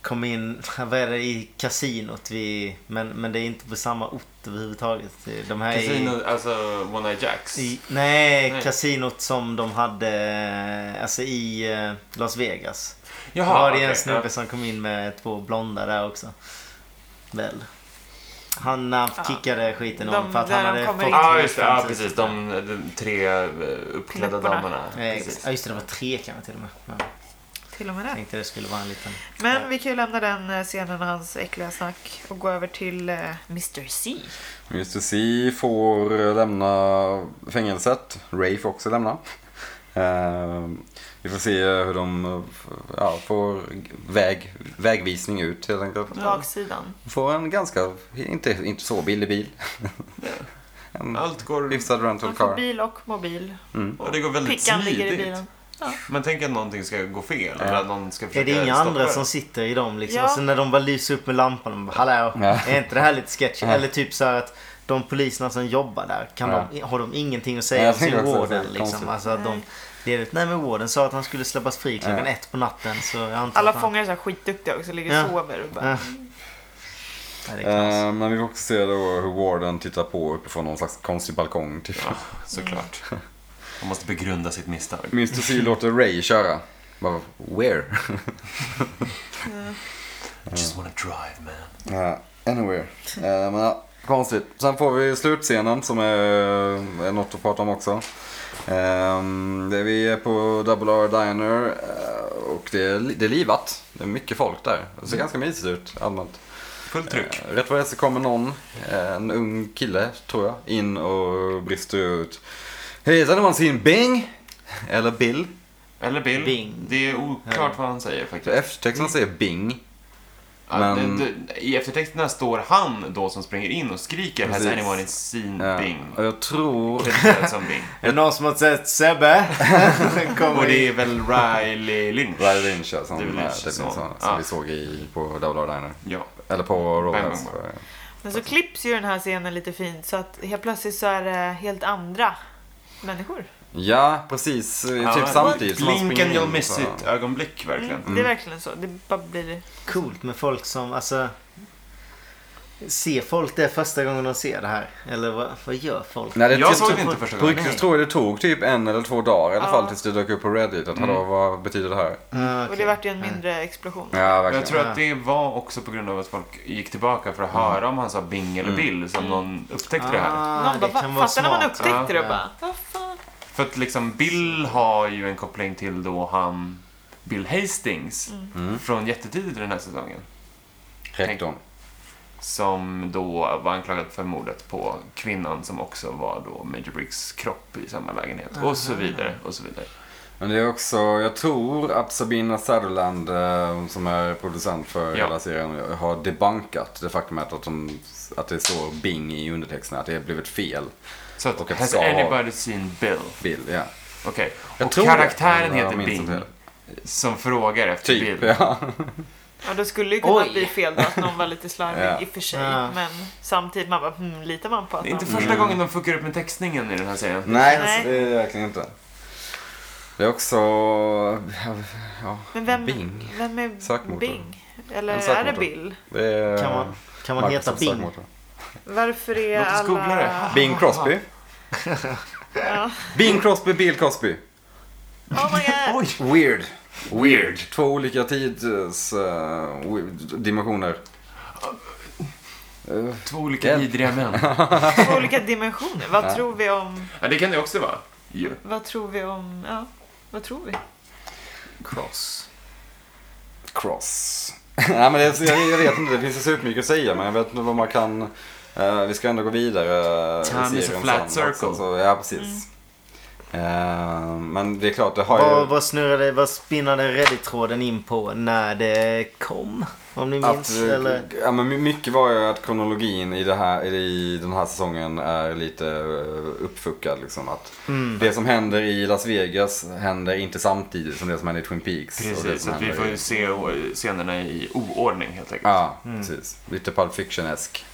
S3: kom in, vad är det, i kasinot. Vi, men, men det är inte på samma ort överhuvudtaget. De här är-
S2: Casino, alltså One Eye Jacks.
S3: I, nej,
S2: Nej.
S3: kasinot som de hade eh, alltså i eh, Las Vegas.
S2: Jaha,
S3: Då var det en
S2: okej,
S3: snubbe
S2: ja.
S3: som kom in med två blonda där också. Väl. Han när han kickade skiten
S1: De-
S3: om för att
S1: där
S3: han
S1: de
S3: hade
S1: kommer
S3: fått...
S1: in.
S2: Ja, just det. Ja, precis. De, de tre eh, uppklädda
S1: Knäpparna.
S2: damerna.
S3: Ja,
S2: Precis.
S3: ex- ja, just det. Det var tre kan man till och med. Men
S1: till och med
S3: jag
S1: det.
S3: tänkte det skulle vara en liten...
S1: Men vi kan ju lämna den eh, scenen och hans äckliga snack och gå över till eh, Mr C.
S4: Mr C får eh, lämna fängelset. Ray får också lämna. Eh, vi får se hur de eh, f- ja, får väg, vägvisning ut helt enkelt.
S1: Baksidan.
S4: Får en ganska, inte, inte så billig bil. en
S2: Allt går...
S4: hyfsad rental
S1: Han får
S4: car. Mm.
S1: bil och mobil.
S2: Och det går väldigt
S1: Pickan ligger i
S2: smidigt.
S1: bilen.
S2: Man tänker att någonting ska gå fel. Eller att någon ska
S3: Är
S2: försöka
S3: det inga
S2: stoppa
S3: andra
S2: det.
S3: som sitter i dem liksom?
S1: Ja.
S3: Och sen när de bara lyser upp med lampan. De bara, Hallå,
S4: Ja.
S3: är inte det här lite sketchy? Eller typ så här att de poliserna som jobbar där, kan
S4: Ja.
S3: de, har de ingenting att
S4: Nej,
S3: säga
S4: jag
S3: till
S4: tänker också att det är
S3: warden
S4: konstigt.
S3: liksom? Alltså att de, det är, nej men warden sa att han skulle släppas fri klockan ett på natten. Så jag antar
S1: Alla
S3: att han,
S1: fångar är så här skitduktiga också, ligger
S3: Ja.
S1: och sover. Och bara,
S3: Ja. Nej, det
S1: liksom.
S3: är knas.
S4: Eh, men vi får också se då hur Warden tittar på uppifrån någon slags konstig balkong. Typ.
S2: Ja, såklart. Man måste begrunda sitt misstag.
S4: Mr C låter Ray köra. Bara, where?
S2: Just wanna drive man.
S4: Ja, anywhere. Eh,
S1: Mm.
S4: men, ja, konstigt. Sen får vi slutscenen som är, är något att prata om också. Ehm, det vi är på Double R Diner eh, och det är, li- det är livat. Det är mycket folk där. Det
S1: Mm.
S4: ser ganska mysigt ut allmänt.
S2: Fullt tryck.
S4: Eh, Rätt vad det är så kommer någon, eh, en ung kille tror jag, in och brister ut. Hej, has anyone seen Bing? Eller Bill?
S2: Eller Bill.
S3: Bing.
S2: Det är oklart vad han säger
S4: För
S2: faktiskt.
S4: Eftertexten säger Bing.
S2: Ja,
S4: men-
S2: det, det, I eftertexterna står han då som springer in och skriker Has
S4: Precis.
S2: anyone seen
S4: Ja,
S2: Bing?
S4: och jag tror...
S2: Klädd som Bing.
S3: Är det någon som har sett Sebbe? Kommer
S2: Och det
S3: in.
S2: är väl Riley Lynch? alltså.
S4: Riley Lynch ja, som,
S2: Det är väl
S4: eh,
S2: Lynch
S4: det finns
S2: som-
S4: sån- som
S2: ja.
S4: vi såg i, på Double R Diner.
S2: Ja.
S4: Eller på Rollhouse.
S2: Bang, bang,
S1: Men så klipps ju den här scenen lite fint så att helt plötsligt så är det helt andra människor.
S4: Ja, precis. eh,
S2: Ja,
S4: typ
S2: men-
S4: samtidigt som han
S2: Blink
S4: springer
S2: and
S4: in, Mm.
S2: you'll miss
S4: så-
S2: it ögonblick verkligen.
S1: Det är verkligen så. Det bara blir...
S3: coolt med folk som, alltså... Ser folk det första gången de ser det här? Eller vad, vad gör folk?
S4: Nej, det,
S2: Jag
S4: jag
S2: såg
S4: tror,
S2: det inte första
S4: på
S2: gången.
S4: riktigt tror jag det tog typ en eller två dagar i alla
S1: Ja.
S4: fall tills det dök upp på Reddit. Att,
S2: Mm.
S4: hallå, vad betyder det här?
S3: Ah,
S1: Och
S3: okej.
S1: det vart ju en mindre explosion.
S4: Ja,
S2: Men
S4: verkligen.
S2: Jag tror att det var också på grund av att folk gick tillbaka för att höra om han sa Bing eller
S4: Mm.
S2: Bill som någon upptäckte det här.
S3: Ah,
S1: Någon
S3: det
S1: bara,
S3: kan vara
S1: "Va? fattar när man
S3: smart.
S1: upptäckte
S2: Ja.
S1: det och
S3: Ja.
S1: bara, vad fan.
S2: För att liksom Bill har ju en koppling till då han Bill Hastings
S4: Mm.
S2: från jättetidigt i den här säsongen.
S4: Rektorn.
S2: Som då var anklagad för mordet på kvinnan som också var då Major Briggs kropp i samma lägenhet. Och så vidare och så vidare.
S4: Men det är också, jag tror att Sabina Sadeland eh, hon som är producent för
S2: Ja.
S4: hela serien har debunkat det faktumet att, de, att det står Bing i undertexterna, att det har blivit fel
S2: Så att,
S4: Och att
S2: has
S4: Saab-
S2: anybody seen Bill?
S4: bild. Ja.
S2: Okej.
S4: Jag
S2: Och
S4: tror det.
S2: karaktären
S4: Ja,
S2: heter
S4: jag minns
S2: Bing.
S4: inte.
S2: Som frågar efter
S4: Typ,
S2: Bill.
S4: ja.
S1: Ja, det skulle ju kunna
S3: Oj.
S1: bli fel då att någon var lite slarvig
S4: Ja.
S1: i och för sig.
S3: Ja.
S1: Men samtidigt, man bara, hmm, litar man på att
S2: Det är inte
S1: någon...
S2: första gången de fuckar upp med textningen i den här serien.
S4: Nej, alltså,
S1: Nej.
S4: det är det verkligen inte. Det är också... Ja,
S1: Men vem,
S4: Bing.
S1: vem är
S4: Sökmotor.
S1: Bing? Eller
S4: En
S1: är
S4: sökmotor.
S1: det Bill?
S4: det är
S3: Ah, Kan man, kan man heta
S4: Microsofts
S3: Bing?
S4: sökmotor.
S1: Varför är
S2: Låt oss
S1: alla...
S2: googla det.
S4: Bing Crosby.
S1: Ja.
S4: Bing Crosby, Bill Crosby.
S1: Oh my god!
S2: Oj!
S4: Weird.
S2: Weird.
S4: Två olika tids eh, weird- dimensioner. Eh,
S2: Två olika
S4: Hjälp.
S2: vidriga män.
S1: Två olika dimensioner. Vad tror vi om...
S2: Ja, det kan det också vara. Ju.
S1: Vad tror vi om... Ja, vad tror vi?
S2: Cross.
S4: Cross. Nej, men det, jag, jag vet inte, det finns ju så mycket att säga men jag vet inte vad man kan... eh, vi ska ändå gå vidare. eh, i
S2: Time is a
S4: serien
S2: flat
S4: sen också,
S2: circle.
S4: så, ja, precis. Eh, men det är klart, det har ju...
S3: Vad, vad snurrade, vad spinnade Reddit-tråden in på när det kom? Om ni minns?
S4: Att,
S3: eller?
S4: ja, men my- mycket var ju att kronologin i, det här, i den här säsongen är lite eh, uppfuckad. Liksom. Att
S2: Mm.
S4: Det som händer i Las Vegas händer inte samtidigt som det som händer i Twin Peaks. och det
S2: Precis, så
S4: som
S2: att vi
S4: händer
S2: får
S4: i...
S2: ju se o- scenerna i oordning helt enkelt. Mm.
S4: Ja, precis. Lite Pulp Fiction-esk.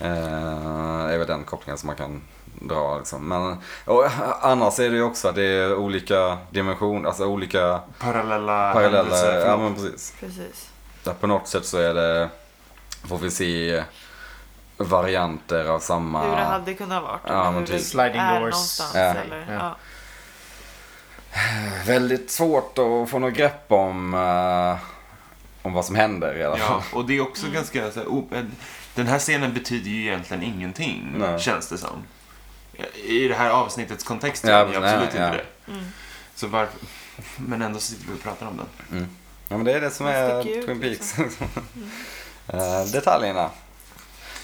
S4: Eh, är väl den kopplingen som man kan dra. Liksom. Men, och, annars är det ju också att det är olika dimensioner, alltså olika
S2: Parallella,
S4: paralleller.
S2: händelser.
S4: Ja, men precis.
S1: Precis.
S4: Där på något sätt så är det, får vi se varianter av samma.
S1: Hur det hade kunnat vara.
S4: Ja, men
S1: hur det
S4: typ.
S3: Sliding
S1: är
S3: doors.
S1: någonstans.
S4: Ja.
S1: Eller,
S3: Ja.
S1: ja.
S4: Väldigt svårt att få något grepp om, eh, om vad som händer i alla fall.
S2: Ja, och det är också ganska så här, o- en- Den här scenen betyder ju egentligen ingenting,
S4: Nej.
S2: känns det som. I det här avsnittets kontext gör
S4: Ja,
S2: den ju
S4: nej,
S2: absolut
S4: ja.
S2: inte det. Så varför... Men ändå sitter vi och pratar om den.
S4: Ja, men det är det som
S1: Det
S4: är
S1: sticker ut,
S4: Twin Peaks. Eh, Detaljerna.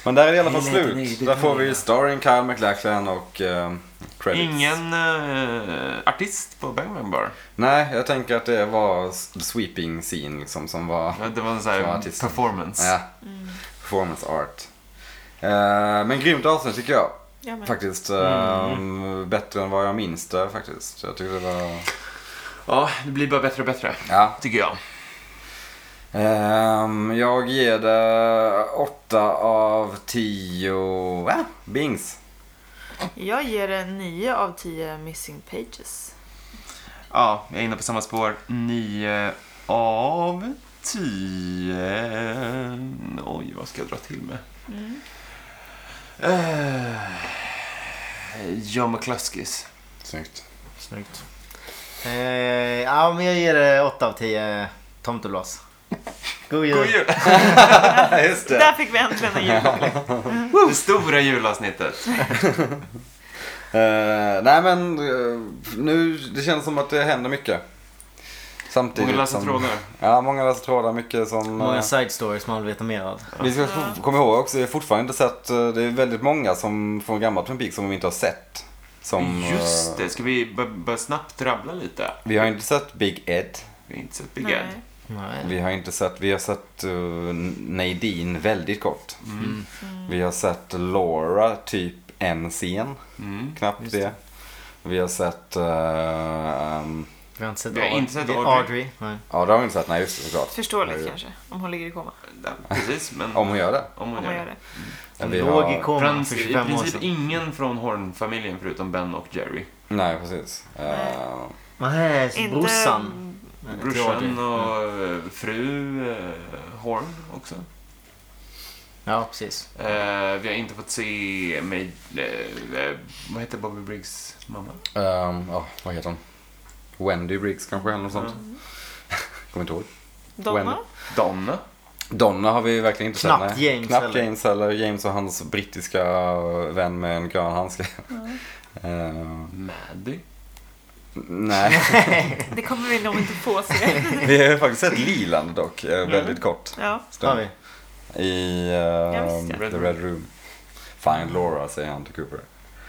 S4: Men där är det i alla fall
S2: Nej,
S4: slut.
S2: nej,
S4: där får vi
S2: detaljerna.
S4: starring Kyle MacLachlan och eh, credits.
S2: Ingen eh, artist på Bang Bang Bar.
S4: Nej, jag tänker att det var s- sweeping scene liksom som var...
S2: Ja, Det var en sån
S4: Som
S2: här
S4: artist.
S2: performance.
S4: Ja. Performance art. Eh, men grymt avsnitt tycker jag.
S1: Ja, men.
S4: Faktiskt. ehm,
S2: Mm.
S4: Bättre än vad jag minns det faktiskt. Jag tyckte det var...
S2: Ja, det blir bara bättre och bättre.
S4: Ja.
S2: Tycker jag.
S4: Ehm, jag ger det 8 av 10 va? bings.
S1: Jag ger det 9 av 10 missing pages.
S2: Ja, jag är inne på samma spår. 9 av 10. Oj, vad ska jag dra till med? Eh, John McCluskis.
S4: Snyggt.
S3: Snyggt. Eh, ja, men jag ger det 8 av 10 tomtebloss. God jul.
S2: God jul!
S4: Just
S1: Där fick vi äntligen en julkomplex.
S2: Det stora julavsnittet.
S4: Eh, nej men eh, nu, det känns som att det händer mycket. Samtidigt
S2: Många lösa
S4: typ som-
S2: trådar.
S4: Ja, många läser trådar. Mycket som... eh,
S3: Många side stories man vill veta mer av.
S4: Vi ska få- komma ihåg också, jag har fortfarande inte sett, eh, det är väldigt många som från gamla Twin Peaks som vi inte har sett. Som,
S2: Just
S4: eh,
S2: det, ska vi bara bara snabbt rabbla lite?
S4: Vi har inte sett Big Ed.
S2: Vi har inte sett Big Ed.
S1: Nej.
S3: Nej.
S4: Vi har inte sett, vi har sett eh, Nadine väldigt kort. Vi har sett Laura typ en scen,
S2: Mm.
S4: knappt
S3: Just
S4: det.
S3: det.
S4: Vi har sett, eh, um,
S3: Vi har inte sett,
S2: Vi har
S3: Aud-
S2: inte sett
S3: det är
S2: Audrey.
S3: Nej.
S4: ja det har vi inte sett, nej just det såklart.
S1: Förståeligt
S4: Ja,
S1: kanske, om hon ligger i koma.
S2: Ja, Precis, men
S4: Om hon gör det.
S2: om
S1: Om
S2: hon
S1: man
S2: gör
S1: gör
S2: det.
S1: det.
S3: Alltså,
S4: Men vi
S3: Vi låg
S4: har-
S3: i koman
S2: Frans,
S3: för
S2: I
S3: 25 år
S2: princip
S3: sedan.
S2: ingen från Horn-familjen förutom Ben och Jerry.
S4: Nej precis. Eh,
S3: Nej,
S1: Inte...
S3: brorsan. Till Mm. Audrey.
S2: Brorsan och eh, fru eh, Horn också.
S3: Ja, precis.
S2: Eh, vi har inte fått se med, eh, eh, vad heter Bobby Briggs mamma?
S4: Ehm, ja, vad heter hon? Wendy Briggs kanske eller något sånt.
S1: Mm.
S4: Kommer inte ihåg. Wendy.
S1: Donna?
S2: Donna.
S4: Donna har vi verkligen inte
S3: Knappt
S4: sett. nej.
S3: James
S4: Knappt
S3: heller.
S4: James eller James och hans brittiska vän med en grön handske. Ehm,
S2: Maddie.
S4: nej,
S1: Det kommer vi nog inte få se.
S4: vi har ju faktiskt sett Liland dock, eh,
S1: Mm.
S4: väldigt kort.
S1: Ja.
S3: Har vi.
S4: I
S1: Ja,
S4: ehm,
S1: visst,
S2: ja.
S4: The Red Room. Find Laura säger han till Cooper.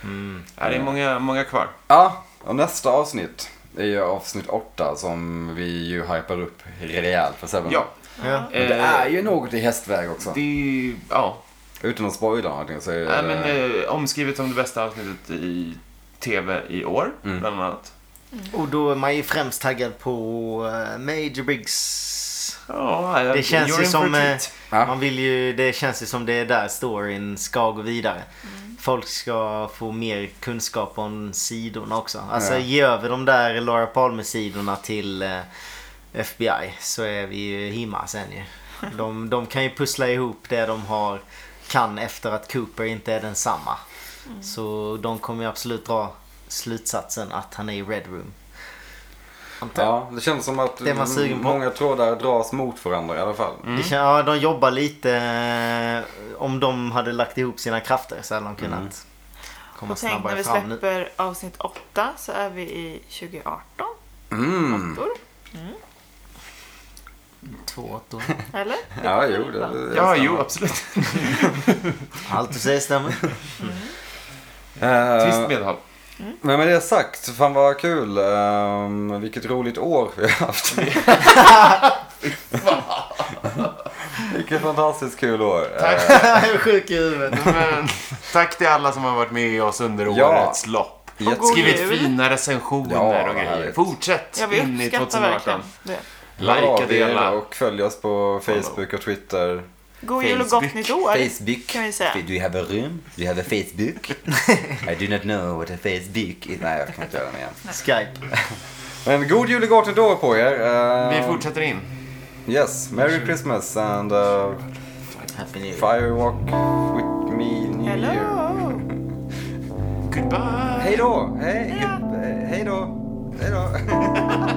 S3: Mm.
S2: Ja, det är många, många kvar.
S4: Ja, och nästa avsnitt. är ju avsnitt 8 som vi ju hypar upp rejält för Seven.
S2: Ja. Eh,
S3: Ja.
S4: Men det är ju något i hästväg också.
S2: Det är ju, ja.
S4: Utan att spoila någonting så är
S2: Nej, men, eh, omskrivet som det bästa avsnittet i TV i år,
S4: Mm.
S2: bland annat.
S3: Och då är man ju främst taggad på eh, Major Briggs.
S2: Ja,
S3: Det känns ju som... eh,
S4: Ja.
S3: Man vill ju, det känns ju som det är där storyn ska gå vidare. Folk ska få mer kunskap om sidorna också. Alltså
S4: Ja.
S3: ge över de där Laura Palme-sidorna till eh, FBI så är vi ju himma sen ju. De, de kan ju pussla ihop det de har kan efter att Cooper inte är densamma. Så de kommer ju absolut dra slutsatsen att han är i Red Room. Antar jag.
S4: Ja, det känns som att
S3: Det är man sugen på.
S4: många trådar dras mot varandra i alla fall.
S2: Mm.
S3: Det kän- ja, de jobbar lite... eh, Om de hade lagt ihop sina krafter så hade de kunnat komma
S1: Och tänk när
S3: snabbare
S1: vi
S3: fram nu.
S1: släpper avsnitt 8 så är vi i 2018.
S4: Mm.
S1: Då,
S3: Två åttor.
S1: eller?
S4: Ja, jo. Det, det
S2: Ja,
S4: stämmer.
S2: jo, absolut.
S3: Allt du säger stämmer.
S4: Eh,
S2: Tyst medhåll.
S4: Men med det sagt, fan vad kul. Ehm, vilket roligt år vi har haft. vilket fantastiskt kul år. Eh,
S3: Jag är sjuk i huvudet.
S2: Men, tack till alla som har varit med oss under
S4: Ja.
S2: årets lopp.
S4: jätte-
S1: God
S2: Skrivit
S1: jul.
S2: fina recensioner
S4: Ja,
S2: och grejer.
S4: härligt.
S2: Fortsätt
S1: Ja, vi
S2: in i
S1: uppskattar
S2: 2018.
S1: verkligen det.
S2: Likea,
S4: det
S2: dela.
S4: och följ oss på Facebook och Twitter.
S1: God jul och gott nytt år.
S5: Facebook.
S1: Kan vi säga.
S5: Do you have a room? Do you have a Facebook? I do not know what a Facebook is. Nej, jag kan inte göra det igen.
S3: Skype.
S4: Men god jul och gott nytt år på er. Ehm,
S2: Vi fortsätter in.
S4: Yes, Merry Christmas and uh,
S3: Happy New Year.
S4: Firewalk with me New Year.
S1: Hello!
S2: Goodbye!
S4: Hej då! Hej, hej då! Hej då!